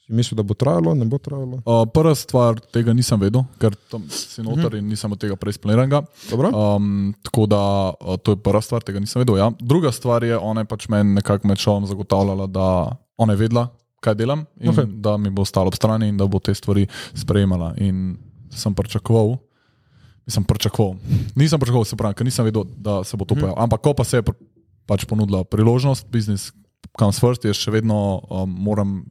Si mislil, da bo trajalo, ne bo trajalo? Uh, prva stvar, tega nisem vedel, ker tam si noter in nisem od tega prej splaniranega. Mhm. Dobro? Um, tako da uh, to je prva stvar, tega nisem vedel. Ja. Druga stvar je, ona je pač meni nekako med šovom zagotavljala, da ona je vedela, kaj delam in Okej. okay. da mi bo stala ob strani in da bo te stvari sprejemala. In sem pričakoval. Nisem pričakoval, nisem pričakoval, se pravi, ker nisem vedel, da se bo Mhm. to pojavilo. Ampak, ko pa se je pr- pač ponudila priložnost, business comes first, jaz še vedno um, moram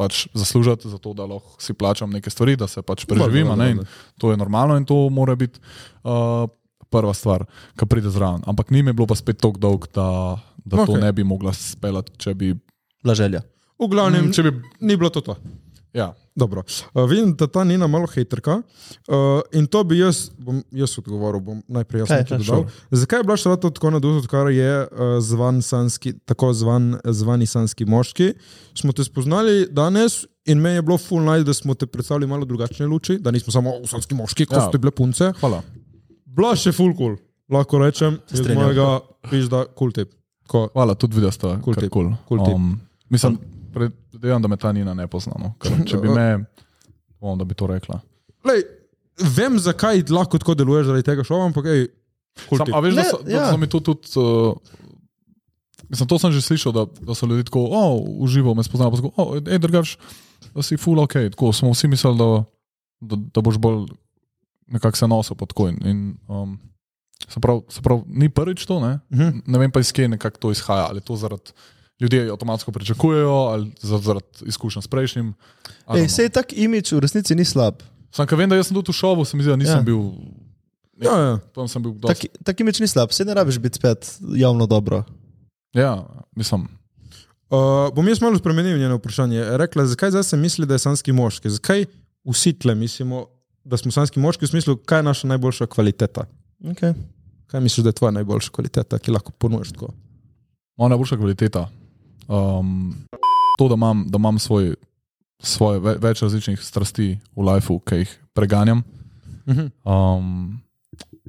pač zaslužiti, zato da lahko si plačam neke stvari, da se pač preživim. Dobro, a ne, in dobro, To je normalno in to mora biti uh, prva stvar, ki pride zraven. Ampak ni mi bilo pa spet tako dolg, da, da okay. to Okej. ne bi mogla speljati, če bi. Blaželja. V glavnem, Mm, Če bi ni bilo to to. ja. Dobro. Uh, vidim, da ta Nina malo hejterka uh, in to bi jaz, bom, jaz odgovoril, bom najprej jaz Kaj, nekaj kaj, dodal. Zakaj je bila šrata tako na duhu, odkar je uh, zvan sanski, tako zvan, zvani sanski moški? Smo te spoznali danes in meni je bilo full night, da smo te predstavili malo drugačne luči, da nismo samo "O, sanski moški, kot Ja. ja. so ti bile punce. Hvala. Bila še full cool, lahko rečem, iz strinjam. mojega pizda cool tip. Tako, Hvala, tudi videl ste, Cool kako je tip, kul. Um, cool tip. Mislim, predvidevam, da me ta Nina ne pozna. No. Ker, če bi me, bom, da bi to rekla. Lej, vem, zakaj lahko tako deluješ zaradi tega šova, ampak ej, cool Sam, tip. a veš, da, Ne, so, da ja. so mi to tudi. Uh, mislim, to sem že slišal, da, da so ljudje tako, o, uživo me spoznajo, pa tako, o, ej, drugač, da si full ok. Tako smo vsi mislili, da, da, da boš bolj nekako se nosil pod kojim. In, um, se pravi, se pravi, ni prvič to, ne? Mhm. ne vem pa iz kje nekako to izhaja. Ali je to zaradi ljudje avtomatsko pričakujejo, ali za- zaradi izkušenj s prejšnjim. I don't Ej, know. sej tak imič v resnici ni slab. Sam, ker vem, da jaz sem tudi v šovu, se mi zdi, da nisem Ja. ja. bil, Ja, ja. tam sem bil dosti. Tak, tak imič ni slab, sej ne rabiš biti spet javno dobro. Ja, mislim. Uh, bom jaz malo spremenil njeno vprašanje. Rekla je, zakaj zdaj se misli, da je sanski moški? Zakaj vsi tle mislimo, da smo sanski moški v smislu, kaj je naša najboljša kvaliteta? Okay. Kaj misliš, da je tvoja najboljša kvaliteta, ki lahko ponudiš tako? Moja najboljša kvaliteta. Um, to, da imam, da imam svoj, svoje ve- več različnih strasti v lifeu, ki jih preganjam. Mhm. Um,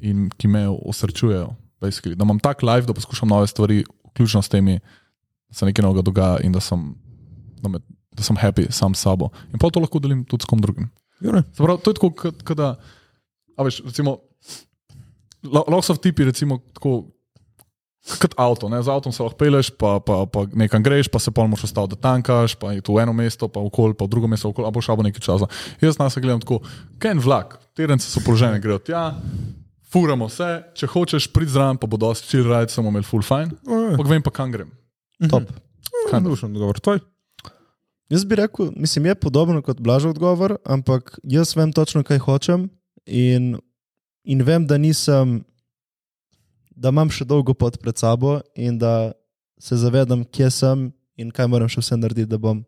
in ki me osrčujejo. basically. Da imam tak live, da poskušam nove stvari, vključno s temi, da se nekaj novega dogaja in da sem, da me, da sem happy sam s sabo. In pa to lahko delim tudi s kom drugim. Jure. Se pravi, to je tako, kot kot da. A veš, recimo, la- lahko so tipi, recimo, tako. Kot avto, ne? z avtom se lahko peleš, pa, pa, pa nekam greš, pa se pa moraš ostati, da tankaš, pa je tu eno mesto, pa okol, pa v drugo mesto, okol, a boš abo nekaj časa. Jaz nas gledam tako, ken vlak, terence so položene, grejo tja, furamo se, če hočeš priti zraven, pa bo dosti chill ride, samo imel full fine, Oje, pa vem pa kam grem. Top. kind of. ja. Navdušen odgovor. Tvoj? Jaz bi rekel, mislim, je podobno kot blaž odgovor, ampak jaz vem točno, kaj hočem in, in vem, da nisem, da imam še dolgo pot pred sabo in da se zavedam, kje sem in kaj moram še vse narediti, da bom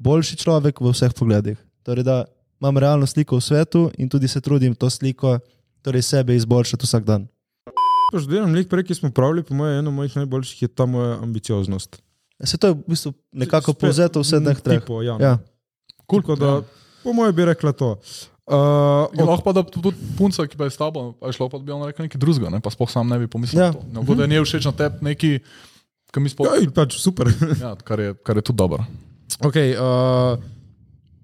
boljši človek v vseh pogledih. Torej, da imam realno sliko v svetu in tudi se trudim to sliko, torej sebe izboljšati vsak dan. Pač delam lik prej, ki smo pravili, po mojem, eno mojih najboljših je ta moja ambicioznost. Se Ja, to je v bistvu nekako Spet- povzeto vse teh treh. Tipo, ja. ja. Ja. Cool, Tako da, po mojem bi rekla to. Uh, In Lahko pa da tudi punca, ki pa je s tabo, a šlo pa da bi on rekel nekaj drugega, ne? pa sploh sam ne bi pomislil. Ja. Ja. Nekdo, da je njej všeč na tebi neki, ki mi sploh. Ja, in pač super. Ja, kar je, kar je tudi dobro. Okay, uh,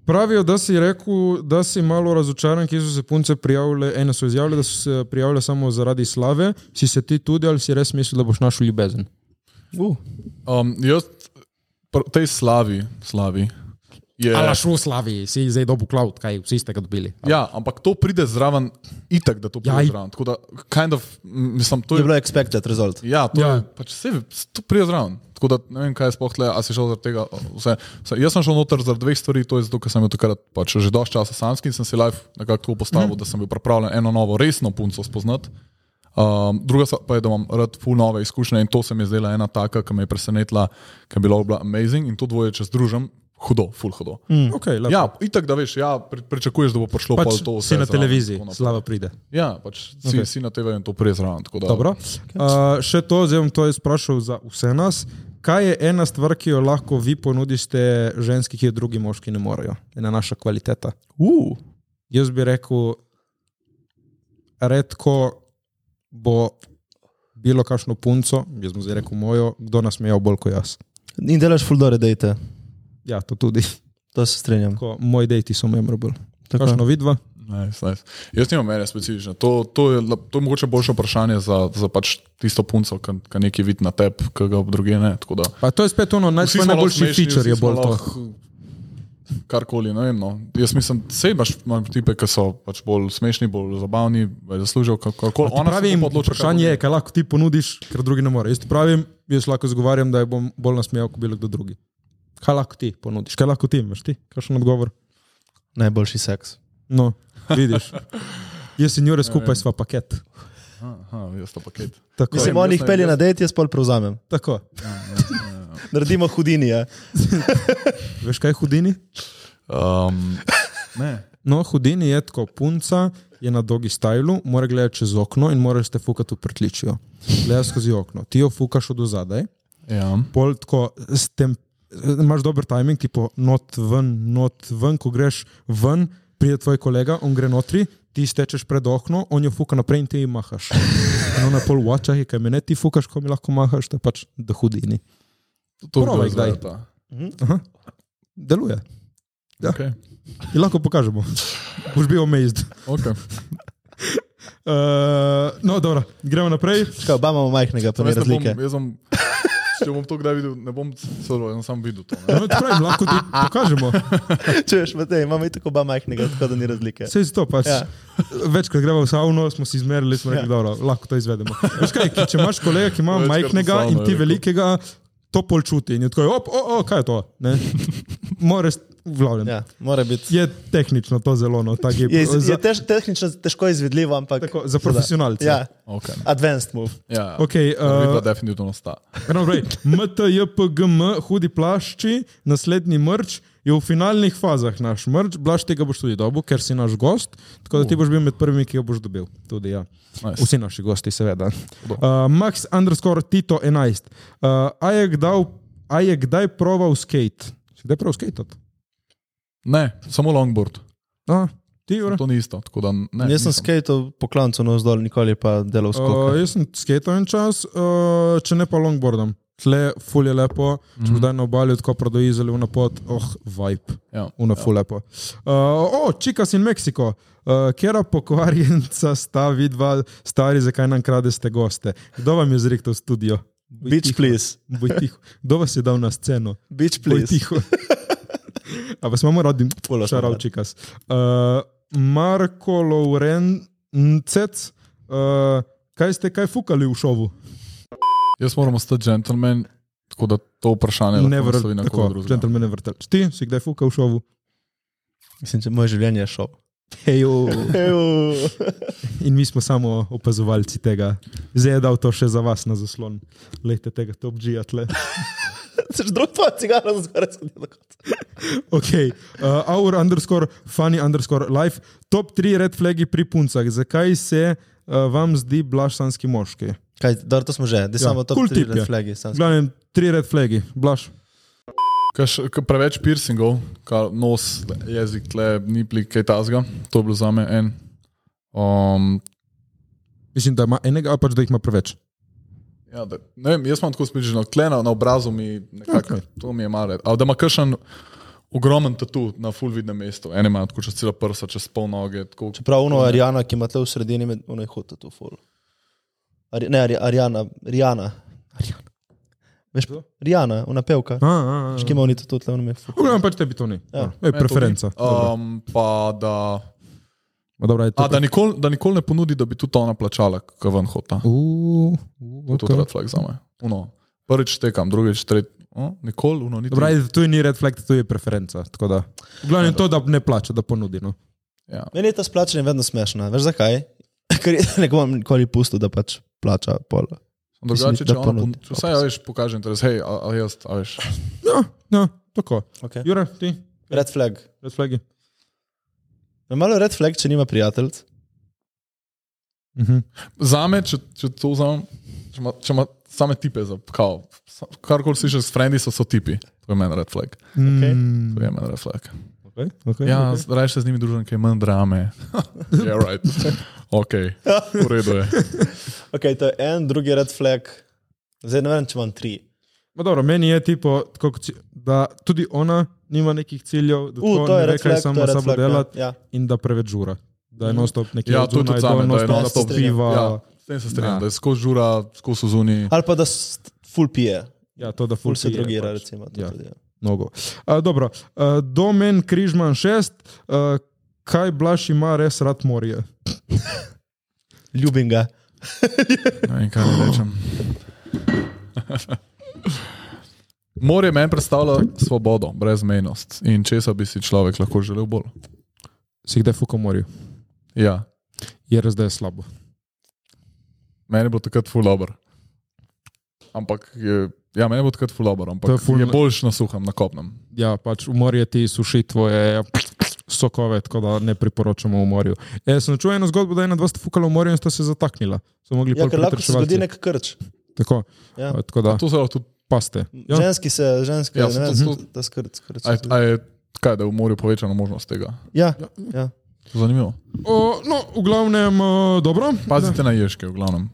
pravijo, da si rekel, da si malo razočaran, ki so se punce prijavile, ene so izjavile, da so se prijavile samo zaradi slave. Si se ti tudi ali si res mislil, da boš našel ljubezen? Uh, Um, jaz, pr- tej slavi, slavi je. Ja. Ali šlo v Slaviji, si zdaj dobil cloud, kaj vsi ste ga dobili. Ja, ampak to pride zraven, itak, da to pride Ja, i- ja, zraven. Tako da, kind of, m, mislim, to je je. bilo expected result. Ja, to, Ja. ja. Je, pač vse, to pride zraven. Tako da ne vem, kaj je sploh tle, a si šel zaradi tega. Vse, vse. Jaz sem šel noter zaradi dveh stvari, to je zato, ker sem bil takrat pač, že dosti časa samski in sem si live nekako tako postavil, Mhm. mm -hmm. da sem bil pripravljen eno novo resno punco spoznati. Um, druga stvar pa je, da imam rad full nove izkušnje in to se mi je zdela ena taka, ki me je presenetila, ki je bila, bila amazing in to dvoje, če združim, hudo, full hudo. Mm. Okay, lepo. Ja, itak da veš, ja, pri, pričakuješ, da bo prišlo pač pol to vse. si na zraven, televiziji, tako naprej. slava pride. Ja, pač si, okay. si na TV-ju in to prije zraven. tako da- Dobro. Uh, še to, zdaj bom to jaz vprašal za vse nas. Kaj je ena stvar, ki jo lahko vi ponudite ženski, ki jo drugi moški ne morejo? Ena naša kvaliteta. Uh. Jaz bi rekel, redko bo bilo kakšno punco, jaz bom zdaj rekel mojo, kdo nas meja bolj kot jaz. In delaš fuldore, dejte. Ja, to tudi. To se strinjam. Ko, moji dejti so memorable. Tako. Kakšno vidva? Nice, nice. Jaz nimam mene specifično. To, to, je, la- to je mogoče boljše vprašanje za, za pač tisto punco, ki nekaj vidi na tebi, ki ga druge ne. tako da. Pač Pa to je spet ono, naj, Vsi tvoj smo najboljši lahko smešni, feature je vsi smo bolj to. lahko Karkoli, ne vem. No. Jaz mislim, sej imaš imam tipe, ki so pač bolj smešni, bolj zabavni, več zaslužijo, kakorkoli. Ona pravi, vprašanje je, kaj lahko ti ponudiš, ker drugi ne more. Jaz ti pravim, jaz lahko zagovarjam, da je bom bolj nasmejal, kot bilo kdo drugi. Kaj lahko ti ponudiš, kaj lahko ti imaš, ti? Kakšen odgovor? Najboljši seks. No, vidiš. Jaz in Jure skupaj sva paket. Aha, jaz to paket. Tako, Mislim, jaz oni jih ne, pelje jaz- na dejt, jaz pol prevzamem. tako. Naredimo hudini. Ja. Veš kaj je hudini? Um, ne. No, hudini je tako, punca je na dogi stajlu, mora gledati čez okno in moraš te fukati v prtličijo. Gledaš skozi okno, ti jo fukaš od zadaj, Ja. pol tako, s tem, imaš dober timing, tipo not ven, not ven, ko greš ven, pride tvoj kolega, on gre notri, ti stečeš pred okno, on jo fuka naprej in ti ji mahaš. No, na pol watcha je kaj mene, ti fukaš, ko mi lahko mahaš, to je pač da hudini. To bi Probaj bilo kdaj. zdaj ta. Deluje. Ja. Okay. Ti lahko pokažemo. Boš bil amazed. Okay. Uh, no, dobro, gremo naprej. Kaj, oba imamo majhnega, pa Samo ne jaz ne razlike. bom- jaz bom- Če bom to kdaj videl, ne bom celo, jaz sem sam videl to. Ne? No, ti pravim, lahko ti pokažemo. Čuješ, Matej, imamo tako oba majhnega, tako da ni razlike. Vse je to. Pač. Ja. Ja. Večkrat gremo v savno, smo si izmerili, smo rekli, Ja. ja. dobro, lahko to izvedemo. Veš kaj, ki- če imaš kolega, ki ima Večkrat v majhnega savno, in ti je rekel. velikega, to pol čuti. In je tako, op, o, o, kaj je to? Ne? Moraš vlavljati. Ja. Ja, mora biti. Je tehnično to zelo, no, tako je. Je, iz- za, je tež, tehnično težko izvedljivo, ampak. tako, za profesionalce. Ja, Okay. advanced move. Ja, Okay, Vidva uh, definitivno sta. Gremo naprej. MTJPGM, hudi plašči, naslednji mrč je v finalnih fazah naš mrč. Blaž tega boš tudi dobil, ker si naš gost. Tako Uh. da ti boš bil med prvimi, ki ga boš dobil. Tudi, ja. Nice. Vsi naši gosti, seveda. Uh, Max underscore Tito 11. Uh, a, je kdaj, a je kdaj proval skate? Si kdaj proval skate? Ne, samo longboard. A, Ti, Jure? To ni isto. tako Da, ne, Jaz sem nisem. skateal po klancu navzdol, nikoli pa delal Uh, skok. jaz sem skatal en čas, uh, če ne pa longboardom. Tle, ful je lepo, če mm. zdaj na obali odkopra do Izraela, una pot, oh, vibe, Ja. una ful lepo. Uh, o, oh, Čikas in Meksiko, uh, kera pokvarjenca sta vidva stari, zakaj nam kradeste goste? Kdo vam je zrihtal studio? Boj Beach, tiho, please. boj tiho. Kdo vas je dal na sceno? Beach, Boj please. tiho. A vas imamo radi, Ful vas imamo šarav radi. Čikas. Uh, Marko Lorencec, uh, kaj ste kaj fukali v šovu? Jaz moram ostati gentleman, tako da to vprašanje Ne lahko naslovi na vrtel, koga tako, drugega. gentleman ne vrtel. Ti si kdaj fukal v šovu? Mislim, če moje življenje je šel. Hejo. In mi smo samo opazovalci tega. Zdaj je dal to še za vas na zaslon. Lejte tega top G-ja tle. Seš drug pa cigara za zgoraj skodil. Ok, uh, our underscore, funny underscore life. Top 3 red flagi pri puncah. Zakaj se uh, vam zdi blašanski moški? Kaj, dobro, to smo že, da Ja, samo to cool tip je. flagi. samo- Glavnem, tri red flagi, blaš. Kaj še- kaj Preveč piercingov, kar nos, jezik, tle, ni plik, kaj tasga. To je bilo za me en. Um, Mislim, da ima enega, ali pač da jih ima preveč. ja, da, ne vem, jaz imam tako spričano, tle na, na obrazu mi nekako, Okej. okay. to mi je malo. Ali da ima kakšen ogromen tatu na full vidnem mestu, ene ima tako čez cela prsa, čez pol noge, tako Čeprav uno Arijana, ki ima tle v sredini, med- ono je hotel to ful. Ari, ne, Ari, Arijana, Rijana. Arijana. Veš, Rijana, ona pevka. A, a, a. Ki ima oni to tle, ono mi je ful. Uglavnom, pač tebi to ni. Ja, je Ja. preferenca. Dobro. Um, pa da, Ma Dobro, je to. a, da, nikol, da nikoli ne ponudi, da bi tudi ona plačala, kaj ven hota. Uh, uh, To je tudi red flag za me. Uno. Prvič tekam, drugič tretji. Nikoli, uno, niti. Dobro, ajde, tu ni red flag, tu je preferenca. tako da. V glavnem to, da ne plača, da ponudi. No. Ja. Meni je ta splačanje vedno smešna, veš zakaj? Ker je nekomu nikoli pustil, da pač plača pol. Drugače, Mislim, da če ona ponudi. ponudi, če vsaj, a veš, pokaže interes, hej, a, a jaz, a veš. Ja, ja, tako. Okay. Jure, ti, Red flag. red flagi. Me malo red flag, če nima prijatelj. Mhm. Za me, če, če to vzamem, če ima- če ima same tipe za kao, sa- karkoli slišiš s frendi, so, so tipi. To je meni red flag. Mm, To je meni red flag. okay, okay, Ja, okay. raje se z njimi družim, ker je manj drame. Ja, right. Ok, v redu je. Ok, to je en, drugi red flag. Zdaj ne vem, če imam tri. Ma Dobro, meni je tipo, tako, kot si- da tudi ona nima nekih ciljev, da U, to to ne je ve, red kaj flag, to sama je red sabo flag. ja. Mhm. dela Ja. in da preveč žura. Da je non-stop nekje Ja, to je odzunaj, tudi zame, da je non-stop non-stop- piva. Ja, s tem se strinjam, da je skozi žura, skozi zunaj. Ali pa da s- full pije, Ja, to, da full ful se pije, drugira. pač. Recimo, to Ja. tudi, ja. Mnogo. A, dobro, a, domen Križman 6, a, kaj Blaž ima res rad morje? Ljubim ga. Ne vem, kaj naj rečem. Morje meni predstavlja svobodo, brezmejnost in česa bi si človek lahko želel bolj. Si kdaj fuka morju? Ja, Je res, da je slabo. meni bo takrat full dobro. Ampak, je, ja, meni bo takrat full dobro, To ampak je ful- je, je boljš na suhem, na kopnem. Ja, pač v morju ti suši tvoje ja, sokove, tako da ne priporočamo v morju. E, sem čutil eno zgodbo, da je ena dva sta fukala v morju in sta se zataknila. So mogli Ja, ja, ker lahko se zgodi nek krč. Tako, Ja. a, tako da, To se lahko tudi. paste. Ja. Ženski se, ženski, Ja, ja, ne vem, to- da skrč. skrč A, je- a je kaj, da je v morju povečana možnost tega? ja, ja. To je zanimivo. O, no, v glavnem, o, dobro. Pazite na ježke, v glavnem.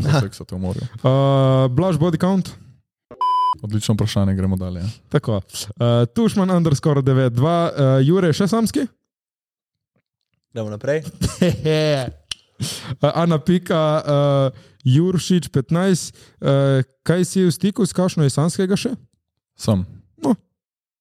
Za seksate v morju. A, Blaž body count. Odlično vprašanje, gremo dalje. Tako. Uh, Tušman, underscore 9-2, uh, Jure, še samski? Gremo naprej. Hehe. Uh, Ana Pika, uh, Juršič 15, uh, kaj si v stiku s kakšno iz samskega še? Sem.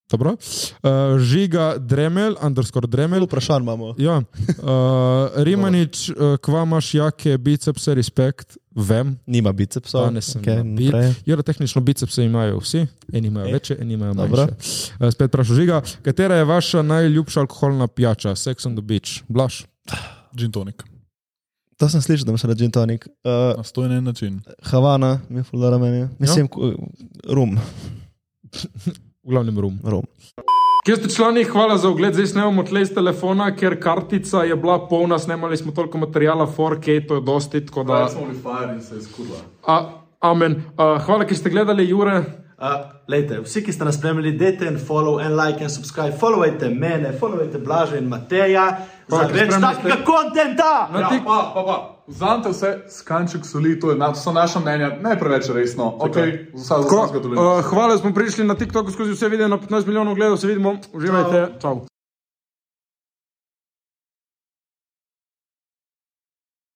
Dobro. Uh, Žiga Dremelj, underscore Malo Dremelj. vprašanj imamo. Ja. Uh, Rimanič, uh, kva imaš jake bicepse, respekt, vem. Nima bicepsa. Danes sem Okej, na bit. naprej. Jure, tehnično bicepse imajo vsi, eni imajo Ej. večje, eni imajo Dobro. manjše. Uh, spet vprašam Žiga, katera je vaša najljubša alkoholna pijača? Sex on the beach, blaš. Gin tonik. To sem slišal, da imaš rad gin tonic. Uh, Na stojen en način. Havana, mi je fulano meni. Mislim, ja. rum, V glavnem rum. rum. Kje ste člani, hvala za ogled, zdaj snemamo tle iz telefona, ker kartica je bila polna, snemali smo toliko materijala, 4K, to je dosti, tako da... smo bili fajn in se je skurla. A, amen. Uh, hvala, ker ste gledali, Jure. Uh, lejte, vsi, ki ste nas spremljali, dajte en follow, en like, en subscribe, followajte mene, followajte Blaža in Mateja. Pa, Za ki več spremljate- takega kontenta! Ja, pa, pa, pa. Vzamite vse skanček soli, to je na, so naša mnenja, ne preveč resno. Okay, Ko, vsa zaslužka dolina. uh, hvala, da smo prišli na TikToku skozi vse video, na 15 milijonov gledov se vidimo, uživajte, čau.